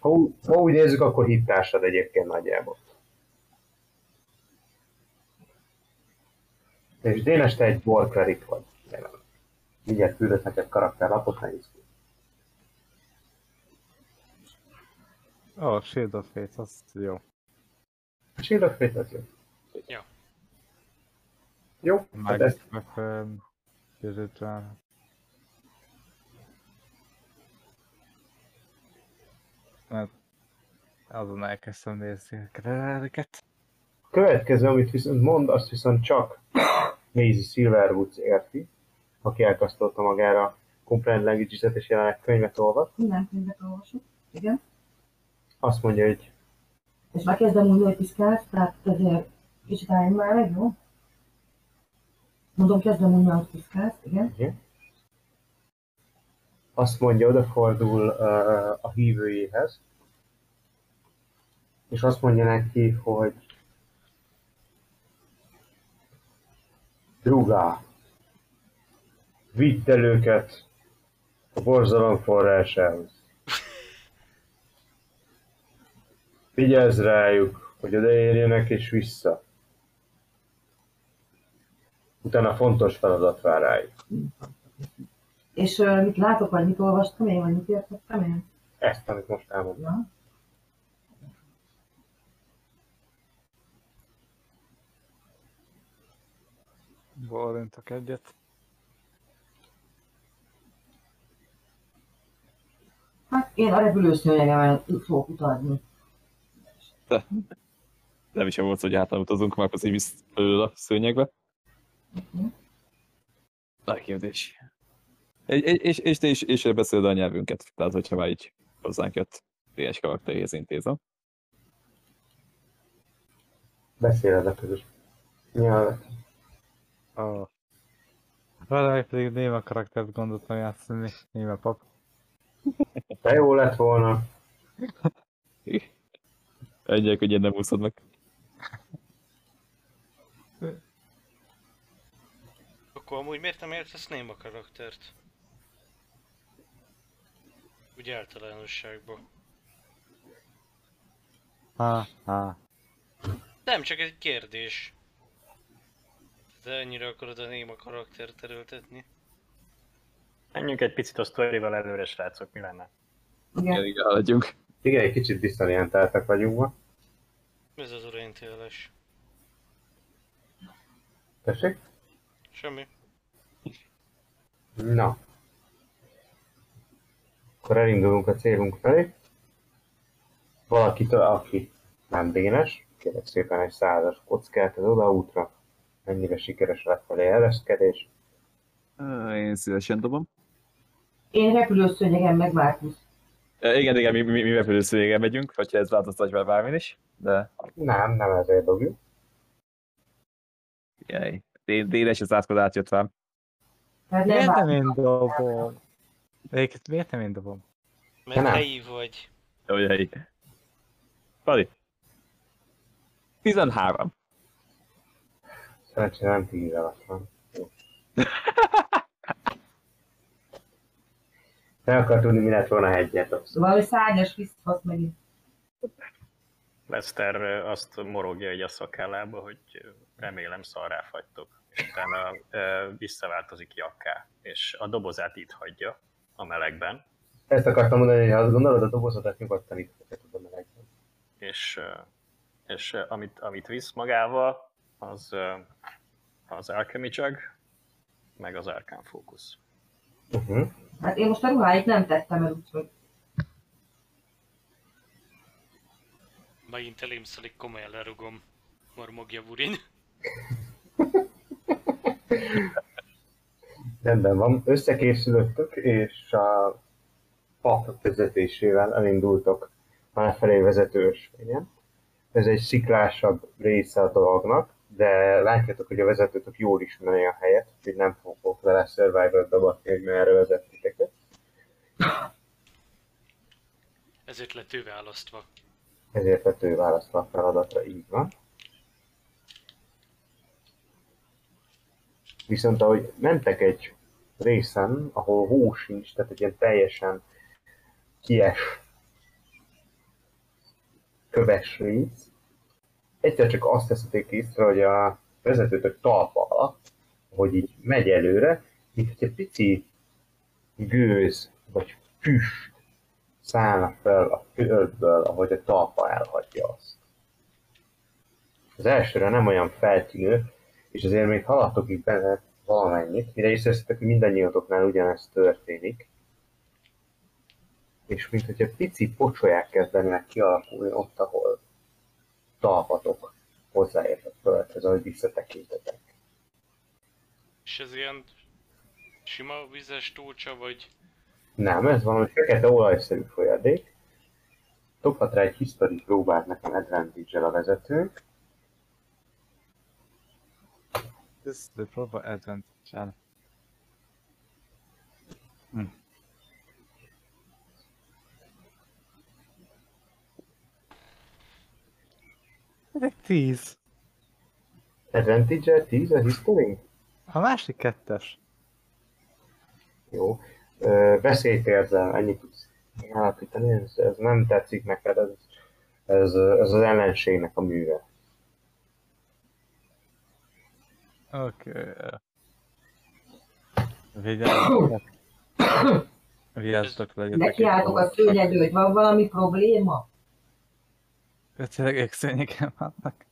S1: Ha, ú- ha úgy nézzük, akkor hittársad egyébként nagyjából. És Dénes, te egy borklerik vagy. Jelen. Mindjárt küldök neked karakterlapot, ne hisz.
S2: Ó, oh, Shield of Faith, az jó.
S1: Shield of Faith az jó.
S6: Jó.
S1: Jó, hát
S2: Meg,
S1: ezt
S2: meg fönn, győzőtlen. Mert Hát, azon elkezdtem nézni a kevereket.
S1: következő, amit viszont mond, azt viszont csak Maisie Silverwoods érti, aki elkasztolta magára Comprehend Languages-et és jelenleg könyvet olvat.
S3: Minden könyvet olvasok. Igen.
S1: Azt mondja, hogy
S3: És már kezdem úgy, hogy piszkálsz, tehát ezért kicsit álljunk már meg, jó? Mondom, kezdem úgy, hogy piszkálsz, igen.
S1: azt mondja, odafordul uh, a hívőjéhez, és azt mondja neki, hogy Drugá, vidd el őket a borzalom forrásához. Vigyázz rájuk, hogy odaérjenek és vissza. Utána fontos feladat vár rájuk.
S3: És ö, mit látok, vagy mit olvastam én, vagy mit értettem én?
S1: Ezt, amit most elmondom.
S3: Na.
S2: Borintok egyet.
S3: Hát én a repülőszőnyegemen fogok utazni.
S5: Nem is jó volt, hogy hátra utazunk, már az így visz belőle a szőnyegbe. Nagy kérdés. Egy, egy, és, és te is és beszéled a nyelvünket, tehát hogyha már így hozzánk jött PS karakteréhez intézem.
S1: beszéled a közös nyelvet.
S2: Ó. Valahogy pedig néma karaktert gondoltam játszani, néma pap.
S1: De jó lett volna.
S5: Egyek, hogy nem úszod meg.
S6: Akkor amúgy miért nem értesz néma karaktert? Úgy általánosságban.
S2: Há, há.
S6: Nem, csak egy kérdés. Te ennyire akarod a néma karaktert erőltetni?
S4: Menjünk egy picit a sztorival előre, srácok, mi lenne?
S5: Igen, igen, haladjunk.
S1: Igen, egy kicsit diszorientáltak vagyunk ma.
S6: Ez az orientálás.
S1: Tessék?
S6: Semmi.
S1: Na. Akkor elindulunk a célunk felé. Valakitől, aki nem bénes, kérek szépen egy százas kockát az odaútra. Mennyire sikeres lett felé ereszkedés.
S5: Én szívesen dobom.
S3: Én repülőszőnyegen meg Márkusz.
S5: E, igen, igen, mi, mi, mi repülőszőjéggel megyünk, hogyha ez változtatja már bármin is, de
S1: Nem, nem ezért dobjuk.
S5: jaj. Dé- Dédes az átkod átjött rám.
S3: Tehát nem
S2: Miért
S3: vált.
S2: nem én dobom? Egyébként miért nem én dobom?
S6: Mert
S1: nem.
S6: helyi vagy.
S5: Jó, jaj. Pali. 13.
S1: Szerencsére nem tíz alatt van. Jó. Nem akar tudni, mi lett volna a hegyet. abszolút.
S3: Szóval, hogy szárnyas visszafasz megint.
S4: Lester ö, eh, azt morogja egy a szakállába, hogy ö, remélem szarrá fagytok. És utána ö, visszaváltozik jakká, és a dobozát itt hagyja a melegben,
S1: Ezt akartam mondani, hogy ha azt gondolod, a dobozodat nyugodtan itt fogod a melegben.
S4: és, ö, és ö, amit, amit visz magával, az ö, az Alchemy Jug, meg az Arcane Focus.
S1: Uh-huh.
S3: Hát én most a ruháit nem tettem el, úgyhogy
S6: Megint elém szelik, komolyan lerugom. Mormogja Burin.
S1: Rendben van, összekészülöttök, és a pap vezetésével elindultok a lefelé vezető ösvényen. Ez egy sziklásabb része a dolognak, de látjátok, hogy a vezetőtök jól ismeri a helyet, úgyhogy nem fogok vele survivor dabatni, hogy merre vezettiteket.
S6: Ezért lett ő választva.
S1: Ezért lett ő választva a feladatra, így van. Viszont ahogy mentek egy részen, ahol hó sincs, tehát egy ilyen teljesen kies köves rész, egyszer csak azt teszitek észre, hogy a vezetőtök talpa alatt, hogy így megy előre, mint hogy egy pici gőz vagy füst szállna fel a földből, ahogy a talpa elhagyja azt. Az elsőre nem olyan feltűnő, és azért még haladtok itt benne valamennyit, mire észreveszitek, hogy mindannyiatoknál ugyanezt történik. És mint hogyha pici pocsolyák kezdenek kialakulni ott, ahol talpatok hozzáért a földhöz, ahogy visszatekintetek.
S6: És ez ilyen sima vizes tócsa, vagy
S1: Nem, ez valami fekete olajszerű folyadék. Dobhat rá egy history próbát nekem advantage a vezetőnk.
S2: This is the proper advantage. Áll. Hmm. Ez egy 10.
S1: Advantage 10 a history?
S2: A másik kettes.
S1: Jó. Ö, veszélyt érzel, ennyit tudsz állapítani, ez, ez nem tetszik neked, ez, ez, ez az ellenségnek a műve.
S2: Oké. Vigyázzatok. Vigyázzatok legyetek.
S3: Nekiálltok a szőnyegő, hogy van valami probléma?
S2: Tényleg ékszényeken vannak.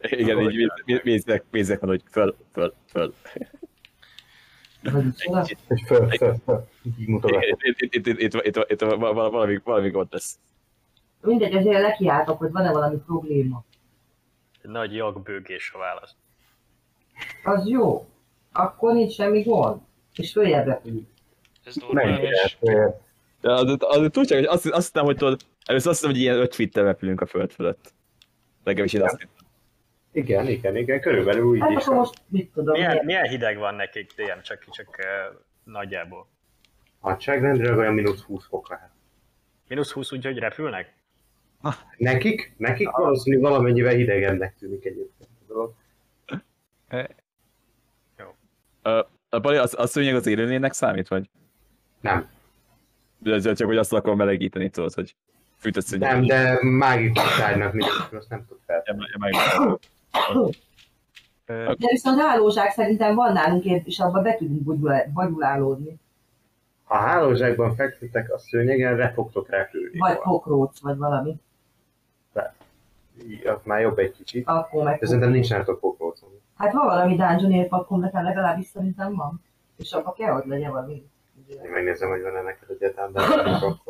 S5: Igen, így víz- víz- vízek, vízek van, hogy föl, föl, föl.
S3: Vagyis,
S1: És föl, föl, föl, így mutogatok.
S5: Itt- Itt, itt, itt, itt, itt, itt, itt val- valami, valami gond lesz.
S3: Mindegy, azért lekiálltok, hogy van-e valami probléma.
S4: Nagy jagbőgés a válasz.
S3: Az jó. Akkor nincs semmi gond. És följebb repülünk.
S6: ez
S1: Nem,
S6: normális?
S1: Hát, ö,
S5: De az, az, az túl csak, hogy azt, azt hittem, hogy tudod, először azt hittem, hogy ilyen 5 fittel repülünk a föld fölött. Legalábbis én azt hittem.
S1: igen, igen, igen, körülbelül úgy
S3: Hát
S1: is.
S3: akkor most mit tudom,
S4: Milyen,
S3: milyen,
S4: milyen hideg van nekik, DM, csak, csak eh, nagyjából.
S1: Nagyságrendileg olyan mínusz 20 fok lehet.
S4: Minusz 20, úgyhogy repülnek?
S1: Nekik? Nekik valószínűleg valamennyivel hidegebbnek tűnik egyébként a dolog.
S5: A baj, az, az szőnyeg az élőlénynek számít, vagy?
S1: Nem.
S5: De ez csak, hogy azt akarom melegíteni, tudod, hogy fűtött szőnyeg.
S1: Nem, de mágikus tárgynak mindenki, azt nem tud fel.
S5: Ja, ja, meg-
S2: Ö,
S3: De viszont hálózsák szerintem van nálunk ért, és abba be tudunk bagyulá- bagyulálódni.
S1: Ha hálózsákban fekszitek a szőnyegen, le fogtok repülni.
S3: Vagy pokróc, vagy valami.
S1: Így, Az már jobb egy kicsit.
S3: Akkor meg...
S1: De szerintem nincs nálatok pokolcom.
S3: Hát van valami dungeon érpakom, nekem hát legalábbis szerintem van. És abba kell, hogy legyen valami.
S1: Én megnézem, hogy van-e neked egyáltalán dungeon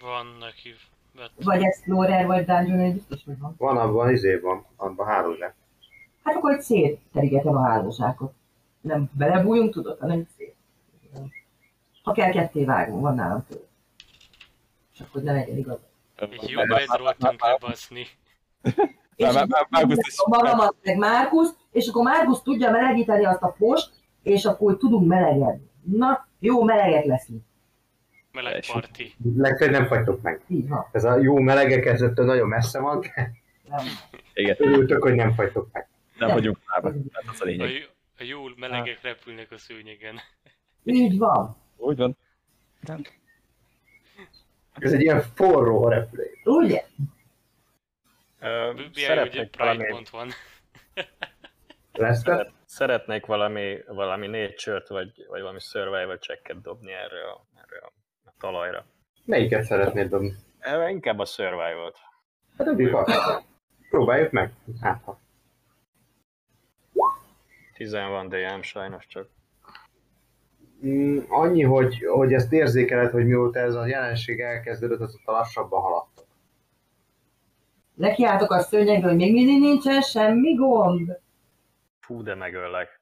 S6: Van neki vett.
S3: Vagy Explorer, vagy Dungeon, én biztos, hogy van.
S1: Van abban, izé van, abban hálózsák.
S3: Hát akkor egy szét terigetem a hálózsákot. Nem belebújunk, tudod, hanem egy szét. Ha kell, ketté vágunk, van nálam tőle. És akkor ne legyen igaz.
S6: Egy jó bedról tönkre baszni.
S5: Már- már- már- már-
S3: És
S5: biztos-
S3: magamat meg Márkusz, és akkor Márkusz tudja melegíteni azt a post, és akkor tudunk melegedni. Na, jó melegek leszünk.
S6: Meleg
S5: Első.
S6: parti.
S1: Legfeljebb nem fagytok meg.
S3: Így van.
S1: Ez a jó melegek ezettől nagyon messze van,
S3: Nem.
S5: Igen,
S1: örültök, hogy nem fagytok meg.
S5: nem vagyunk lába. Hát az a
S6: A,
S5: lényeg.
S6: jó- a jól
S1: Hát.
S6: melegek repülnek a szőnyegen.
S3: Így van.
S5: Úgy van.
S1: Ez egy ilyen forró repülés.
S3: Ugye?
S4: Ö,
S6: Bibi, ugye
S4: Szeretnék
S6: Pride
S4: valami,
S6: pont van.
S1: Lesz,
S4: szeret, szeretnék valami, valami nature vagy, vagy valami survival checket dobni erre a, erre a a talajra.
S1: Melyiket szeretnéd dobni?
S4: Ö, Inkább a survival-t.
S1: Hát dobjuk azt. Próbáljuk meg. Hát, ha.
S4: 10 van DM sajnos csak.
S1: Mm, annyi, hogy, hogy ezt érzékeled, hogy mióta ez a jelenség elkezdődött, azóta lassabban haladtok.
S3: Nekiálltok a szőnyegre, hogy még mindig nincsen semmi gond.
S4: Fú, de megöllek.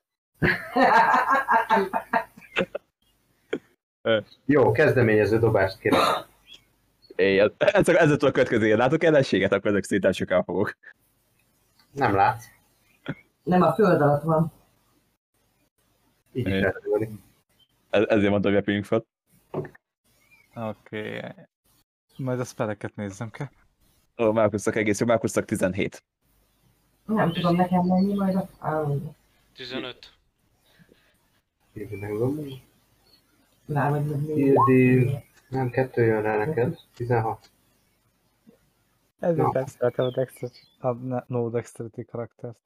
S1: Jó, kezdeményező dobást kérek.
S5: Éjjel. Ez, ez a következő. Látok ellenséget, akkor ezek szépen sokan fogok.
S1: Nem látsz.
S3: Nem, a föld alatt van.
S1: Így
S5: É.
S1: is lehet tudni.
S5: Ez, ezért mondtam, hogy repüljünk fel.
S2: Oké. Majd a spelleket nézzem kell.
S5: Ó, Márkusztak egész jó, Márkusztak 17.
S3: Nem tudom nekem mennyi, majd azt állunk.
S6: 15.
S1: Így megdobni.
S3: Már vagy meg még.
S1: Ildi, nem, kettő jön rá neked. 16.
S2: Ez
S1: Na.
S2: no. dexterity, a dexterity, a ne- no dexterity karaktert.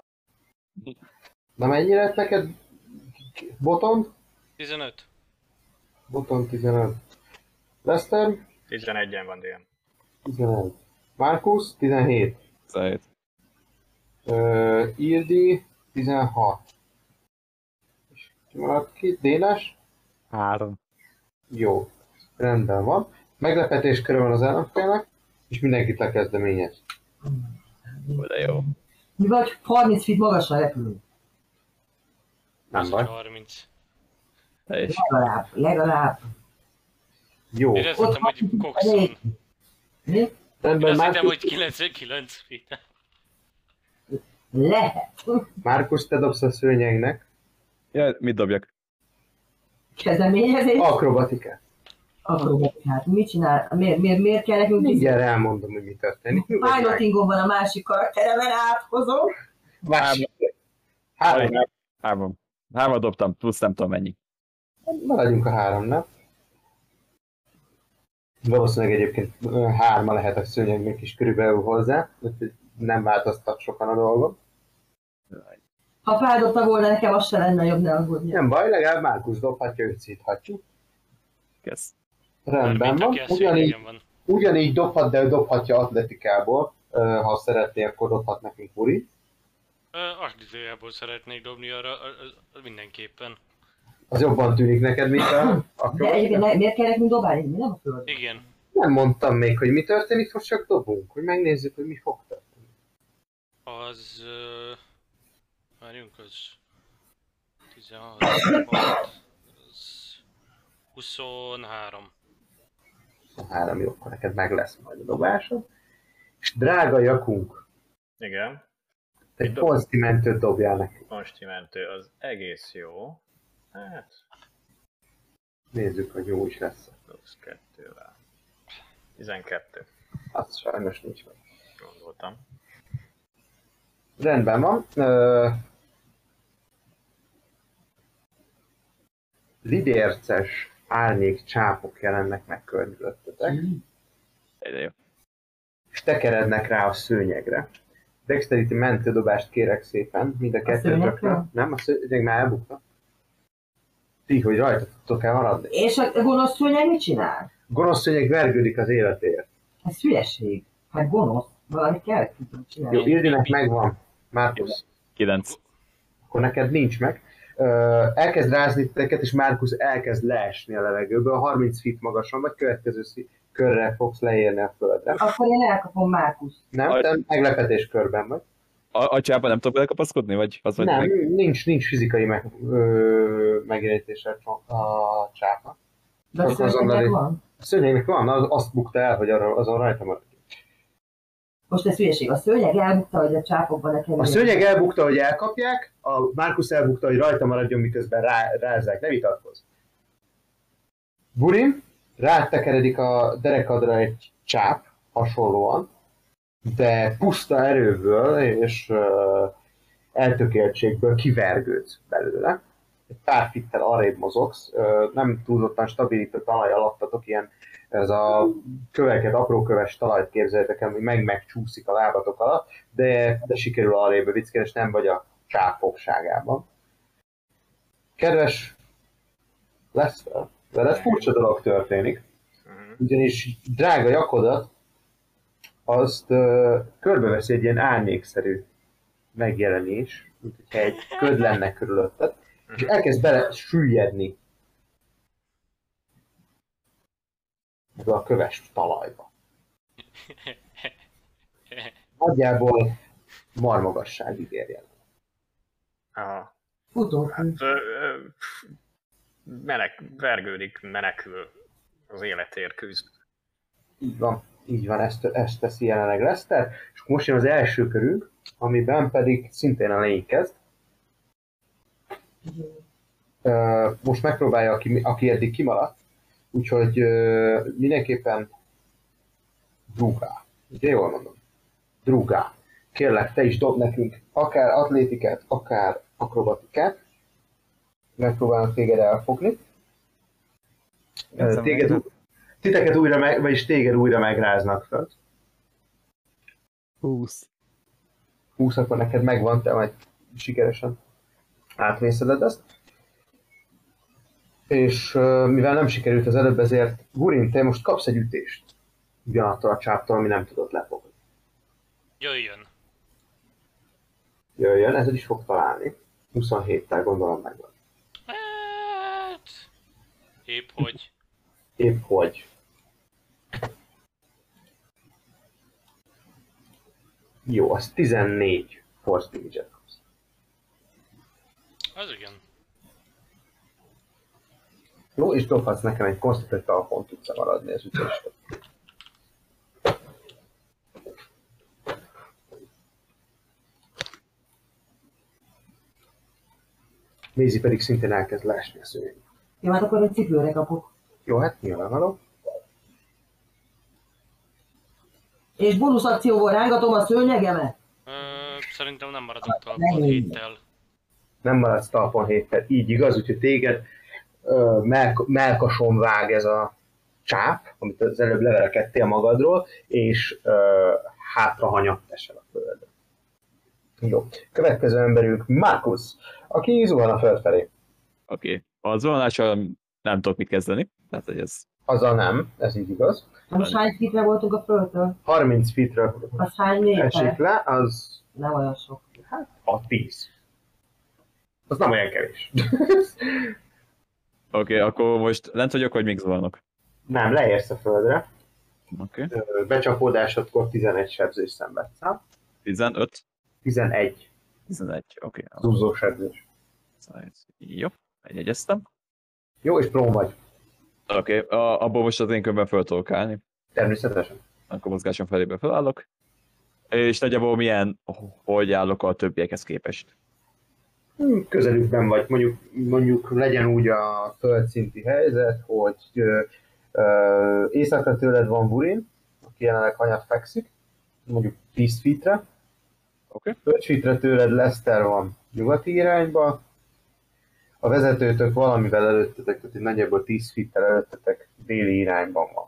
S1: Na mennyire lett neked? Boton?
S6: 15.
S1: Boton 15. Lester?
S4: 11-en van DM.
S1: 11. Márkusz, 17.
S5: Szerint.
S1: Ö, Ildi, 16. És ki maradt ki? Dénes?
S2: Három.
S1: Jó. Rendben van. Meglepetés körül van az ellenfélnek, és mindenkit lekezdeményez.
S5: Ó, De jó.
S3: Mi vagy 30 feet magasra repülünk.
S1: Nem
S6: Az
S1: baj.
S6: 30.
S5: És
S3: Legalább, legalább.
S1: Jó.
S6: Én azt hittem, hogy Coxon.
S3: Mi?
S6: Én
S1: Rendben,
S6: azt hittem,
S1: Márkusz,
S6: hogy 99 feet.
S3: Lehet.
S1: Márkusz, te dobsz a szőnyegnek.
S5: ja, mit dobjak?
S3: Kezdeményezés. Oh.
S1: Akrobatikát.
S3: Akkor hát mit csinál? Miért, miért, miért kell nekünk
S1: Mindjárt elmondom, hogy mi történik.
S3: Pilotingon van a másik karakteremen áthozom.
S1: Más. Három.
S5: Három. Három. Hármat dobtam, plusz nem tudom mennyi.
S1: Maradjunk a háromnál. Valószínűleg egyébként ö, hárma lehet a szőnyegnek is körülbelül hozzá, úgyhogy nem változtak sokan a dolgok.
S3: Ha feldobta volna nekem, az se lenne jobb, ne aggódni.
S1: Nem baj, legalább Márkusz dobhatja, őt szíthatjuk.
S5: Kezd.
S1: Rendben van. Ugyanígy,
S6: van.
S1: ugyanígy dobhat, de ő dobhatja atletikából. Ö, Ha szeretné, akkor dobhat nekünk Uri.
S6: Aktizájából szeretnék dobni arra ö, ö, ö, mindenképpen.
S1: Az jobban tűnik neked, mint a...
S3: De
S1: akkor-
S3: egyébként ne- miért kell nekünk dobálni? Mi nem a föld.
S6: Igen.
S1: Nem mondtam még, hogy mi történik, most csak dobunk, hogy megnézzük, hogy mi fog történni.
S6: Az... ö, Várjunk, az... 16... az 23.
S1: Három jó, akkor neked meg lesz majd a dobásod. És drága jakunk,
S4: Igen,
S1: Egy
S4: Mit dob?
S1: konszti mentőt dobjál neki.
S4: most mentő az egész jó. Hát,
S1: Nézzük, hogy jó is lesz.
S4: plusz kettővel. 12,
S1: Az sajnos nincs meg.
S4: gondoltam.
S1: Rendben van. Ö... Lidérces árnyék csápok jelennek meg körülöttetek,
S5: Ide jó.
S1: és tekerednek rá a szőnyegre. Dexterity mentődobást kérek szépen, mind a kettőtökre.
S3: szőnyegről?
S1: Nem, a szőnyeg már elbukta. Ti, hogy rajta tudtok el maradni.
S3: És a gonosz szőnyeg mit csinál?
S1: Gonosz szőnyeg vergődik az életéért.
S3: Ez hülyeség. Hát gonosz. Valami kell hogy tudjunk csinálni.
S1: Jó, Ildinek megvan. Márkusz.
S5: Kilenc.
S1: akkor neked nincs meg. Ö, elkezd rázni titeket, és Márkusz elkezd leesni a levegőből, 30 feet magasan, vagy következő szí- körre fogsz leérni a földre.
S3: Akkor én elkapom Márkus.
S1: Nem, te meglepetés körben vagy.
S5: A, a csába nem tudok belekapaszkodni, vagy az vagy
S1: Nem,
S5: meg?
S1: nincs, nincs fizikai meg, ö, megjelenítése a cso- a csápnak.
S3: De a
S1: Akkor az
S3: szőnyegnek
S1: Andali.
S3: van?
S1: A szőnyegnek van, az, azt bukta el, hogy arra, azon rajta maradt.
S3: Most ez hülyeség. A szőnyeg elbukta, hogy a csápokban nekem.
S1: A szőnyeg elbukta, hogy elkapják, a Márkusz elbukta, hogy rajta maradjon, miközben rá, rázzák. Ne vitatkozz. Burim, rátekeredik a derekadra egy csáp, hasonlóan, de puszta erőből és ö, eltökéltségből kivergődsz belőle. Egy pár fittel arrébb mozogsz, ö, nem túlzottan stabilitott talaj alattatok, ilyen ez a köveket, apró köves talajt képzeljétek el, hogy meg megcsúszik a lábatok alatt, de, de sikerül arrébb vicckelni, és nem vagy a csápfogságában. Kedves Lester, veled furcsa dolog történik,
S4: Mhm.
S1: ugyanis drága jakodat, azt ö, körbeveszi egy ilyen árnyékszerű megjelenés, mint hogyha egy köd lenne körülötted, és elkezd bele süllyedni ebbe a köves talajba. Nagyjából marmagasságig érjen.
S4: Aha.
S3: Futunk.
S4: Hát, ö, ö, pff, menek, vergődik, menekül. Az életért küzd.
S1: Így van, így van, ezt, ezt teszi jelenleg Lester, és most jön az első körünk, amiben pedig szintén a lény kezd. Ö, Most megpróbálja, aki, aki eddig kimaradt, úgyhogy ö, mindenképpen drúgá. Ugye jól mondom? Drúgá. Kérlek, te is dob nekünk akár atlétikát, akár akrobatikát. Megpróbálnak téged elfogni. Ö,
S2: Nézzem
S1: Téged,
S2: meg.
S1: ú- titeket újra, meg, vagyis téged újra megráznak föl.
S2: 20.
S1: 20, akkor neked megvan, te majd sikeresen átvészeled ezt. és ö, mivel nem sikerült az előbb, ezért Gurin, te most kapsz egy ütést. Ugyanattól a csáptól, ami nem tudott lefogni.
S6: Jöjjön.
S1: Jöjjön, ezzel is fog találni. 27-tel gondolom megvan.
S6: Hát... Épp hogy.
S1: Épp hogy. Jó, az 14 force damage kapsz.
S6: Az igen.
S1: Jó, és dobhatsz nekem egy konstatet alapon tudsz maradni az ütésre. Mézi pedig szintén elkezd leesni a szőnyeg.
S3: Jó, hát akkor egy cipőre kapok.
S1: Jó, hát nyilvánvaló.
S3: És bónusz akcióval rángatom a szőnyegemet.
S6: Ö, szerintem nem maradok talpon héttel.
S1: Nem maradsz talpon héttel, így igaz, úgyhogy téged ö, melk- melkason vág ez a csáp, amit az előbb leverekedtél magadról, és ö, hátrahanyatt esel a földre. Jó. Következő emberünk Markus, aki zuhan a föld felé.
S5: Oké. Okay. Az vonalással nem tudok mit kezdeni. Tehát, hogy ez...
S1: Azzal nem, ez így igaz.
S3: Most hány fitre voltunk a földtől?
S1: 30 feetre
S3: Az hány
S1: esik
S3: méter?
S1: le, az
S3: Nem olyan sok.
S1: a 10. Az nem olyan kevés.
S5: Oké, okay, akkor most lent vagyok, hogy még zuhanok.
S1: nem, leérsz a földre.
S5: Oké. Okay.
S1: Ö, Becsapódásodkor 11 sebzés szenvedsz. ha?
S5: 15.
S1: 11
S5: 11. Oké. Okay.
S1: zúzós sebzés.
S5: Jó. Megjegyeztem.
S1: Jó, és prón vagy.
S5: Oké, okay. abból most az én körben föl tudok állni.
S1: Természetesen.
S5: Akkor mozgásom felébe felállok. És nagyjából milyen, hogy állok a többiekhez képest.
S1: Hm, Közelükben vagy. Mondjuk, mondjuk legyen úgy a földszinti helyzet, hogy ö, ö, északra tőled van Burin, aki jelenleg hanyat fekszik, mondjuk 10 feetre.
S5: Oké.
S1: 5 feetre tőled Lester van nyugati irányba. A vezetőtök valamivel előttetek, tehát így nagyjából 10 feet-tel előttetek déli irányban van.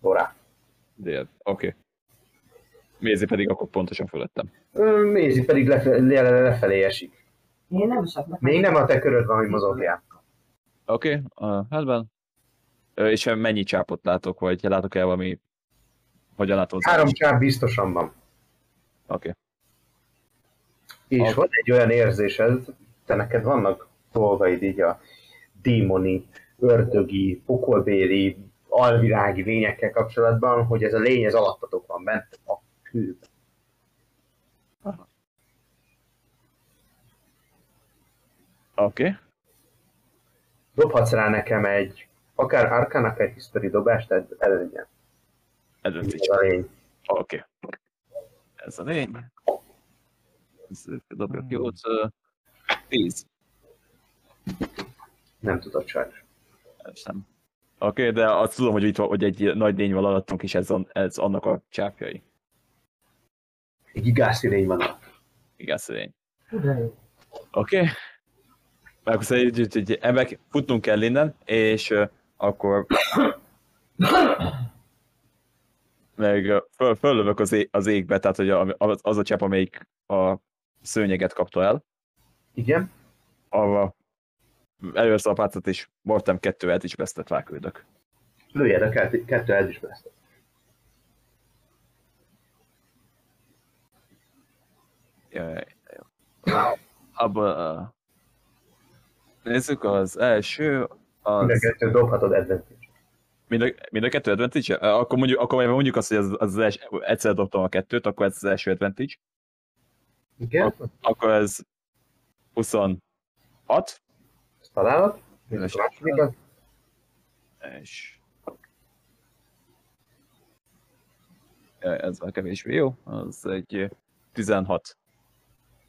S1: Dorá.
S5: Dél. Oké. Okay. Mézi pedig akkor pontosan fölöttem.
S1: Ö, Mézi pedig lefe- le- lefelé esik.
S3: Én nem esek le.
S1: Még nem a te köröd van, hogy mozogjál.
S5: Oké, okay, a hellben. Ö, És mennyi csápot látok, vagy látok el valami... Hogyan látom? az
S1: Három
S5: állást?
S1: csáv biztosan van.
S5: Oké. Okay.
S1: És
S5: Ak-
S1: van egy olyan érzésed, te neked vannak dolgaid így a démoni, ördögi, pokolbéli, alvilági lényekkel kapcsolatban, hogy ez a lény ez alattatok van bent a kőben.
S5: Oké. Okay.
S1: Dobhatsz rá nekem egy, akár Arcana, akár History dobást, tehát ez legyen.
S5: Előtt
S1: Ez
S5: így.
S1: a lény.
S5: Oké. Okay. Ez a lény. Ez dobjak jót. ö, Tíz.
S1: Nem tudod sajnos.
S5: Ez nem. Oké, okay, de azt tudom, hogy itt van, hogy egy nagy lény van alattunk, és ez, an- ez annak a csápjai.
S1: Egy igászi lény van alatt.
S5: Igen, szülény. Oké. Okay. Akkor szerintem hogy- hogy emek, futnunk kell innen, és ö, akkor... Meg ö, föl, föllövök az, é- az égbe, tehát hogy a- az, az a csap, amelyik a szőnyeget kapta el,
S1: Igen?
S5: arra először a pácot is, mortem kettőet is vesztett ráküldök.
S1: Lőjed a kettő, kettő ez is lesz.
S5: Jaj, jó. Abba... ö, Nézzük, az első,
S1: Mind a
S5: az...
S1: kettő dobhatod advantage.
S5: Mind a, mind a kettő advantage -e? Akkor mondjuk, akkor majd mondjuk azt, hogy az, az, az els, egyszer dobtam a kettőt, akkor ez az első advantage.
S1: Igen?
S5: Akkor ez 26,
S1: Ezt találod?
S5: Üres.
S1: A másodikat.
S5: és... Jaj, Ez már kevésbé jó, az egy 16.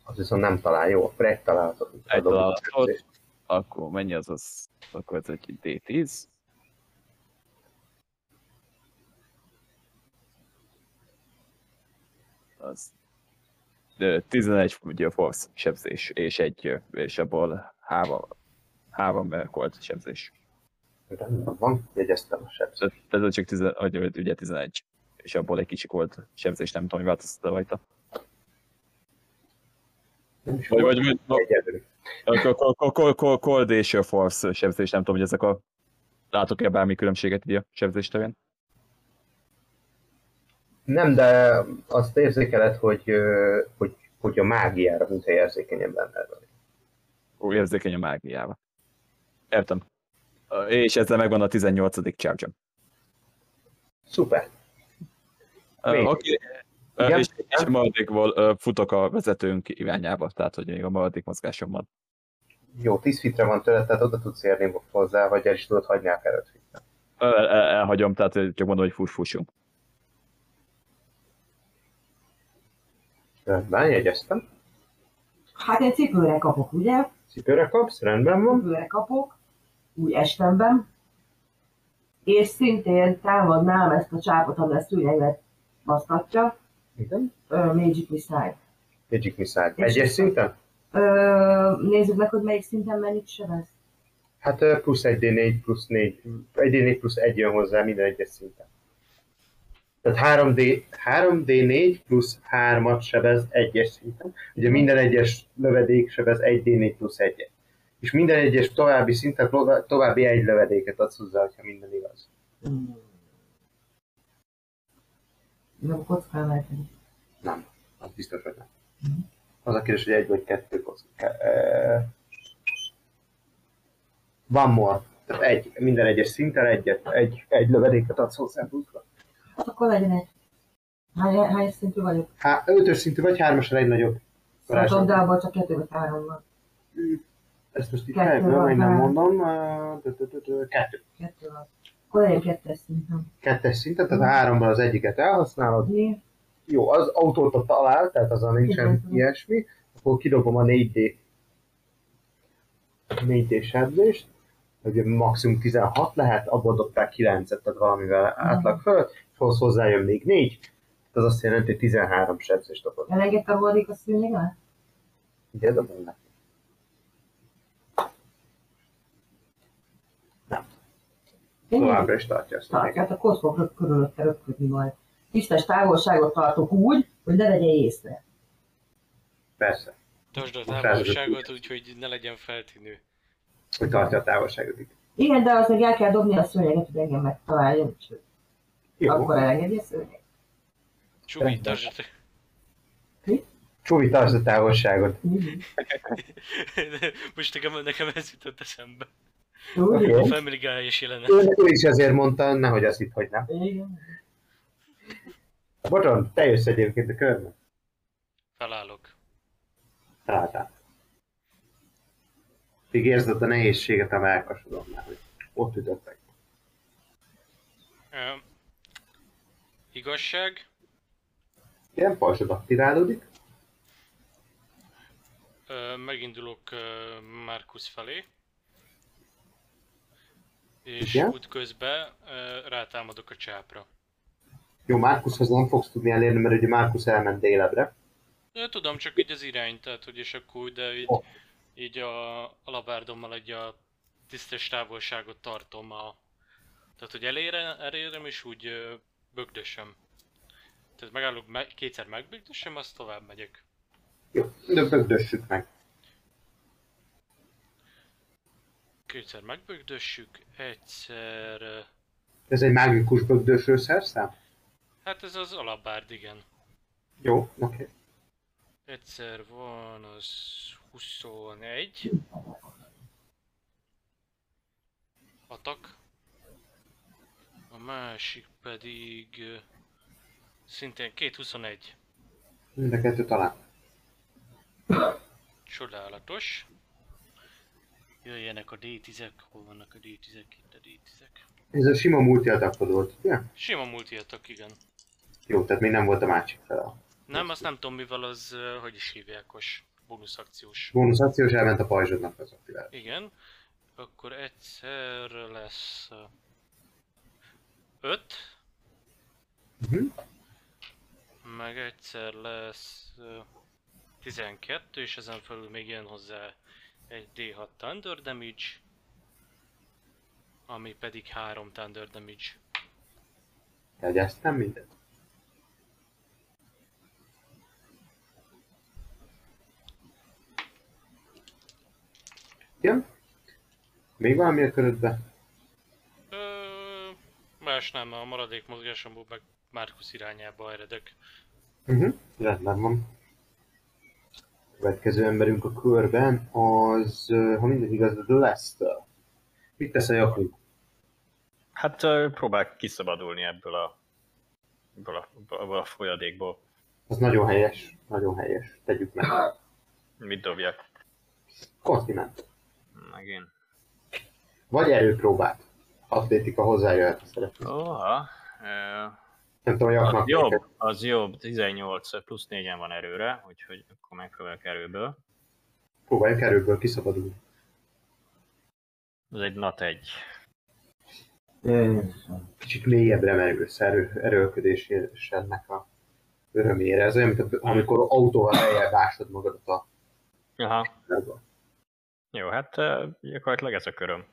S1: Az viszont nem talál, jó, akkor egy találatot.
S5: Egy
S1: adok.
S5: találatot, akkor mennyi az az? Akkor ez egy D10. Az ö, 11 ugye a force sebzés, és egy, ö, és abból három, három ö, volt sebzés.
S1: Rendben van, jegyeztem a sebzőt.
S5: Tehát ez csak 10, vagy, ö, ugye 11, és abból egy kicsi volt sebzés, nem tudom, hogy változtatta rajta.
S1: Nem is
S5: Vagy,
S1: volt
S5: vagy, vagy,
S1: egyedül.
S5: Cold és a Force sebzés, nem tudom, hogy ezek a... Látok-e bármi különbséget így a sebzés terén?
S1: Nem, de azt érzékeled, hogy, ö, hogy, hogy a mágiára, mint érzékenyebb ember vagy.
S5: Ó, érzékeny a mágiába. Értem. Ö, És ezzel megvan a 18. charge
S1: Szuper. Még.
S5: Oké. Ö,
S1: Igen.
S5: És, és maradékból ö, futok a vezetőnk irányába, tehát hogy még a maradék mozgásom van.
S1: Jó, 10 fitre van tőle, tehát oda tudsz érni hozzá, vagy el is tudod hagyni akár 5 fitre.
S5: Ö, el- el- Elhagyom, tehát ö, csak mondom, hogy fuss, fussunk.
S1: Rendben, jegyeztem.
S3: Hát én cipőre kapok, ugye?
S1: Cipőre kapsz, rendben van.
S3: Cipőre kapok, új estemben. És szintén támadnám ezt a csápot, ami a szüleimet basztatja.
S1: Igen.
S3: Ö, Magic Missile.
S1: Magic Missile.
S3: És-
S1: Egyes szinten?
S3: Ö, nézzük meg, hogy melyik szinten mennyit sebez.
S1: Hát ö, plusz 1d4 plusz 4, 1d4 plusz 1 jön hozzá minden egyes szinten. Tehát 3D, 3D4 plusz 3-at sebez egyes szinten. Ugye minden egyes lövedék sebez 1D4 plusz 1 És minden egyes további szinten tovább- további egy lövedéket adsz hozzá, ha minden igaz.
S3: Nem kockán lehet.
S1: Nem, az biztos, hogy nem. Az a kérdés, hogy egy vagy kettő kocka. Eh, Van more. Tehát egy, minden egyes szinten egyet, egy, egy lövedéket adsz hozzá pluszra.
S3: Hát akkor legyen egy. Hány, hány szintű vagyok?
S1: Há, ötös szintű vagy hármasra egy nagyobb.
S3: Szóval
S1: Varázslat.
S3: de abban csak kettő vagy három van.
S1: Ezt most így
S3: Kettő
S1: fejből
S3: van
S1: én nem
S3: már.
S1: mondom. eh, tö- tö- tö- tö- Kettő.
S3: Kettő van. Akkor legyen kettes szinten.
S1: Kettes szinten, tehát a háromban az egyiket elhasználod.
S3: Mi?
S1: Jó, az autót talál, tehát azon nincsen
S3: Igen.
S1: ilyesmi. Akkor kidobom a 4D 4D sebzést, hogy maximum 16 lehet, abból dobták 9-et, tehát valamivel átlag fölött, és ahhoz hozzájön még 4, ez azt jelenti, hogy 13 sebzést dobod.
S3: Elengedte volnék a szűnyeg alá?
S1: Ugye dobom neki? Továbbra is tartja azt a
S3: Tartja,
S1: neget.
S3: hát akkor ott fog röp- körülötte röpködni majd. Tisztes távolságot tartok úgy, hogy ne vegye észre.
S1: Persze,
S6: Tartsd a
S1: Most
S6: távolságot, úgyhogy ne legyen feltűnő.
S1: hogy tartja a távolságot. itt.
S3: Igen, de az meg el kell dobni a szőnyeget, hogy engem megtaláljon, és
S1: Jó.
S3: akkor elengedi a szőnyeget.
S6: Csubi, tartsd a...
S1: Csúvi, tartsd a távolságot.
S6: Most nekem, nekem ez jutott eszembe.
S3: Úgy?
S6: A Family Guy is jelenet.
S1: Ő, ő is ezért mondta, nehogy azt itt, hogy nem.
S3: Igen.
S1: Bocsánat, te jössz egyébként a körben.
S6: Felállok.
S1: Találtál. Még érzed a nehézséget a melkasodon, hogy ott ütöttek.
S6: Ö, igazság,
S1: Ilyen pajzsod aktiválódik.
S6: ö, megindulok ö, Markus felé. És
S1: Igen?
S6: útközben ö, rátámadok a csápra.
S1: Jó, Márkuszhoz nem fogsz tudni elérni, mert ugye Márkusz elment délebre.
S6: De tudom, csak így az irány, tehát hogy és akkor de így,
S1: Ó.
S6: így a alabárdommal egy a tisztes távolságot tartom a... Tehát, hogy elére, elérem és úgy ö, bögdösöm. Tehát megállok, me- kétszer megbögdösöm, azt tovább megyek.
S1: Jó, de bögdössük meg.
S6: Kétszer megbögdössük, egyszer... ö,
S1: Ez egy mágikus bögdöső szerszám?
S6: Hát ez az alabárd, igen.
S1: Jó, oké.
S6: Egyszer van az 21. Atak. A másik pedig ö, szintén 221.
S1: Mind a kettő talán.
S6: Csodálatos. Jöjjenek a D10-ek, hol vannak a D10-ek, itt a D10-ek.
S1: Ez a sima multi attackod volt, ugye?
S6: Sima multiatak, igen.
S1: Jó, tehát még nem volt a másik fel.
S6: Nem, azt nem tudom mivel az, ö, hogy is hívják, os bónusz akciós.
S1: Bónusz akciós elment a pajzsodnak az aktiváló.
S6: Igen, akkor egyszer lesz 5,
S1: Mhm.
S6: meg egyszer lesz ö, 12, és ezen felül még jön hozzá egy D6 Thunder Damage, ami pedig 3 Thunder Damage.
S1: Jegyeztem mindent. Igen? Még valami a körödbe?
S6: Ö, más nem, a maradék mozgásomból meg Márkusz irányába eredek.
S1: Uh-huh. Rendben van. Következő emberünk a körben az, ö, ha minden igaz, a Lester. Mit tesz a Jakub?
S4: Hát ö, próbál kiszabadulni ebből a, ebből a, ebből a folyadékból.
S1: Az nagyon helyes, nagyon helyes. Tegyük meg.
S4: Mit dobjak?
S1: Kontinent.
S4: Megint.
S1: Vagy erőpróbát. Atlétika hozzájöhet, ha szeretnél.
S4: Oha. ö,
S1: Nem tudom, Jaknak.
S4: Az jobb, az jobb, 18 plusz 4-en van erőre, úgyhogy akkor megpróbálok erőből.
S1: Próbáljuk erőből kiszabadulni.
S4: Ez egy nat egy.
S1: Kicsit mélyebbre merülsz erő, erőlködés ennek a örömére. Ez olyan, mint amikor autóval lejjebb ásod magadat a
S4: Aha.
S1: a
S4: Jó, hát ö, gyakorlatilag ez a köröm.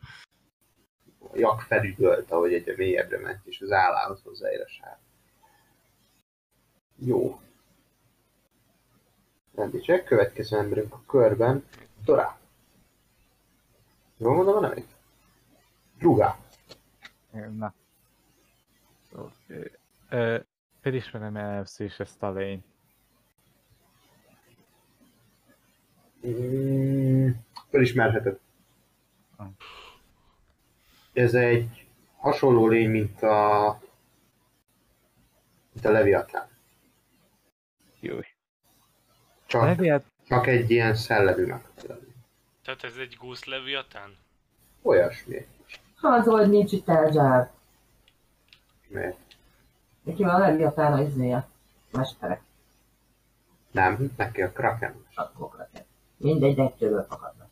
S1: jak felügyölt, ahogy egyre mélyebbre ment, és az állához hozzáér a sár. Jó. Rendítsek, következő emberünk a körben. Dorá. Jól mondom a nevét? Drugá.
S2: Na. Oké. Ö, Felismerem először is ezt a lényt.
S1: Mm, fölismerheted. Ez egy hasonló lény, mint a... mint a Leviatán.
S5: Jó.
S1: Csak,
S2: Leviat,
S1: csak egy ilyen szellemi megfelelő.
S6: Tehát ez egy gúz leviatán?
S1: Olyasmi,
S3: Az, hogy nincs itt elzsár.
S1: mert
S3: Neki van a leviatán a iznéje. Mesterek.
S1: nem, neki a Kraken.
S3: Akkor Mindegy, de egytől fakadnak.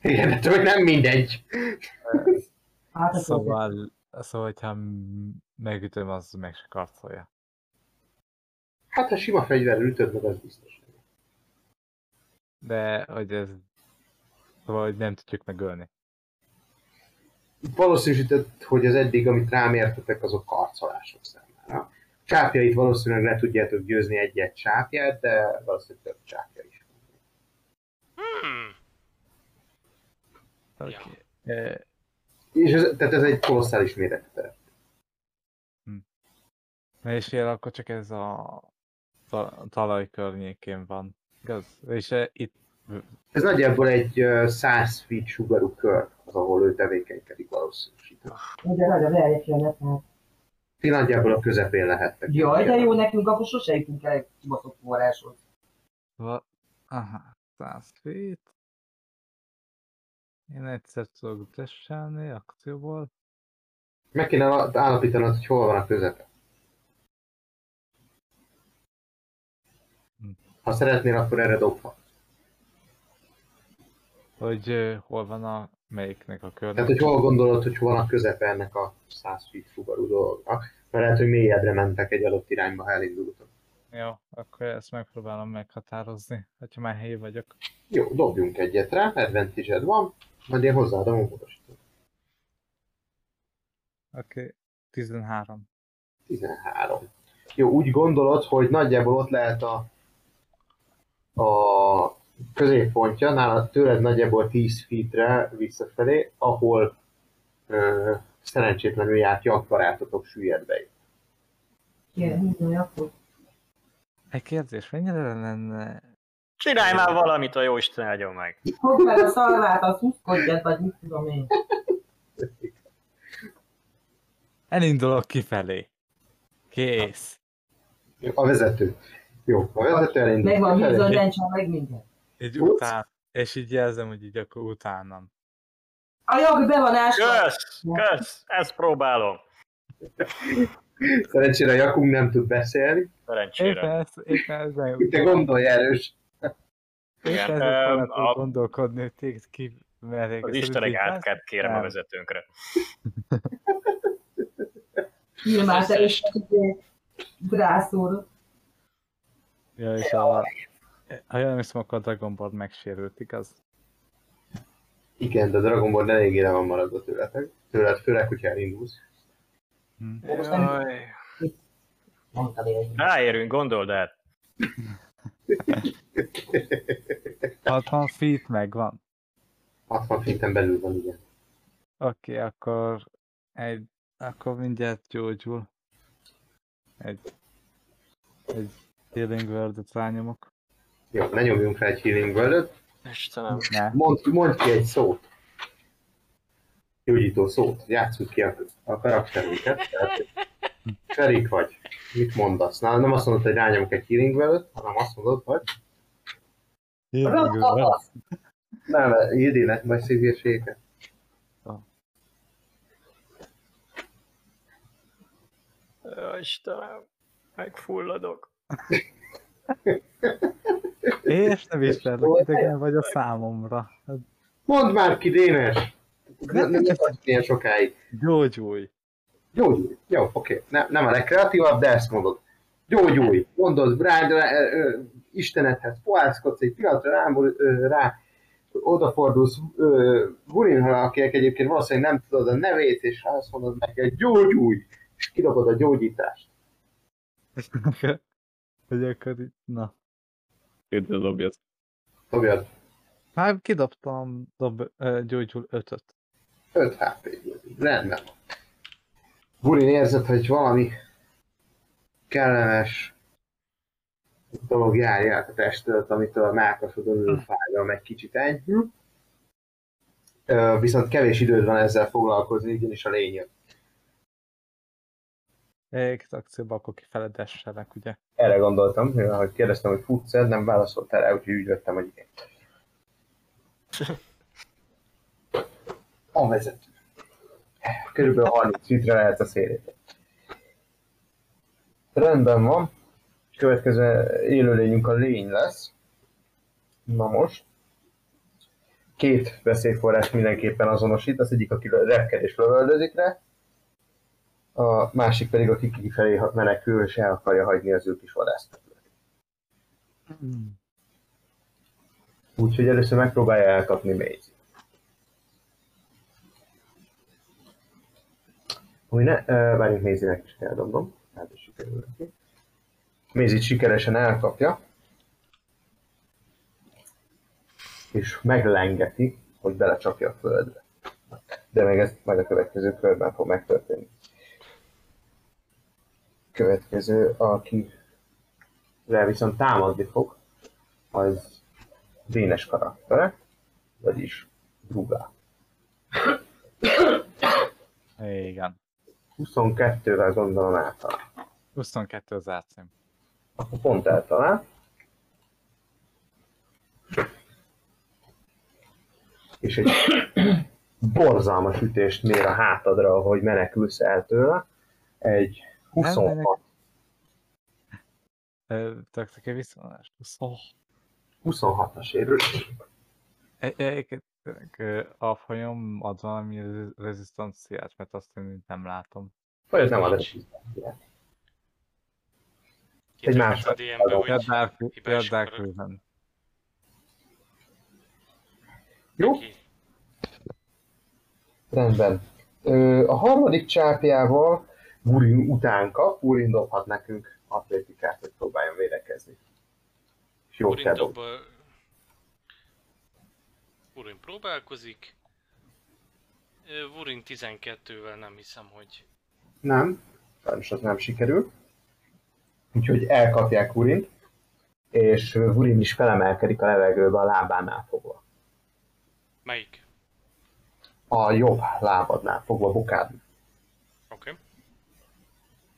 S1: Igen, de hogy nem mindegy.
S3: Hát ez szóval.
S2: szóval, szóval, hogyha m- megütöm, az meg se karcolja.
S1: Hát ha sima fegyverrel ütöd meg, az biztos.
S2: De, hogy ez... Szóval, hogy nem tudjuk megölni.
S1: Valószínűsített, hogy az eddig, amit rám értetek, azok karcolások számára. Csápjait valószínűleg le tudjátok győzni egy-egy csápját, de valószínűleg több csápja is. van.
S6: Hmm.
S2: Oké.
S6: Ja.
S2: Ö,
S1: És ez, tehát ez egy kolosszális méretű terep.
S2: Na és ilyen akkor csak ez a ta- talaj környékén van, igaz? És e, itt
S1: Ez nagyjából egy ö, 100 feet sugarú kör, az ahol ő tevékenykedik valószínűsített.
S3: De nagyon eljött jönnek már.
S1: Ti nagyjából a közepén lehettek.
S3: Jaj, de jó nekünk, akkor sose jutunk el egy kibaszott forráshoz.
S2: va- aha, 100 feet. Én egyszer tudok tesselni akcióból.
S1: Meg kéne ala- állapítanod, hogy hol van a közepe. Ha szeretnél, akkor erre dobhat.
S2: Hogy ö, hol van a melyiknek a körnek.
S1: Tehát, Hát, hogy hol gondolod, hogy van a közepe ennek a 100 feet fugarú dolognak? Mert lehet, hogy mélyebbre mentek egy adott irányba, ha elindultak.
S2: Jó, akkor ezt megpróbálom meghatározni, hogyha már helyi vagyok.
S1: Jó, dobjunk egyet rá, advantage van, majd én hozzáadom a módosítót.
S2: Oké, 13.
S1: 13. Jó, úgy gondolod, hogy nagyjából ott lehet a, a középpontja, nálad tőled nagyjából 10 feetre visszafelé, ahol ö, szerencsétlenül járt jak barátotok süllyed be.
S3: Kéne húzni, akkor.
S2: Egy kérdés, mennyire lenne...
S4: Csinálj már valamit, a Jóisten áldjon meg!
S3: Fogd meg a szalvát, az húzkodjad, vagy mit tudom én.
S2: Elindulok kifelé. Kész.
S1: A vezető. Jó, a vezető elindul.
S3: Meg van húzni, hogy
S1: Felé.
S3: mentsen meg mindent.
S2: Egy
S1: Ups.
S2: után, és így jelzem, hogy így akkor utánam.
S3: A jog be van ásva.
S4: Kösz! Kösz! Ezt próbálom!
S1: Szerencsére a jakunk nem tud beszélni.
S2: Éppen
S4: Szerencsére.
S2: ezt, éppen ezzel,
S1: Te gondolj erős.
S2: éppen
S4: Igen,
S2: ezzel
S4: öm,
S2: kellett
S4: a-
S2: gondolkodni, hogy téged ki merjék.
S4: Az Istenek átkát kérem a
S2: Nem.
S4: vezetőnkre.
S3: Nyilván te is
S6: Összes.
S3: rászólod.
S2: Ja, és a... Ha jól emlékszem, akkor a Dragon Board megsérült, igaz?
S1: Igen, de a Dragon Ball eléggé le van maradva tőletek. Tőled, főleg, hogyha elindulsz.
S3: Most nem
S4: Jaj.
S3: mondtad én.
S4: Ráérünk, gondold át!
S2: 60 feet megvan.
S1: 60 finten belül van, igen.
S2: Oké, okay, akkor egy, akkor mindjárt gyógyul. Egy, egy healing word rányomok.
S1: Jó, ne nyomjunk rá egy healing word
S4: Istenem.
S2: Ne.
S1: Mondd, mondd ki egy szót. Gyógyító szót. Játsszuk ki a, a karakterünket. Tehát Ferik vagy. Mit mondasz? Na, nem azt mondod, hogy rányomok egy healing word hanem azt mondod, hogy
S2: Healing word.
S1: nem, írj le, majd szívja séket.
S4: Ö, Istenem. Megfulladok.
S2: És nem ismerlek, idegen vagy a számomra. Hát
S1: Mondd már ki, Dénes!
S2: Nem,
S1: Nem, nem, nem tarts ilyen sokáig.
S2: Gyógyulj!
S1: Gyógyulj. Jó, oké. Ne, nem a legkreatívabb, de ezt mondod. Gyógyulj. Mondod, rá, rá, ö, ö, istenedhez poászkodsz, egy pillanatra rá, rá odafordulsz ö, Gurinhala, akinek egyébként valószínűleg nem tudod a nevét, és azt mondod neki, hogy gyógyulj, és kidobod a gyógyítást.
S2: Hogy akkor így, na.
S5: Kérdez a dobjat.
S1: Dobjad
S2: Már Hát kidobtam dob, ö, gyógyul ötöt.
S1: 5 HP. Rendben van. Burin érzed, hogy valami kellemes dolog járja át a testedet, amitől a mákasodon ülő fájdalom egy kicsit enyhül. Ö, Viszont kevés időd van ezzel foglalkozni, ugyanis a lény
S2: Egy akcióban akkor kifele desselek, ugye?
S1: Erre gondoltam, mivel, hogy kérdeztem, hogy futsz nem válaszoltál rá, úgyhogy úgy vettem, hogy igen. A vezető. Hát- Körülbelül 30 litre lehet a szélét. Rendben van. És következő élőlényünk a lény lesz. Na most. Két veszélyforrás mindenképpen azonosít, az egyik, aki repked és lövöldözik rá, a másik pedig, aki kifelé menekül, és el akarja hagyni az ő kis vadászterületét. Úgyhogy először megpróbálja elkapni Maze. Ami ne, ö, várjunk Maze-nek is kell dobnom. Hát is sikerül neki. Maze sikeresen elkapja. És meglengeti, hogy belecsapja a földre. De még ez majd a következő körben fog megtörténni. Következő, aki rá viszont támadni fog, az Dénes karaktere, vagyis Drugá.
S2: Igen.
S1: 22-vel gondolom által.
S2: 22 az átszem.
S1: Akkor pont eltalál. És egy borzalmas ütést mér a hátadra, ahogy menekülsz el tőle. Egy 26,
S2: menek- Taktikai viszonás. 26.
S1: 26-as érülés.
S2: Egy- Egyébként ö, a folyam ad valami rezi- rezisztanciát, mert azt én nem látom.
S1: Vagy ez nem ad egy Egy
S6: Kitrakott a
S1: másfajta
S6: DM-be,
S2: Ja,
S6: hogy
S2: Dark, ja,
S6: hibás
S2: Dark
S6: akarod.
S2: Raven.
S1: Jó,
S6: neki
S1: Rendben. Ö, a harmadik csápjával Gurin után kap, Gurin dobhat nekünk atlétikát, hogy próbáljon védekezni. És jó kell dobni.
S6: Urintokból... Urin próbálkozik. Ö, Urin 12-vel nem hiszem, hogy...
S1: Nem, sajnos az nem sikerül. Úgyhogy elkapják Gurint, és Gurin is felemelkedik a levegőbe a lábánál fogva.
S6: Melyik?
S1: A jobb lábadnál fogva, bokád.
S6: Oké. Okay.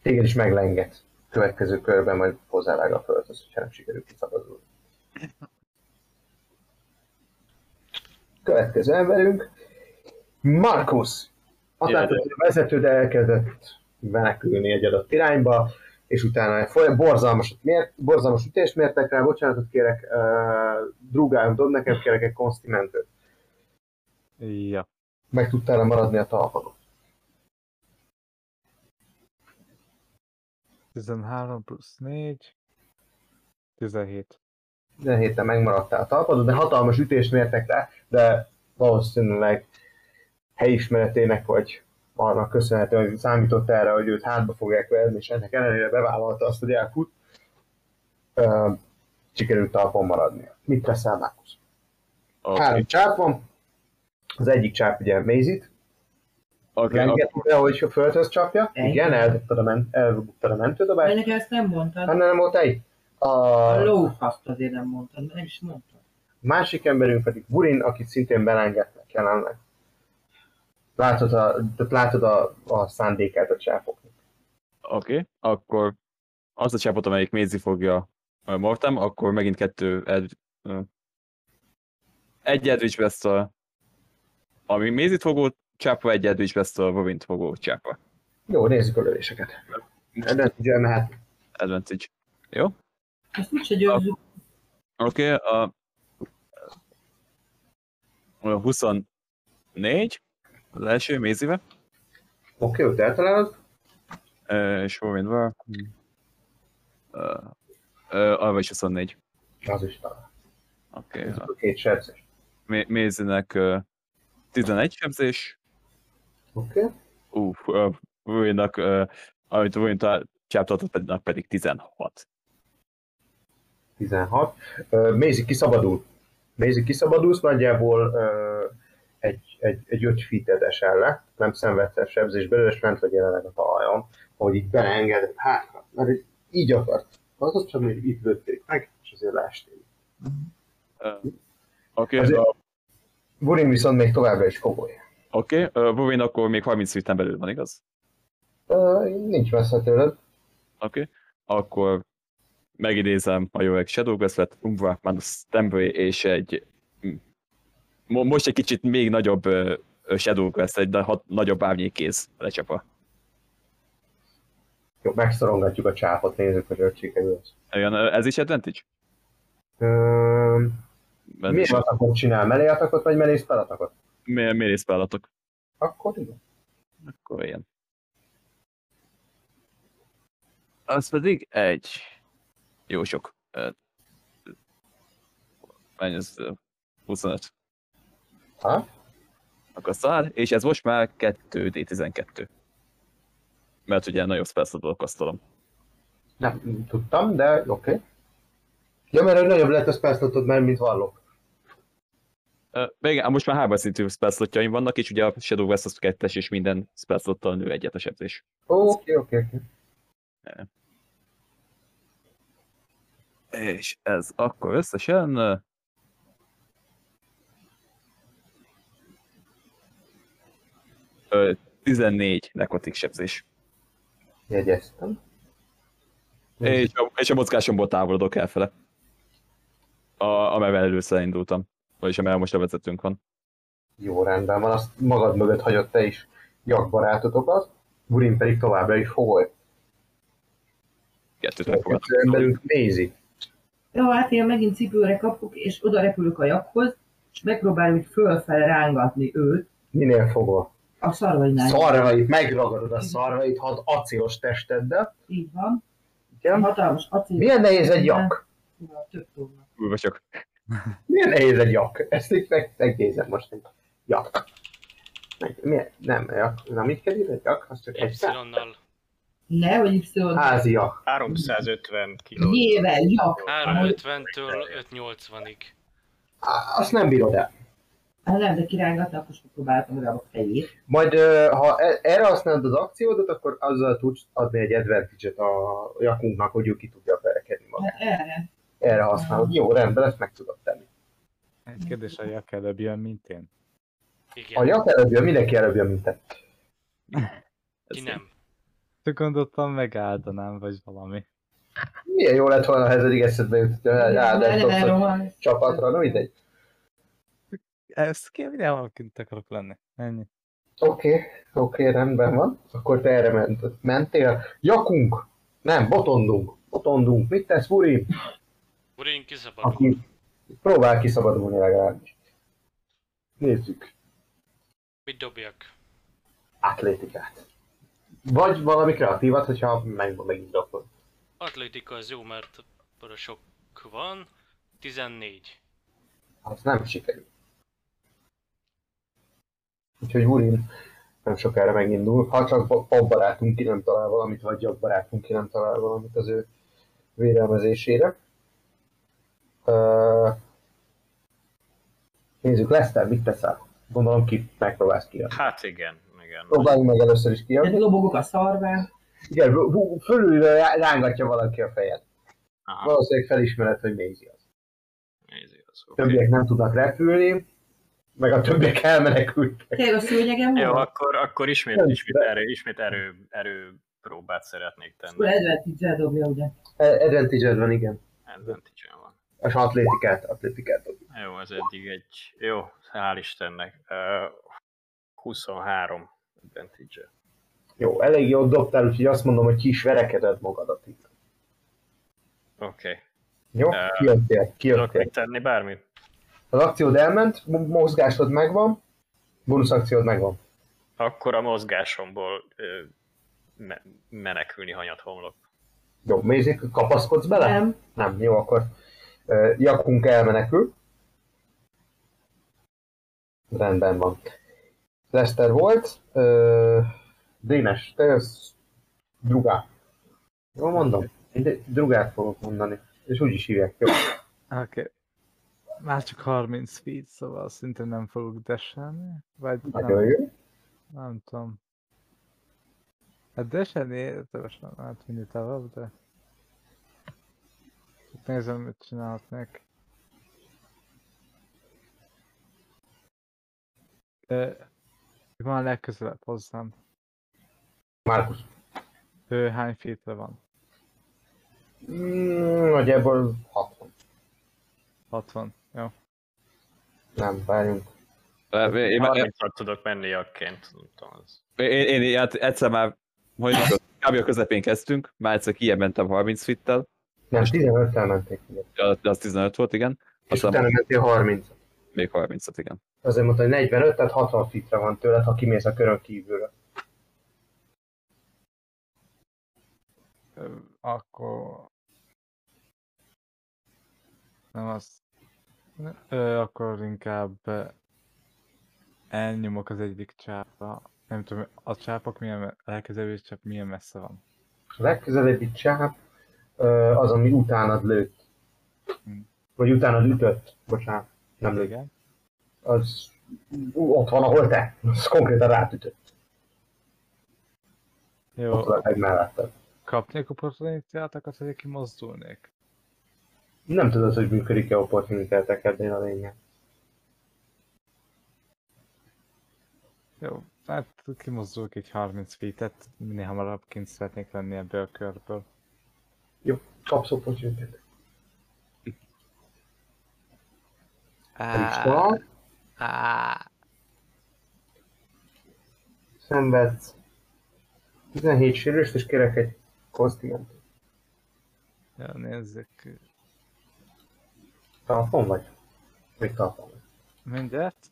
S1: Téged is meglenget. Következő körben majd hozzávág a földhöz, hogyha nem sikerül kiszabadulni. Következő emberünk, Markus. Hatát,
S5: Jaj,
S1: hogy a vezető, de elkezdett menekülni egy adott irányba, és utána egy folyam, borzalmas, mért, borzalmas ütést mértek rá, bocsánatot kérek, uh, drúgám, dob nekem, kérek egy konstimentőt.
S2: Ja.
S1: Meg tudtál maradni a talpadon.
S2: 13 plusz 4. 17.
S1: 17 héten megmaradtál a talpadon, de hatalmas ütést mértek rá, de valószínűleg helyismeretének vagy annak köszönhetően, hogy számított erre, hogy őt hátba fogják verni, és ennek ellenére bevállalta azt, hogy elfut. Ö, sikerült talpon maradnia. Mit teszel, Markus?
S5: Oké.
S1: Három csáp van, az egyik csáp ugye mézit,
S5: Oké,
S1: rengeteg, ahogy a földhöz csapja.
S9: Ennyi.
S1: Igen, elbuktad a, men- elbuktad a mentődobást.
S9: Ennek ezt nem mondtad.
S1: Hát nem volt egy.
S9: A
S1: A
S9: lófaszt azért nem mondtad, mert nem is mondtad.
S1: másik emberünk pedig Burin, akit szintén belengednek jelenleg. Látod a, tehát látod a, a szándékát a csápoknak.
S5: Oké, akkor azt a csápot, amelyik Mézi fogja ö, Mortem, akkor megint kettő ed... ö, egy Edwidge Bestal, ami Mézit fogó csápa, egy Edwidge Bestal, Robint fogó csápa.
S1: Jó, nézzük a lövéseket. Nem tudja, mehet.
S5: Advantage.
S9: Ezt úgyse győzzük.
S5: Oké, a... a 24, az első Mézivel,
S1: Oké, ott eltalálod.
S5: ö, és Robintval, ö, ö, arra is 24.
S1: Az is talál.
S5: Oké,
S1: Ez
S5: a
S1: a két sebzés.
S5: Mé- Mézinek ö, 11 sebzés,
S1: Oké.
S5: Ú, Ruinnak, amit Ruin csáptatott, pedig 16.
S1: 16. Ö, Mézi kiszabadul. Mézi kiszabadulsz, nagyjából ö, egy, egy, egy 5 feet-et esel le, nem szenvedsz el sebzés belőle, és lent vagy jelenleg a talajon, hogy így beleengedett hátra, mert így- így akart. Az az csak, hogy itt lőtték meg, és azért leestél.
S5: Oké,
S1: Azért-
S5: ö,
S1: Burin viszont még továbbra is fogolja.
S5: oké, ö, Ruin akkor még 30 feet belül van, igaz?
S1: Ö, nincs messze tőled.
S5: Oké, akkor megidézem a jó öreg Shadow Breath-et, Umbra, Manus Tembre, és egy mm, mo- most egy kicsit még nagyobb ö, ö, Shadow Breath, egy na- hat, nagyobb árnyékéz lecsapa.
S1: Jó, megszorongatjuk a csápot, nézzük, hogy hogy sikerül az.
S5: Olyan, ö, ez is advantage?
S1: Ö,
S5: Benne
S1: Milyen
S5: is-
S1: atakot csinál? Melé atakot, vagy melé atakot?
S5: mi- Mérész beállatok.
S1: Akkor igen.
S5: Akkor ilyen. Az pedig egy. Jó sok. Ö, Mennyi ez? Ö, 25.
S1: Ha?
S5: Akkor szár, és ez most már 2D12. Mert ugye nagyobb spellszabadok asztalom.
S1: Nem tudtam, de oké. Okay. Ja, mert hogy nagyobb lett a spellslotod, mert mint vallok.
S5: Ö, Igen, ám most már három szintű spellszlotjaim vannak, és ugye a Shadow West az 2 és minden spellszlottal nő egyet a sebzés.
S1: Oké, oké, oké.
S5: És ez akkor összesen... ö, ö, 14 nekotik sebzés.
S1: Jegyeztem.
S5: És a, és a mozgásomból távolodok elfele. A, amelyben először indultam. Vagyis amelyel most a vezetőnk van.
S1: Jó, rendben van, azt magad mögött hagyott te is jakbarátotokat, Burin pedig továbbra is fogoly.
S5: Kettőt
S1: Kettő
S5: megfogadtam.
S1: emberünk nézi.
S3: Jó, hát én megint cipőre kapok, és oda repülök a jakhoz, és megpróbálom így fölfele rángatni őt
S1: Minél fogol?
S3: a szarvainál.
S1: Szarvait, megragadod a szarvait, had acélos testeddel.
S3: Így van.
S1: Igen.
S3: Hatalmas acél.
S1: Milyen nehéz egy jak?
S3: Tudom, Több tónak.
S5: Kurva csak.
S1: Milyen nehéz egy jak? Ezt így meg, megnézem most. Egy jak. Meg, milyen? Nem, jak. Nem így kell írni, egy jak? Az csak egy szám.
S6: Y-nal.
S3: Ne, vagy Y.
S1: Házi jak.
S4: 350 kiló.
S3: Jével, jak.
S6: 350-től 580-ig.
S1: Á, Azt nem bírod el.
S3: Hát nem, de kirángatnak, akkor most próbáltam rá a fejét.
S1: Majd ö, ha e- erre használod az akciódat, akkor azzal tudsz adni egy advantage-et a jakunknak, hogy ő ki tudja perekedni magát.
S3: Hát erre.
S1: Erre használod. Jó, rendben, ezt meg tudod tenni.
S2: Egy kérdés, a jak előbb jön, mint én.
S6: Igen.
S1: A jak előbb jön, mindenki előbb jön, mint te.
S6: Ki nem.
S2: Csak gondoltam, megáldanám, vagy valami.
S1: Milyen jó lett volna, ha ez eddig eszedbe jutott, hogy áldást dobsz a
S3: elrohan.
S1: csapatra, no mindegy.
S2: Ezt ki mindenhol kint akarok lenni. Ennyi.
S1: Oké, okay, oké, okay, rendben van. Akkor te erre ment, mentél. Jakunk! Nem, botondunk. Botondunk. Mit tesz, Furi?
S6: Urin kiszabadul.
S1: Aki próbál kiszabadulni legalábbis. Nézzük.
S6: Mit dobjak?
S1: atlétikát. Vagy valami kreatívat, hogyha meg, megindokod.
S6: Atlétika az jó, mert arra sok van. 14.
S1: Az nem sikerül. Úgyhogy Urin nem sokára megindul. Ha csak bo- pop barátunk ki nem talál valamit, vagy jobb barátunk ki nem talál valamit az ő vérelmezésére. Ö, Nézzük, Lester, mit teszel? Gondolom ki, megpróbálsz ki.
S4: Hát igen, igen.
S1: Próbáljunk meg először is
S3: Hát
S1: ki.
S9: Én lobogok a szarván.
S1: Igen, bu- bu- fölülről rá- rángatja valaki a fejet.
S4: Aha,
S1: Valószínűleg felismered, hogy Mézi az.
S4: nézi az.
S1: A többiek nem tudnak repülni, meg a többiek elmenekültek.
S3: Tényleg a szőnyegem
S4: Jó,
S3: van?
S4: akkor, akkor ismét,
S1: Nem,
S4: ismét,
S1: de-
S4: erő, ismét erő, erő próbát szeretnék
S9: Akkor
S4: tenni.
S9: edventítsel dobja, ugye?
S1: E- Advantage van, igen.
S4: Advantage van.
S1: És atlétikát, atlétikát dobjuk.
S4: Jó, ez eddig egy... Jó, hál' Istennek. Ö, 23 advantage
S1: Jó, elég jól dobtál, úgyhogy azt mondom, hogy ki is verekeded magadat itt.
S4: Oké.
S1: Jó?
S4: Ö,
S1: Kijöttél,
S4: Tudok
S1: kijöttél.
S4: még tenni bármit?
S1: Az akciód elment, mo- mozgásod megvan, bonus akciód megvan.
S4: Akkor a mozgásomból ö, me- menekülni hanyat homlok.
S1: Jó, Mézik, kapaszkodsz bele?
S3: Nem.
S1: Nem, jó, akkor uh, Jakunk elmenekül. Rendben van. Lester volt. Uh, Dénes, te jössz. Drugá. Jól mondom? Én de- drugát fogok mondani. És úgy is hívják. Jó.
S2: Oké. Okay. Már csak 30 feet, szóval szinte nem fogok deselni. Vagy
S1: Nagyon
S2: nem,
S1: jó.
S2: nem tudom. Hát deselni értelmesen, hát mindig tovább, de... Itt nézem, mit csinálhatnék. Ö, Van legközelebb hozzám.
S1: Márkusz.
S2: Ő hány feetre van?
S1: Mm, nagyjából 60.
S2: 60. Jó.
S1: Nem, várjunk.
S5: Én, én, én,
S4: 36 tudok menni jakként. Nem tudom, az.
S5: én, én, én hát egyszer már, hogy mikor, kb. a közepén kezdtünk, már egyszer kijebb mentem 30 fittel,
S1: Nem, 15-tel menték. ugye.
S5: az- az 15 volt, igen,
S1: És
S5: aztán
S1: utána mentél 30
S5: még 30-at, igen.
S1: Azért mondta, hogy 45, tehát 60 fitre van tőled, ha kimész a körön kívülre.
S2: Ö, Akkor... Nem az... Ö, akkor inkább ö, elnyomok az egyik csápa. Nem tudom, a csápok milyen, me- a legközelebbi csáp milyen messze van.
S1: A legközelebbi csáp ö, az, ami utánad lőtt.
S2: Hm.
S1: Vagy utánad ütött. Bocsánat, nem lőtt.
S2: Igen.
S1: Az ú, ott van, ahol te. Az konkrétan rátütött.
S2: Jó,
S1: Ott van egy melletted.
S2: kapnék opportunitát, akkor azért kimozdulnék.
S1: Nem tudod, hogy működik-e opportunitáltak ebben a lényeg.
S2: Jó, hát kimozdulok így 30 feet-et, minél hamarabb kint szeretnék lenni ebből a körből.
S1: Kapsz opportunitát.
S2: Á, á.
S1: Szenvedsz. 17 sérülést, és kérek egy kosztiumt.
S2: Ja, nézzük.
S1: Talpon vagy? Még talpon vagy.
S2: Mindjárt.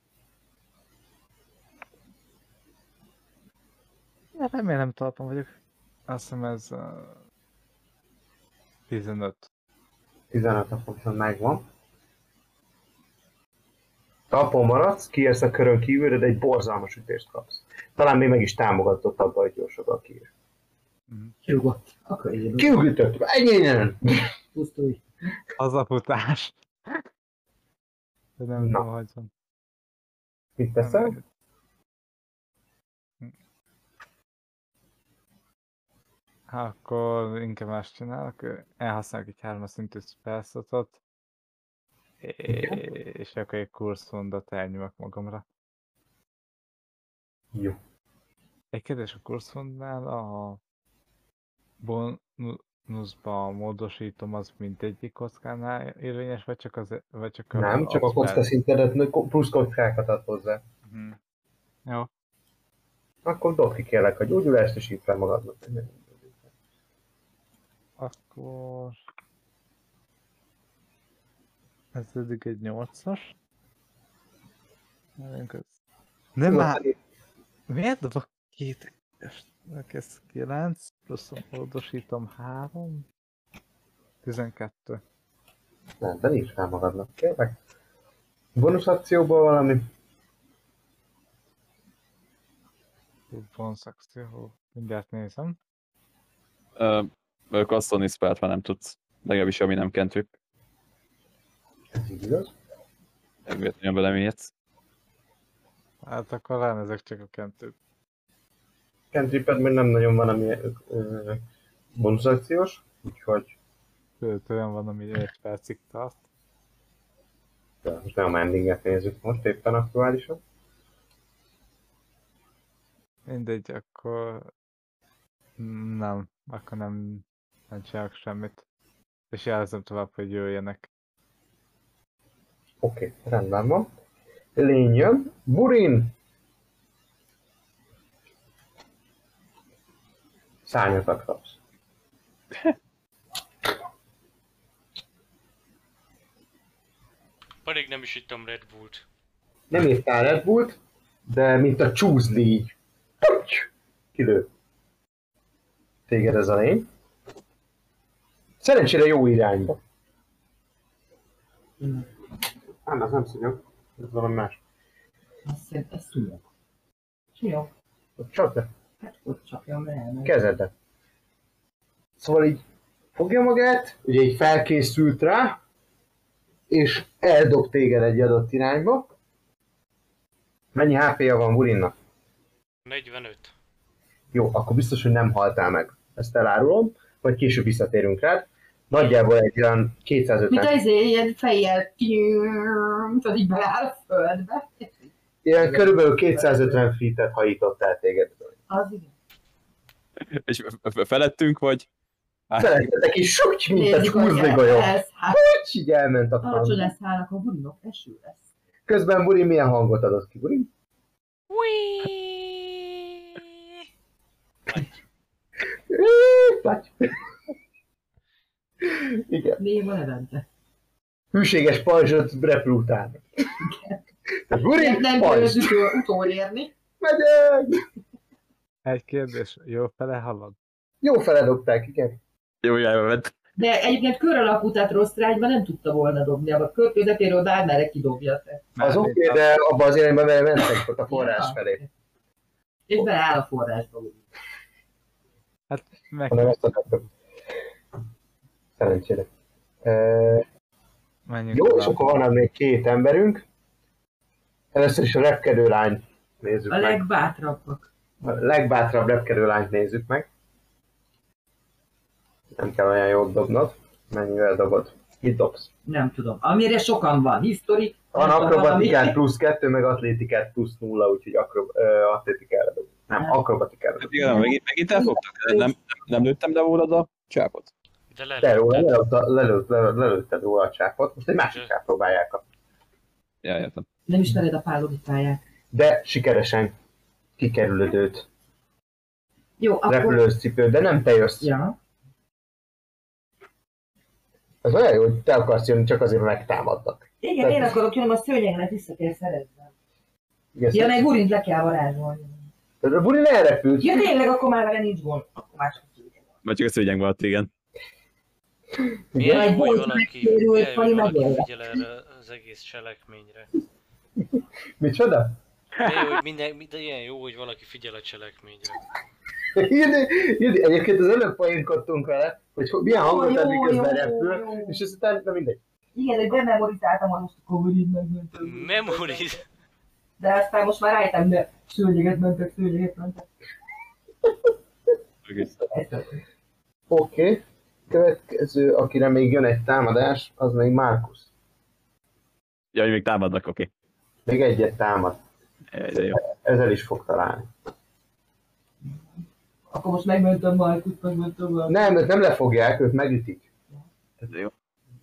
S2: Ja, remélem talpon vagyok. Azt hiszem ez a... 15.
S1: 15 a fontos megvan. Talpon maradsz, kiérsz a körön kívülre, de egy borzalmas ütést kapsz. Talán még meg is támogatott abba, hogy gyorsabban kiér.
S9: Kirugott. Akkor így
S1: Kiugütött! Ennyien!
S9: pusztulj.
S2: Az a futás. De nem
S1: Na.
S2: tudom, hogy van.
S1: Mit teszel?
S2: Hát Akkor inkább más csinálok. Elhasználok egy hármas szintű spellslotot. És akkor egy kurszmondat elnyomok magamra.
S1: Jó.
S2: Egy kérdés a kurszondnál a bonuszba módosítom az mindegyik kockánál érvényes, vagy csak, az, vagy csak a...
S1: Nem, csak a kocka szintedet nő- ko- plusz kockákat ad hozzá.
S2: Mhm. Jó,
S1: Akkor dobd ki kérlek a gyógyulást, és hívd fel magadnak.
S2: akkor... Ez eddig egy 8-as. Várjunk, ez- Nem már... Miért dobok két egyest? Neki Ez 9, plusz módosítom 3. 12.
S1: Nem, de írd fel magadnak, kérlek. Bonus akcióból valami?
S2: Bonus akció. Mindjárt nézem.
S5: Ö, Ö, Castoni spelt már nem tudsz, legalábbis ami nem kentük.
S1: Ez így igaz.
S5: Nem véletlenül belemélyedsz.
S2: Hát akkor ránézek csak a kentőt.
S1: Cantriped még nem nagyon van, ami ö, bonusakciós, úgyhogy
S2: Tőlem van, ami egy percig tart.
S1: de most nem a endinget nézzük most éppen aktuálisan.
S2: Mindegy, akkor... Nem, akkor nem, nem csinálok semmit. És jelzem tovább, hogy jöjjenek.
S1: Oké, okay, rendben van. Lény jön. Burin! Szárnyakat kapsz.
S6: Pedig nem is ittam Red Bull-t.
S1: Nem írtál Red Bullt, de mint a csúszli így. Puty! Kilő. Téged ez a lény. Szerencsére jó irányba. Nem, ez nem szúnyog. Ez valami más.
S3: Azt szerintem ez szúnyog. Szúnyog?
S1: Csak te
S3: Hát ott csapjam el. meg.
S1: kezedet. Szóval így fogja magát, ugye így felkészült rá, és eldob téged egy adott irányba. Mennyi HP-ja van Burinnak?
S6: 45.
S1: Jó, akkor biztos, hogy nem haltál meg. Ezt elárulom, vagy később visszatérünk rád. Nagyjából egy olyan
S3: Mint
S1: 250,
S3: az izé, ilyen fejjel, tudod, így beáll a földbe.
S1: ilyen körülbelül 250 feet-et hajított el téged.
S3: Az igen.
S5: És f- f- felettünk, vagy?
S1: Felettetek is sok, mint egy
S3: Nézzük, hogy
S1: húzligolyó.
S3: ez, hát,
S1: Hogy így elment a
S3: alacsony
S1: fan.
S3: lesz hálnak, a burinok eső lesz.
S1: Közben Burin milyen hangot adott ki, Burin? Vagy. Igen.
S3: Néma nevente.
S1: Hűséges pajzsot repül utána. Guri,
S3: Nem, nem
S1: pajzs!
S3: győzzük ő utolérni.
S1: Megyek!
S2: Egy kérdés, jó fele halad?
S1: Jó feledobták, igen.
S5: Jó irányba ment.
S3: De egyébként kör alakú, tehát rossz rágyban nem tudta volna dobni, a kör közepéről bármerre kidobja. Tehát.
S1: Az oké, okay, de abban az irányban mert mentek ott a forrás felé.
S3: És beleáll a forrásba.
S2: Hát, Meg,
S1: Hanem ezt akartam. Szerencsére. E,
S2: menjünk
S1: jó, és
S2: tovább.
S1: akkor van még két emberünk. Először is a repkedő lányt nézzük
S3: A
S1: meg.
S3: legbátrabbak.
S1: A legbátrabb repkedő lányt nézzük meg. Nem kell olyan jót dobnod. Mennyivel dobod? Mit dobsz?
S3: Nem tudom. Amire sokan van. History.
S1: Van
S3: nem tudom,
S1: akrobatikát
S3: valami.
S1: plusz kettő, meg atlétikát plusz nulla, úgyhogy akro, ö, atlétikára dob. Nem, akrobatikára dob.
S5: Hát igen, megint, megint elfogtak. Nem, nem, nem lőttem le volna a csápot.
S6: De
S1: De róla
S6: lelőtted.
S1: lelőtt- lelőtt- lelőtt- lelőtted róla a csápot, most egy másikát próbálják kapni.
S5: Ja, értem.
S3: Nem ismered a pálogitáját.
S1: De sikeresen kikerülöd őt.
S3: Jó, akkor...
S1: Repülős cipő, de nem te jössz.
S3: Ja.
S1: Ez olyan jó, hogy te akarsz jönni, csak azért mert megtámadnak.
S3: Igen, én akarok jönni, a szőnyegnek visszatér szerezve.
S1: Igen,
S3: Ja,
S1: szóval-
S3: meg Gurint le kell varázsolni.
S1: A Buri elrepült.
S3: Ja, tényleg, akkor már vele nincs gond. Akkor már csak szőnyeg.
S5: Már csak a szőnyeg maradt, igen.
S6: Milyen
S3: Meg
S6: jó, hogy
S3: volt
S6: valaki,
S3: megtérő,
S6: milyen jó,
S3: Pali
S6: hogy valaki
S3: megérte.
S6: figyel erre az egész cselekményre.
S1: Micsoda?
S6: De, jó, hogy minden, de ilyen jó, hogy valaki figyel a cselekményre.
S1: Írni, írni. Egyébként az előbb poénkodtunk vele, hogy ho- milyen hangot
S3: Jó,
S1: ad,
S3: jó,
S1: miközben
S3: jó,
S1: repül,
S3: jó.
S1: és aztán, na mindegy.
S3: Igen, hogy bememorizáltam, hogy most akkor Gurint megment.
S6: Memoriz...
S3: De aztán most már rájöttem, de szőnyeget mentett, szőnyeget mentett.
S1: Oké. Okay. Következő, akire még jön egy támadás, az még Márkusz.
S5: Ja, hogy még támadnak, oké.
S1: Még egyet támad.
S5: Jaj, de jó.
S1: Ezzel is fog találni.
S3: Akkor most megmentem Markut, megmentem Markut.
S1: Nem, őt nem lefogják, őt megütik.
S5: Ez jó.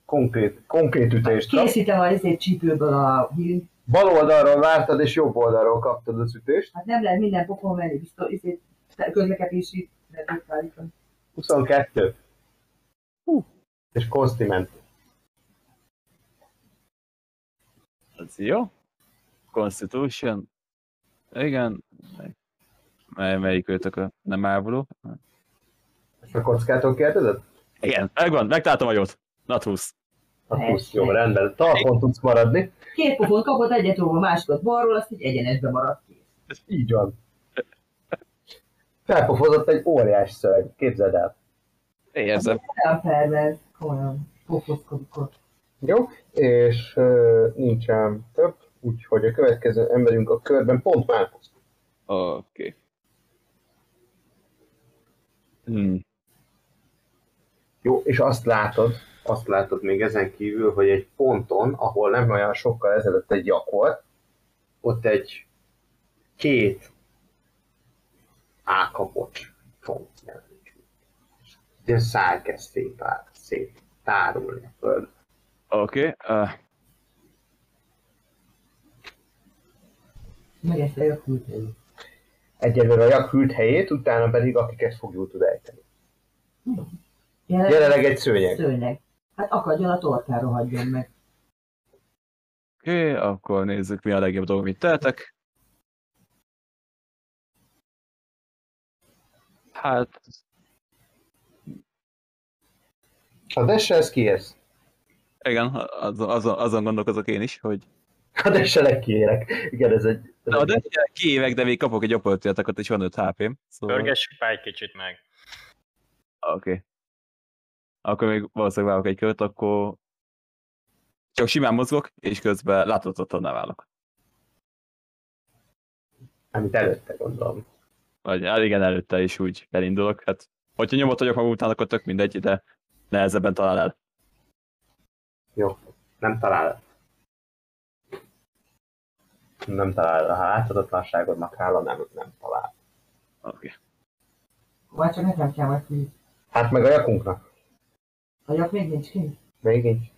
S1: Konkrét, konkrét ütést kap.
S3: Készítem a ezért csípőből a hírt.
S1: Bal oldalról vártad, és jobb oldalról kaptad az ütést.
S3: Hát nem lehet minden pofon menni, biztos ezért közlekedési rendőrt állítani.
S1: 22. Hú. És konstiment.
S5: Ez jó. Constitution. Igen. Mely, melyik őtök a nem ávuló?
S1: A kockától kérdezed?
S5: Igen, megvan, megtaláltam a jót. Nat 20.
S1: A 20, jó, rendben. Talpon tudsz maradni.
S3: Két pofon kapott, egyet róla, másikat balról, azt így egyenesbe maradt ki.
S1: Ez így van. Felpofozott egy óriás szörny, képzeld el.
S5: Érzem.
S3: Olyan pervers, komolyan pofozkodik ott.
S1: Jó, és ö, nincsen több, úgyhogy a következő emberünk a körben pont Márkusz.
S5: Oké. Hmm.
S1: Jó, és azt látod, azt látod még ezen kívül, hogy egy ponton, ahol nem olyan sokkal ezelőtt egy jak volt, ott egy két ákapocs font jelenik. De szárkez szép, áll, szép tárulni a föld.
S5: Oké. ah,
S3: Meg ezt a küldhely.
S1: Egyelőre a jak hűlt helyét, utána pedig akiket fogjul tud ejteni.
S3: Jelenleg,
S1: Jelenleg egy szőnyeg.
S3: Szőnyeg. Hát akadjon a torkára, hagyjon meg.
S5: Oké, akkor nézzük, mi a legjobb dolog, amit tehetek. Hát,
S1: A desse ez kiérsz.
S5: igen, az, azon, azon gondolkozok én is, hogy
S1: A desse kiérek. Igen, ez egy... Ez
S5: Na,
S1: egy-
S5: de kiévek, de még kapok egy opportunity attackot, és van 5 HP-m. Szóval... Oké.
S4: Pörgessük már egy kicsit meg.
S5: Okay. Akkor még valószínűleg válok egy kört, akkor csak simán mozgok, és közben láthatatlanná válok.
S1: Amit előtte gondolom.
S5: Vagy hát igen, előtte is úgy elindulok. Hát, hogyha nyomot vagyok magam után, akkor tök mindegy, de nehezebben talál el.
S1: Jó. Nem talál. Nem talál. Ha láthatatlanságodnak hála, nem, nem talál.
S5: Oké. Okay.
S3: Már csak nekem kell majd ki.
S1: Hát meg a jakunknak.
S3: Hagyjak még nincs kint.
S1: Még így.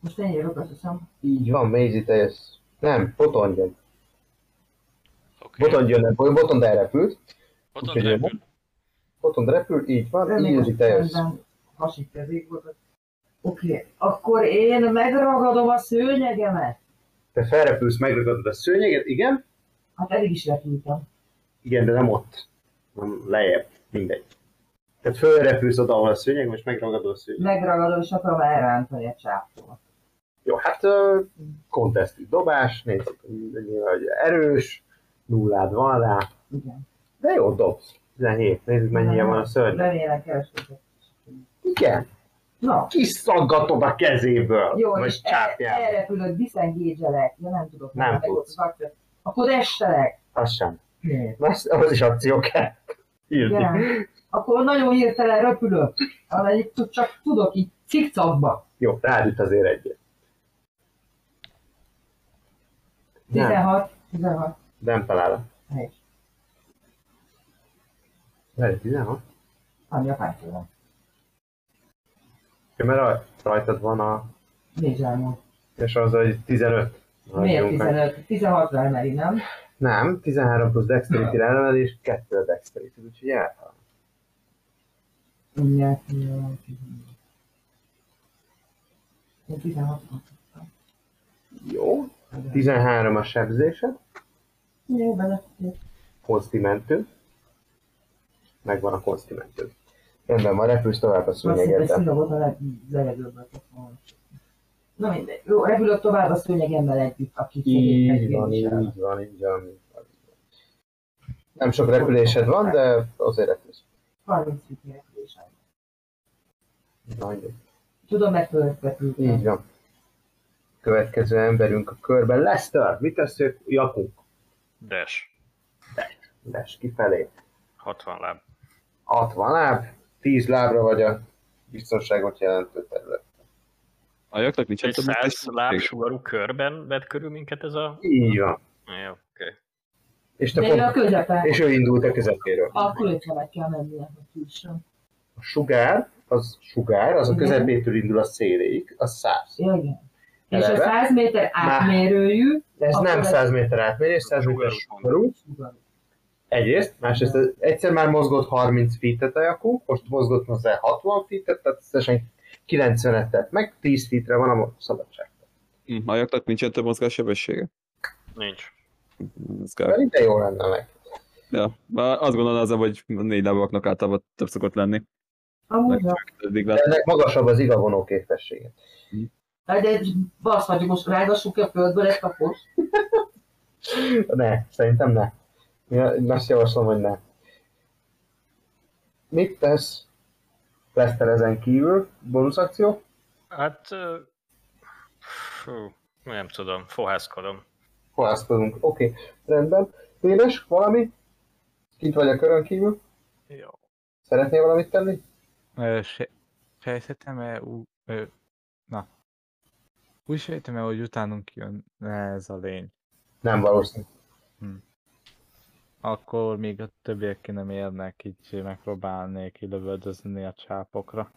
S3: Most én jövök, azt hiszem.
S1: Így van, Mézi, te jössz. Nem, Boton jön.
S6: Oké.
S1: Boton jön, nem, Boton de repült.
S6: Boton
S1: Úgyhogy
S6: repül.
S1: Boton de repül, így van, így
S3: Reméljük,
S1: Mézi, te jössz.
S3: közben Hasít ezért volt. Oké, akkor én megragadom a szőnyegemet.
S1: Te felrepülsz, megragadod a szőnyeget, igen,
S3: Hát eddig is repültem.
S1: Igen, de nem ott, hanem lejjebb, mindegy. Tehát fölrepülsz oda, ahol a szőnyeg, most megragadod a szőnyeg.
S3: Megragadom, és akarom elrántani a csápot.
S1: Jó, hát ö, konteszti dobás, nézzük, nyilván, hogy erős, nullád van rá,
S3: Igen.
S1: de jó dobsz. 17, nézzük mennyire van a szörny.
S3: Remélem kereskedek.
S1: Igen,
S3: Na,
S1: kiszaggatod a kezéből,
S3: jó,
S1: vagy
S3: és e- el,
S1: csápját.
S3: elrepülök, disengage-elek. Ja, nem tudok.
S1: Nem
S3: meg
S1: tudsz.
S3: ott az akció. Akkor estelek.
S1: Az sem.
S3: Miért?
S1: Az, az is akció kell. Írni.
S3: Igen. Akkor nagyon hirtelen röpülök, amelyik tud- csak tudok így cikcakba.
S1: Jó, rád itt azért egyet. Nem,
S3: 16, 16.
S1: nem találom.
S3: Helyes.
S1: Lehet 16?
S3: Ami a pályában.
S1: Ja, Mert raj- rajtad van a
S3: Nincs elmúlt.
S1: És az, hogy 15.
S3: Miért
S1: Vagyunk, hát-
S3: 15? 16-ra emeli, nem?
S1: Nem, 13 plusz dexterity ráemelés, 2 a dexterity, úgyhogy általán.
S3: Mindjárt, mindjárt. Én 16 kaptam.
S1: Jó. 13 a sebzésed,
S3: Jó, bele.
S1: konstimentő. Megvan a konstimentő. Rendben van, repülsz tovább a
S3: Azt hiszem, hogy
S1: szőnyegeddel.
S3: szína volt a leg- legjobb volna. Na mindegy. Jó, repülök tovább a szőnyegemmel együtt, aki
S1: Így
S3: segít
S1: van, így
S3: nekem
S1: van, így van, így van. így van. Nem sok repülésed van, de azért repülsz.
S3: 30 fut repülés.
S1: Na, így-
S3: Tudom, mert fölrepültem.
S1: Így van. Következő emberünk a körben. Lester, mit teszünk? Jakunk.
S4: Des.
S1: Lesz kifelé.
S4: 60 láb.
S1: 60 láb, 10 hát lábra vagy a biztonságot jelentő terület.
S5: A jaknak nincs
S4: Egy
S5: több mint
S4: 100
S5: még.
S4: lábsugarú körben vett körül minket ez a...
S1: Így van.
S4: Jó, oké.
S1: És, te
S3: De én a
S1: pont,
S3: közepen.
S1: és ő indult a közepéről.
S3: A kulcslevet kell hát mennie, hogy jusson.
S1: A sugár, az sugár, az a
S3: Igen.
S1: közepétől indul a széléig, az 100.
S3: Ja, Igen. És a
S1: Eleve?
S3: 100 méter átmérőjű,
S1: De ez
S3: Akkor
S1: nem
S3: ez-
S1: 100 méter átmérés, 100 méter
S4: Sugarú.
S1: sugarú.
S3: sugarú.
S1: Egyrészt, másrészt ez- egyszer már mozgott 30 feet-et a jakú, most mozgott hozzá 60 feet-et, tehát összesen 90-et tett meg, 10 feet-re van a mo- szabadság.
S5: Hm, A jaknak nincsen több mozgássebessége.
S4: Nincs.
S5: Ez kár.
S1: Pedig de jó lenne meg.
S5: Ja, már azt gondolom az, hogy négy lábaknak általában több szokott lenni.
S3: Amúgy
S5: Meg-
S3: van.
S5: Eddig
S1: De
S5: lát.
S1: ennek magasabb az igavonó képessége.
S3: Hát de basz vagyok, most rágassuk ki a földből ezt a kos.
S1: Ne, szerintem ne. Én azt javaslom, hogy ne. Mit tesz Lester ezen kívül, bónusz akció.
S4: Hát... ö, Fú, nem tudom, fohászkodom.
S1: Halászkodunk. Oké, rendben. Véres, valami? Kint vagy a körön kívül?
S4: Jó.
S1: Szeretnél valamit tenni?
S2: Ö, se- Sejtettem-e, ú- ö, na, úgy sejtem-e, hogy utánunk jön ez a lény.
S1: Nem valószínű.
S2: Akkor még a többiek ki nem érnek, így megpróbálnék kilövöldözni a csápokra.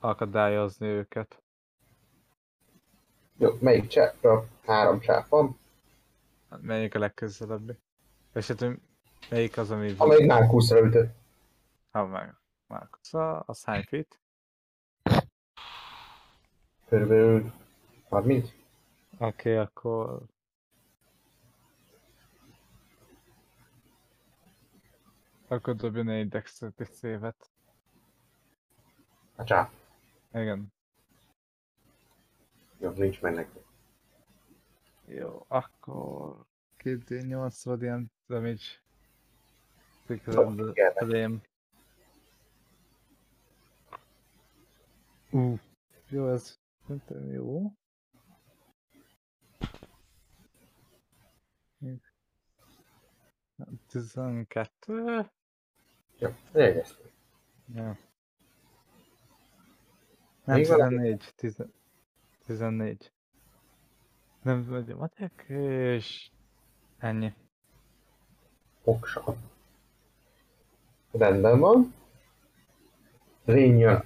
S2: Akadályozni őket.
S1: Jó, melyik csápra? Három csáp van.
S2: Hát Melyik a legközelebbi? És hát hogy melyik az, ami...
S1: Amelyik Nárkuszra ütött.
S2: Ha meg... Marcus, a, az hány feet?
S1: Körülbelül 30.
S2: Oké, okay, akkor... Akkor dobjon egy dexterity szévet.
S1: A csáp.
S2: Igen.
S1: Jobb nincs meg neki.
S2: Jó, akkor... 2D8 vagy ilyen damage.
S1: Szokni
S2: Tüköröm
S1: kell neki.
S2: elém. Ú, jó ez. Szerintem jó. Tizenkettő?
S1: Jó, jegyeztük.
S2: Ja. Nem,
S1: Még valaki?
S2: 14, 10, 14. Nem vagyok matek, és ennyi.
S1: Oksa. Rendben van. Lény jön.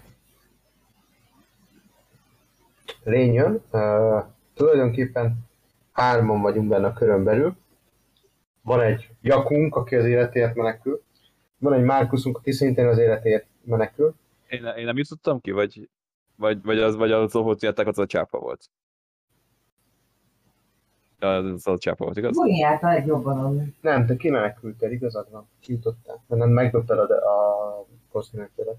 S1: Lény jön. Uh, tulajdonképpen hárman vagyunk benne a körön belül. Van egy Jakunk, aki az életért menekül. Van egy Márkuszunk, aki szintén az életért menekül.
S5: Én, én nem jutottam ki, vagy, vagy, vagy az, vagy az ahol jöttek, az a csápa volt. Ja, Az a csápa volt, igaz?
S3: Buri állt a legjobban ami.
S1: Nem, te kimenekültél, igazad van. Kijutottál. Nem, megdobtad a, a kosztinőtödet.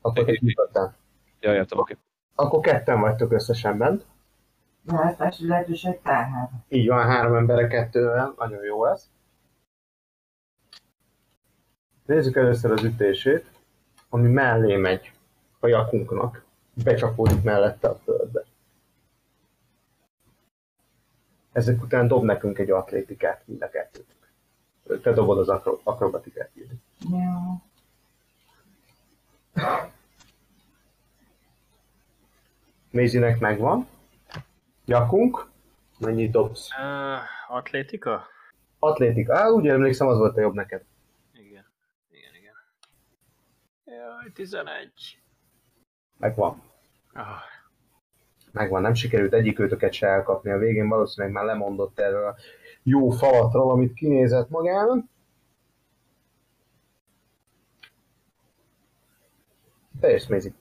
S1: Akkor te kijutottál.
S5: Ja, értem, oké.
S1: Akkor ketten vagytok összesen bent.
S3: Választási lehetőség tárház.
S1: Így van, három embere kettővel, nagyon jó lesz. Nézzük először az ütését, ami mellé megy a jakunknak. Becsapódik mellette a földbe. Ezek után dob nekünk egy atlétikát mind a kettőtök. Te dobod az akro- akrobatikát. Ildi.
S3: Jó.
S1: Mézinek megvan. Jakunk, mennyit dobsz?
S4: Uh, atlétika?
S1: Atlétika. Á, úgy emlékszem, az volt a jobb neked.
S4: Igen. Igen, igen. Jaj, 11.
S1: Megvan.
S4: Ah,
S1: megvan, nem sikerült egyik őtöket se elkapni a végén, valószínűleg már lemondott erről a jó falatról, amit kinézett magának. Teljes mézik.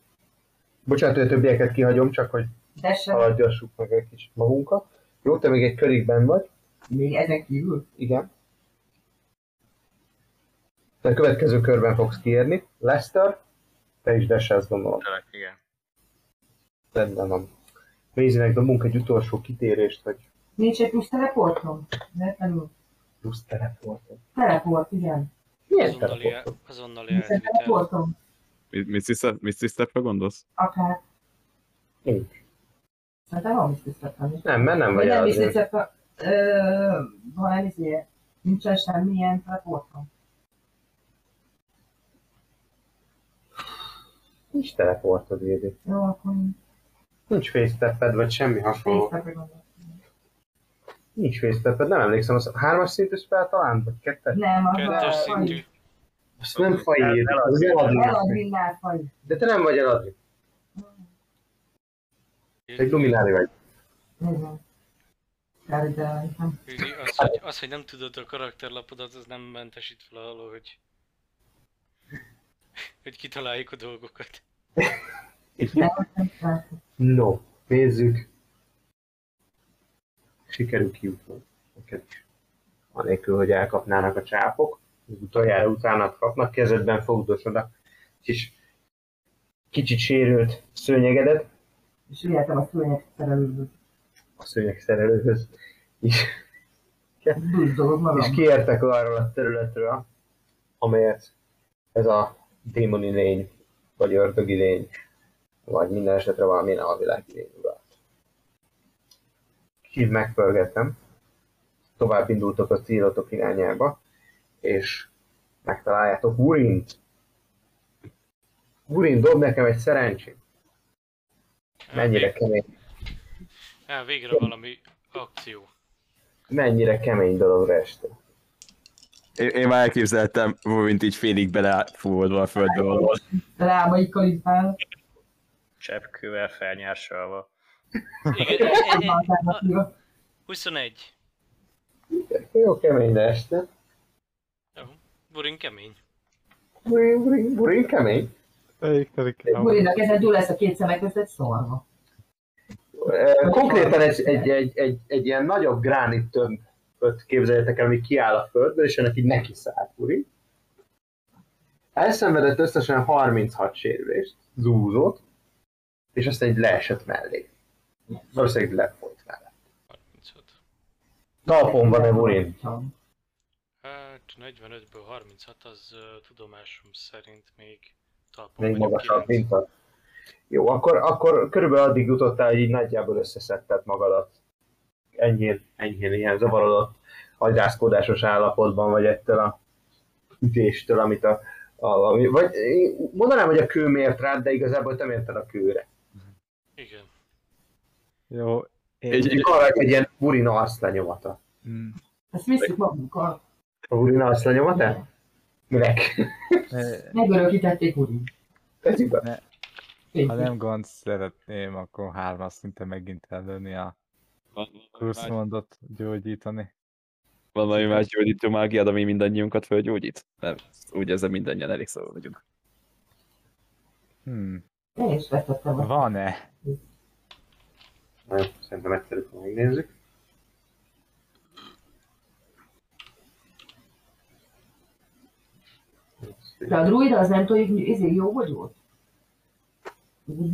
S1: Bocsánat, hogy a többieket kihagyom, csak hogy
S3: De se,
S1: haladjassuk meg egy kicsit magunkat. Jó, te még egy körig benn vagy,
S3: még ezen kívül.
S1: igen. Te a következő körben fogsz kiérni. Lester, te is deselsz, gondolom.
S4: tényleg, igen.
S1: Rendben van. Mézinek dobunk egy utolsó kitérést, hogy
S3: Nincs egy plusz teleportom? Véletlenül.
S1: plusz teleportot.
S3: Teleport, igen.
S1: Milyen
S6: Azonnali, el,
S1: teleportot?
S6: azonnali
S3: Viszont
S6: elvitel.
S3: teleportom?
S5: Mi- Mr. Step- Mr. Stepre gondolsz?
S3: Akár.
S1: Nincs.
S3: Szerintem van biztosítatlan is.
S1: Nem, mert nem vagy
S3: Nem
S1: az.
S3: is egyszer, a- ö, van ezért. Nincsen semmilyen teleportom.
S1: Nincs teleportod, Édi.
S3: Jó, akkor
S1: Nincs fésztepped, vagy semmi hasonló.
S3: részletre gondolok.
S1: Nincs fésztepped, nem emlékszem. Az hármas szintű spell talán, vagy kettes?
S3: Nem, az a
S6: Kettes
S3: faj.
S6: szintű.
S1: Azt nem faj Édi, az eladni.
S3: Eladvinnál faj.
S1: De te nem vagy eladni. Egy luminári vagy.
S3: Igen. De, de, nem.
S6: Üdi, az, hogy, az, hogy nem tudod a karakterlapodat, az nem mentesít fel alól, hogy, hogy kitaláljuk a dolgokat.
S1: No, nézzük. Sikerül kijutnunk. Neked is. Anélkül, hogy elkapnának a csápok. Az Utoljára utána kapnak, kezedben fogdosod a kis kicsit sérült szőnyegedet,
S3: És üljetem a szőnyeg szerelőből.
S1: a szőnyeg szerelőhöz, és
S3: Bűz dolog
S1: és
S3: magam.
S1: kiértek arról a területről, amelyet ez a démoni lény vagy ördögi lény, vagy minden esetre valamilyen alvilági lény urat. Kicsit megpörgettem, tovább indultok a célotok irányába, és megtaláljátok Urint. Urin, dob nekem egy szerencsét. Mennyire kemény,
S6: Á, végre valami akció.
S1: mennyire kemény dologra este.
S5: Én, én már elképzeltem, mint így félig belefúvodva a földbe valahol.
S3: Lábai kalipál.
S4: Cseppkővel felnyársalva.
S6: Igen, e- e- e- a- 21.
S1: Jó kemény este.
S6: Burin kemény.
S1: Burin, burin, burin kemény.
S2: Elég telik el.
S3: Burinak ez egy jó lesz a két szemek között szorva.
S1: Ö, Konkrétan egy, egy, egy, egy, egy ilyen nagyobb gránit tömböt képzeljetek el, ami kiáll a földből, és ennek így neki száll Uri. Elszenvedett összesen 36 sérülést, zúzott, és azt egy leesett mellé. Valószínűleg lefolyt vele.
S6: 36.
S1: Talpon van-e Urin?
S6: Hát 45-ből 36 az ö, tudomásom szerint még talpon
S1: Még
S6: vagyok,
S1: magasabb,
S6: kilenc.
S1: mint a... Jó, akkor, akkor körülbelül addig jutottál, hogy így nagyjából összeszedted magadat. Enyhén, enyhén ilyen zavarodott, agyrázkódásos állapotban vagy ettől a ütéstől, amit a, a ami, vagy én mondanám, hogy a kő mért rád, de igazából te mérted a kőre.
S6: Igen.
S2: Jó,
S5: Egy, egy,
S1: Arra egy ilyen urina arclenyomata.
S2: mm,
S3: Ezt visszük magunkkal.
S1: A urina arclenyomata? Minek?
S2: e,
S3: Megörökítették Buri.
S1: Tetszik be?
S2: ha nem gond szeretném, akkor hármas szinte megint előni a kurszmondot gyógyítani.
S5: Van valami más gyógyító mágiád, ami mindannyiunkat fölgyógyít? Nem, úgy ezzel mindannyian elég szóval vagyunk.
S2: Hmm,
S3: Én is vetettem a
S2: van-e?
S1: Na, Szerintem egyszerű, ha megnézzük.
S3: De a druida az nem tudja, hogy izé jó vagy volt? Tudod,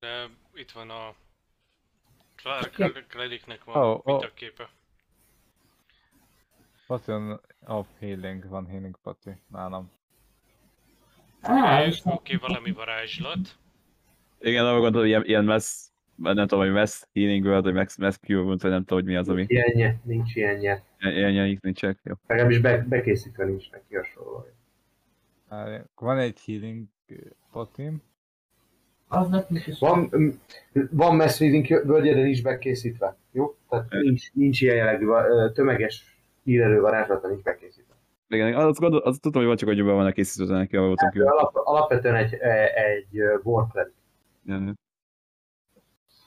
S6: De itt van a Clark Crediknek van
S2: Ó,
S6: oh,
S2: ó.
S6: oh. a képe.
S2: Potion of healing, van healing poti nálam.
S3: Á,
S6: Oké,
S3: és nem.
S6: okay, valami varázslat.
S5: Igen, arra gondolom, ilyen, ilyen mess, nem tudom, hogy mess healing world, vagy mess, mess cure world, vagy nem tudom, hogy mi az, ami
S1: Ilyenje, nincs ilyenje.
S5: ilyen, ilyen nincsenek. Jó.
S1: Legalábbis be, bekészítve nincs neki hasonló.
S2: Várj, Van egy healing eh, potim.
S3: Az nekünk is.
S1: Van, m- van mass reading völgye, de nincs bekészítve. Jó? Tehát nincs, nincs ilyen jellegű va- ö, tömeges hírerő varázslata, nincs bekészítve.
S5: Igen, azt, gondol, azt tudtam, hogy van csak, hogy be van a készítőző neki, ahol voltam
S1: Ő
S5: kívül.
S1: alap, alapvetően egy, e- egy ö, war cleric.
S5: Igen.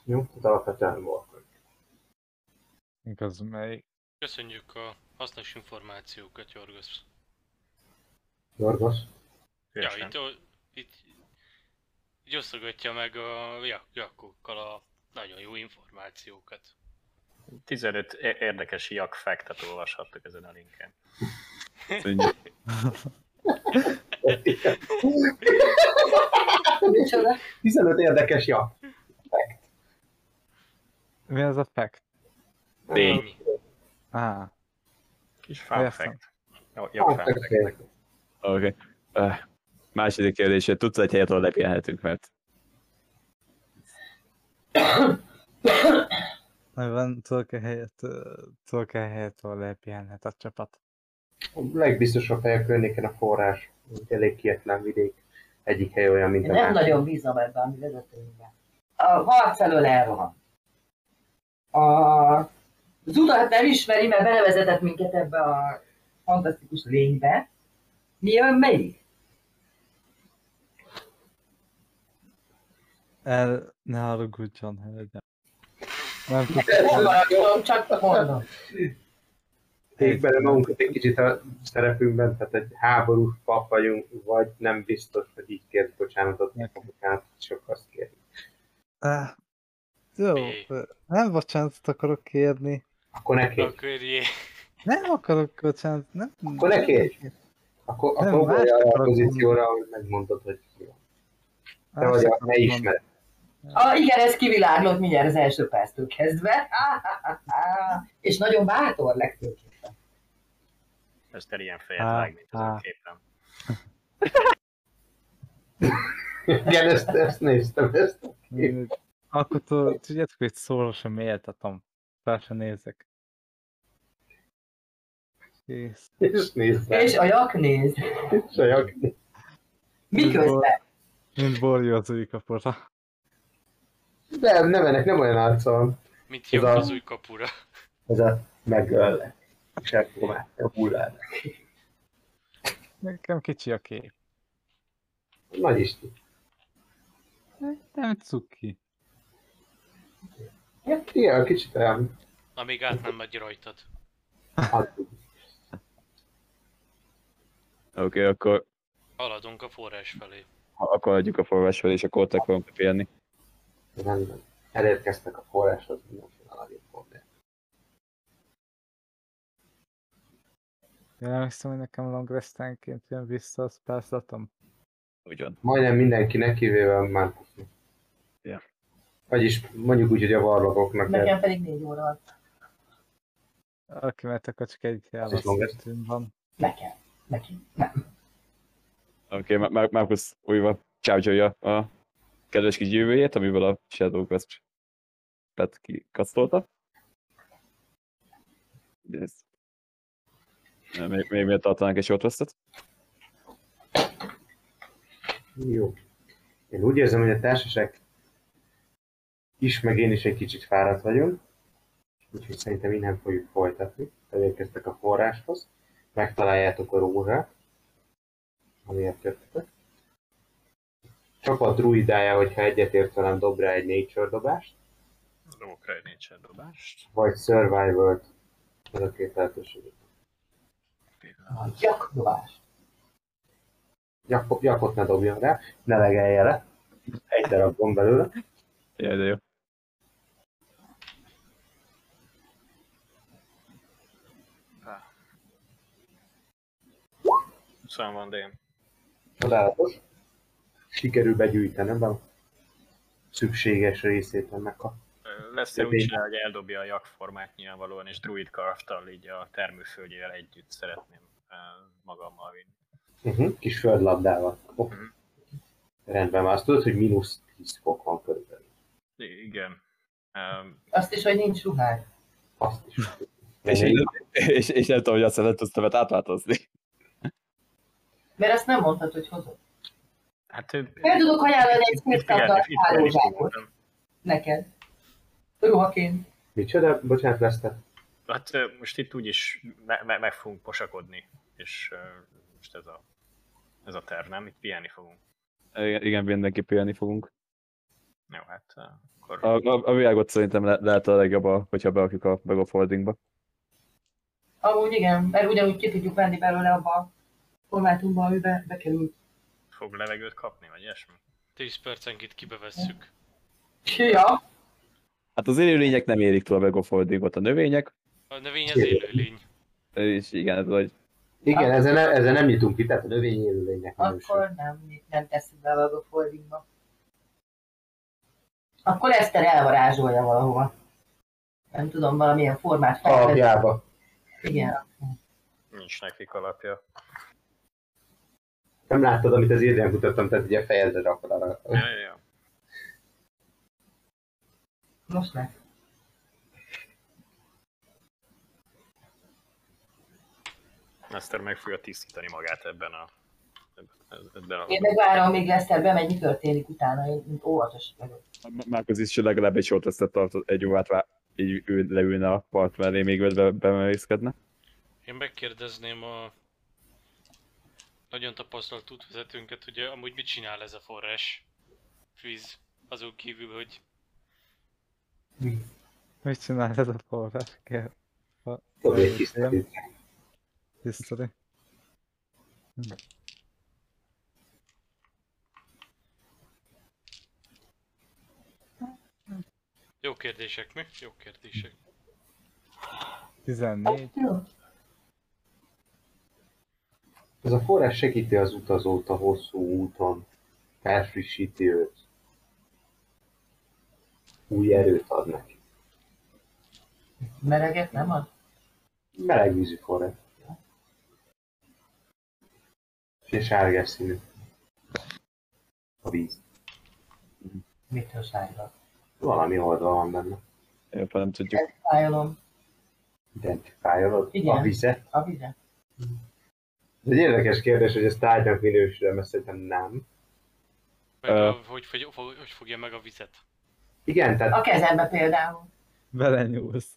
S1: Jó? Tehát alapvetően war cleric.
S2: Mink az melyik?
S6: Köszönjük a hasznos információkat, Jorgos.
S1: Jorgos.
S6: Ja,
S4: Különösen.
S6: itt, o- itt így osztogatja meg a jak- jakokkal a nagyon jó információkat.
S4: 15 é- érdekes jakfektet olvashattok ezen a linken.
S5: Szóval így-
S9: Micsoda?
S1: 15 érdekes, ja.
S2: Mi az a fact? Ah,
S5: Tény.
S6: Ennyi.
S2: Á,
S4: Kis
S2: Értem.
S4: fun fact. Ja-
S1: Hát,
S4: Jakfektek.
S5: Oké. Ah, Második kérdése, tudsz egy helyet, ahol lepihenhetünk, mert
S2: van tudok-e helyet, ö, tudok-e helyet, ahol lepihenhet a csapat?
S1: A legbiztosabb hely a környéken a forrás. Egy Elég kietlen vidék. Egyik hely olyan, mint
S9: Én
S1: a
S9: nem
S1: másik.
S9: nagyon bízom ebben a mi vezetőnkben. A harc elől elrohan. A az utat nem ismeri, mert belevezetett minket ebbe a fantasztikus lénybe. Mi jön melyik?
S2: El, ne haragudjon, hölgyem. Nem
S9: Nem
S2: tudtam,
S9: maradom, csak mondom.
S1: Tegyük bele magunkat egy kicsit a szerepünkben, tehát egy háborús pap vagyunk, vagy nem biztos, hogy így kért bocsánatot, nem bocsánatot, csak azt kér.
S2: Áh, jó,
S6: Mi?
S2: ö, nem bocsánatot akarok kérni.
S1: Akkor ne kérj.
S6: Akkor jé.
S2: Nem akarok bocsánatot, nem.
S1: Akkor ne kérj. Akkor,
S2: Nem,
S1: akkor
S2: más
S1: ugorj arra a
S2: akarok
S1: pozícióra, ahol megmondod, hogy mi van. Te vagy a ne ismered.
S9: Ah, igen, ez kiviláglott mindjárt az első perctől kezdve. Ah, ah, ah, ah. És nagyon bátor legfőképpen.
S4: Ezt el ilyen fejet
S2: Á,
S4: vágni
S2: á.
S4: képen.
S1: Igen, ezt, ezt néztem, ezt.
S2: Ö, Akkor tudod- tudjátok, hogy szóra sem méltatom. Fel sem nézek. Kész.
S1: Ezt néztem.
S9: És a jak néz.
S1: Sajak.
S9: Miközben?
S2: Mint borjózói kapora.
S1: Nem, nem ennek nem olyan arca van.
S6: Mint
S1: Ez
S6: jobb
S1: a-
S6: az új kapura.
S1: Ez a megöllek. És elpróbálja a hullát.
S2: Nekem kicsi a kép.
S1: Nagy is.
S2: Nem cuki.
S1: Hát, Igen, kicsit olyan. hát,
S6: Amíg át nem megy rajtad.
S1: addig.
S5: Oké, okay, akkor,
S6: Haladunk a forrás felé.
S5: akkor adjuk a forrás fel, és akkor ott akarunk félni.
S1: Rendben. Elérkeztek a forráshoz mindenféle alagébb forrás.
S2: Én emlékszem, hogy nekem long restenként jön vissza a spászlatom.
S5: Ugyan.
S1: Majdnem mindenkinek, kivéve a Mánkusnak.
S5: Ja.
S1: Vagyis mondjuk úgy, hogy a varlagoknak. de-
S9: Nekem pedig négy óra az.
S2: Aki mert a kacska egy
S1: is long rest.
S2: elvasztőn van.
S9: Nekem. Nekem. Nem.
S5: Oké, okay, Mar- Markus újra csábgyolja a kedves kis jövőjét, amivel a Shadow Quest tehát kikasztolta. Ugye ez- Még, még miért tartanánk egy short restet?
S1: Jó. Én úgy érzem, hogy a társaság is, meg én is egy kicsit fáradt vagyunk, úgyhogy szerintem innen fogjuk folytatni. Elérkeztek a forráshoz, megtaláljátok a rózsát, amiért jöttetek. Csapat druidája, hogyha egyetért velem, dob rá egy nature dobást,
S4: Lókra egy nincsen dobást.
S1: vagy survival-t, ez a két lehetőség.
S9: A gyakdobás.
S1: Gyakot, gyakot ne dobjon rá, ne legelje le, egy darab van belőle.
S5: Jaj, de jó.
S4: Szóval van DM.
S1: Csodálatos. Sikerül begyűjtenem a szükséges részét ennek a...
S4: Ö, Lesz úgy
S1: Oké.
S4: csinál, hogy eldobja a jakformát nyilvánvalóan, és druid karftal így a termőföldjével együtt szeretném ö, magammal vinni.
S1: Uh-huh. Kis földlabdával. Oh.
S4: Mhm.
S1: Rendben van, azt tudod, hogy mínusz 10 fok van körülbelül.
S4: I- Igen. Ö,
S9: Azt is, hogy nincs ruhád.
S1: Azt is.
S5: És,
S1: Ennyi.
S5: és, és, nem tudom, hogy azt lehet tudtam átváltozni.
S9: Mert azt nem mondtad, hogy hozod.
S4: Hát ő...
S9: Fel tudok ajánlani egy
S4: Itt figyelni-
S9: szétkapdalt
S4: itt figyelni
S9: hálózsákot
S4: fogtam.
S9: neked. Ruhaként.
S1: Micsoda? Bocsánat, Lester.
S4: Hát ö, most itt úgyis me- me- meg fogunk posakodni, és ö, most ez a, ez a terv, nem? Itt pihenni fogunk.
S5: Igen, igen mindenképp élni fogunk.
S4: Jó, hát ö, akkor...
S5: A, a, a világot szerintem le, lehet a legjobb, a- hogyha berakjuk a bag of holdingba.
S9: Amúgy igen, mert ugyanúgy ki tudjuk venni belőle abba a formátumba, amiben bekerül.
S4: Fog levegőt kapni, vagy ilyesmi?
S6: 10 percenként kibevesszük.
S9: Ja,
S5: Hát az élőlények nem érik túl a bag of holdingot, a növények,
S6: A növény az élőlény.
S5: és igen, ez vagy
S1: Igen, ezzel nem, ezzel nem jutunk ki, tehát a növény élőlénynek minősül.
S9: akkor nem, nem teszünk be a foldingba. Akkor Eszter elvarázsolja valahova. Nem tudom, valamilyen formát felvett.
S1: Alapjába.
S9: Igen.
S4: Nincs nekik alapja.
S1: Nem láttad, amit az írján kutattam, tehát ugye fejedre rakod arra.
S4: Ja, ja, ja.
S9: Most meg.
S4: Eszter meg fogja tisztítani magát ebben a... ebben- Ebben a...
S9: Én meg várom, még Eszter bemegy, mi történik utána, én mint óvatos vagyok.
S5: Márkusz is legalább egy short restet tartott, egy órát vár, így ő leülne a part mellé, még ötbe bemerészkedne.
S6: Én megkérdezném a nagyon tapasztalt útvezetőnket, ugye amúgy mit csinál ez a forrás víz azon kívül, hogy
S2: Mit csinál ez a forrás? Kell.
S1: Tudod, hogy tisztítjuk.
S2: History.
S6: jó kérdések mi? Jó kérdések.
S2: 14.
S1: Ez a forrás segíti az utazót a hosszú úton, felfrissíti őt, új erőt ad neki.
S9: Mereget nem ad?
S1: Meleg vízű forrás. És sárgás színű.
S10: a víz.
S9: Mitől szájra?
S10: Valami oldal van benne.
S5: Éppen nem tudjuk.
S9: Fájolom.
S10: Identifikálod
S9: Igen.
S10: a vizet.
S9: A vizet.
S1: Ez egy érdekes kérdés, hogy ez tárgynak minősül, mert szerintem nem.
S6: Vagy
S5: Ö.
S6: a- hogy, fogy- fo- hogy fogja meg a vizet.
S1: Igen, tehát
S9: A kezembe például.
S5: Vele nyúlsz.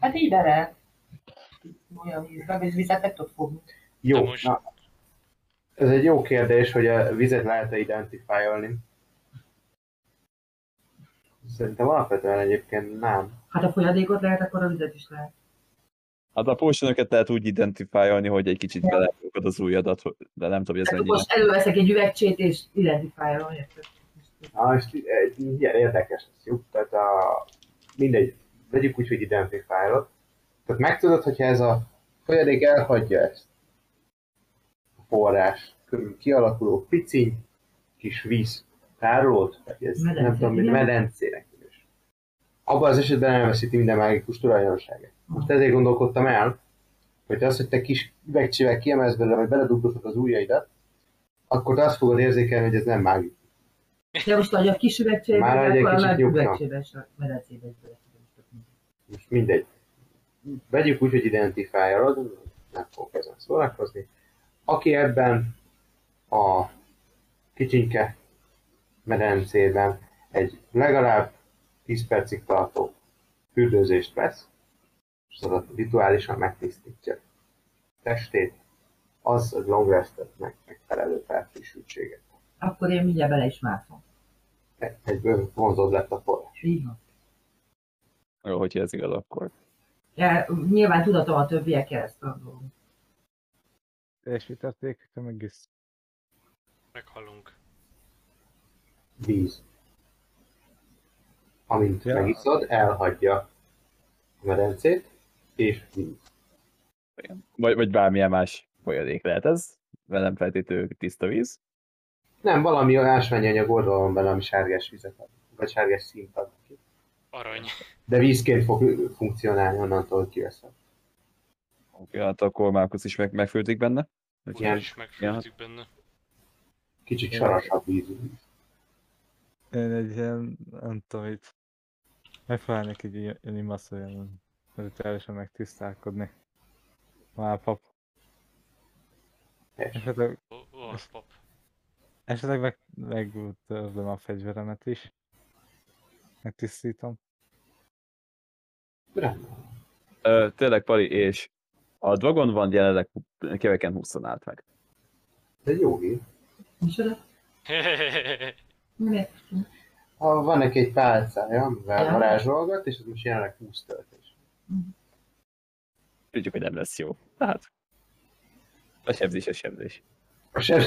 S9: Hát így bele. Olyan vízbe, és vizet meg tud fogni.
S6: De
S1: jó.
S6: most-
S1: Na, ez egy jó kérdés, hogy a vizet lehet-e identifikálni. Szerintem alapvetően egyébként nem.
S3: Hát a folyadékot lehet, akkor a vizet is lehet.
S5: Hát a potionokat lehet úgy identifikálni, hogy egy kicsit belerakod az újadat, hogy- de nem tudom, hogy ez
S3: Tehát
S5: mennyire.
S3: Hát most előveszek egy üvegcsét és identifikálom, érted?
S1: Na, és eh, egy ilyen érdekes lesz, jó? Tehát a, mindegy, vegyük úgy, hogy identifikálod. Tehát megtudod, hogyha ez a folyadék elhagyja ezt a forrás körül kialakuló piciny kis víz tárolót, vagy ez nem
S3: Medence,
S1: tudom, mint
S3: igen.
S1: medencének is. Abban az esetben elveszíti minden mágikus tulajdonságát. Most ezért gondolkodtam el, hogy az, hogy te kis üvegcsével kiemelsz belőle, vagy beledugdosod az ujjaidat, akkor te azt fogod érzékelni, hogy ez nem mágikus.
S3: De most, hogy a kis üvegcsébe,
S1: Már egy
S3: akkor a
S1: kicsit
S3: nagy
S1: nyugtam.
S3: üvegcsébe és a medencébe is bele tudom rakni.
S1: most mindegy. Vegyük úgy, hogy identifálod, nem fogok ezen szórakozni. Aki ebben a kicsinke medencében egy legalább 10 percig tartó fürdőzést vesz, és az rituálisan megtisztítja testét, az a long rest-nek megfelelő felfrissültséget.
S3: Akkor én mindjárt bele is mászom.
S1: Egyből vonzod lett a forrás.
S3: Így van.
S5: Jó, hogyha ez igaz, akkor.
S3: Ja, nyilván tudatom a többiek ezt a dolgot.
S2: És mit tették, te meg is
S6: Meghallunk.
S1: víz. Amint
S2: Ja.
S1: megiszod, elhagyja a medencét, és víz.
S5: Vagy, vagy bármilyen más folyadék lehet ez. Velem feltétlenül tiszta víz.
S1: Nem, valami ásványanyag oldal van bele, ami sárgás vizet ad, vagy sárgás színt ad neki.
S6: Arany.
S1: De vízként fog funkcionálni onnantól, hogy kiveszed.
S5: Oké, hát akkor Márkusz is meg, megfődik benne.
S1: Igen.
S6: Ugyan is megfőztük benne.
S1: Kicsit
S2: Ja.
S1: sarasabb víz.
S2: Én egy ilyen, nem tudom, itt megpróbálnék egy ilyen ilyen imasz, olyan rituálisan megtisztálkodni. Már pap.
S1: Helyes.
S2: Esetleg,
S6: Ó, ó, az pap.
S2: esetleg meg, megtörlöm a fegyveremet is. Megtisztítom.
S1: Rendben.
S5: Ö, tényleg, Pali, és a Dragon van jelenleg keveken 20 állt meg.
S1: Ez egy jó víz.
S3: Micsoda? Miért?
S1: Ha van neki egy pálcája, amivel
S3: Ja.
S1: varázsolgat, és ez most jelenleg 20 töltés.
S5: Tudjuk, hogy nem lesz jó. Tehát. A sebzés, a sebzés.
S1: A seb...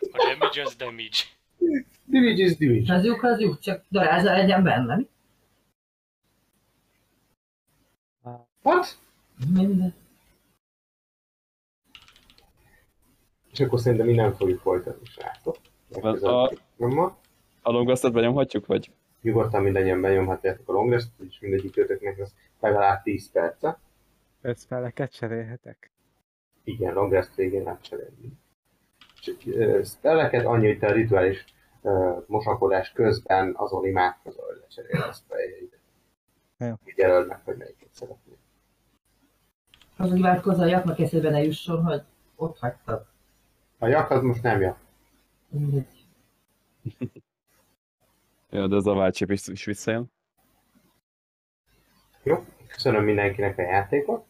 S6: A damage az damage.
S1: Divage is divage.
S3: Az lyuk, az lyuk, csak darázsa legyen benne. mi?
S1: What?
S3: Minden.
S1: És akkor szerintem mi nem fogjuk folytatni, srácok. Legközelebb programmal.
S5: A longasztat benyomhatjuk, vagy?
S1: nyugodtan mindannyian benyomhatjátok a longest, és mindegyikőtöknek lesz legalább 10 perce.
S2: Öt spelleket cserélhetek?
S1: Igen, longest végén nem cserélni. Csak ö, spelleket annyi, hogy te a rituális ö, mosakodás közben azon imádkozol, hogy lecserél a spelljeidet.
S2: Jó.
S1: Így jelöld meg, hogy melyiket szeretnél.
S3: Az imádkozza a jaknak eszébe ne jusson, hogy ott hagytad.
S1: A jak az most nem jak.
S3: Mindegy.
S5: Ja, de az a váltsép is, is visszajön.
S1: Jó? Köszönöm mindenkinek a játékot.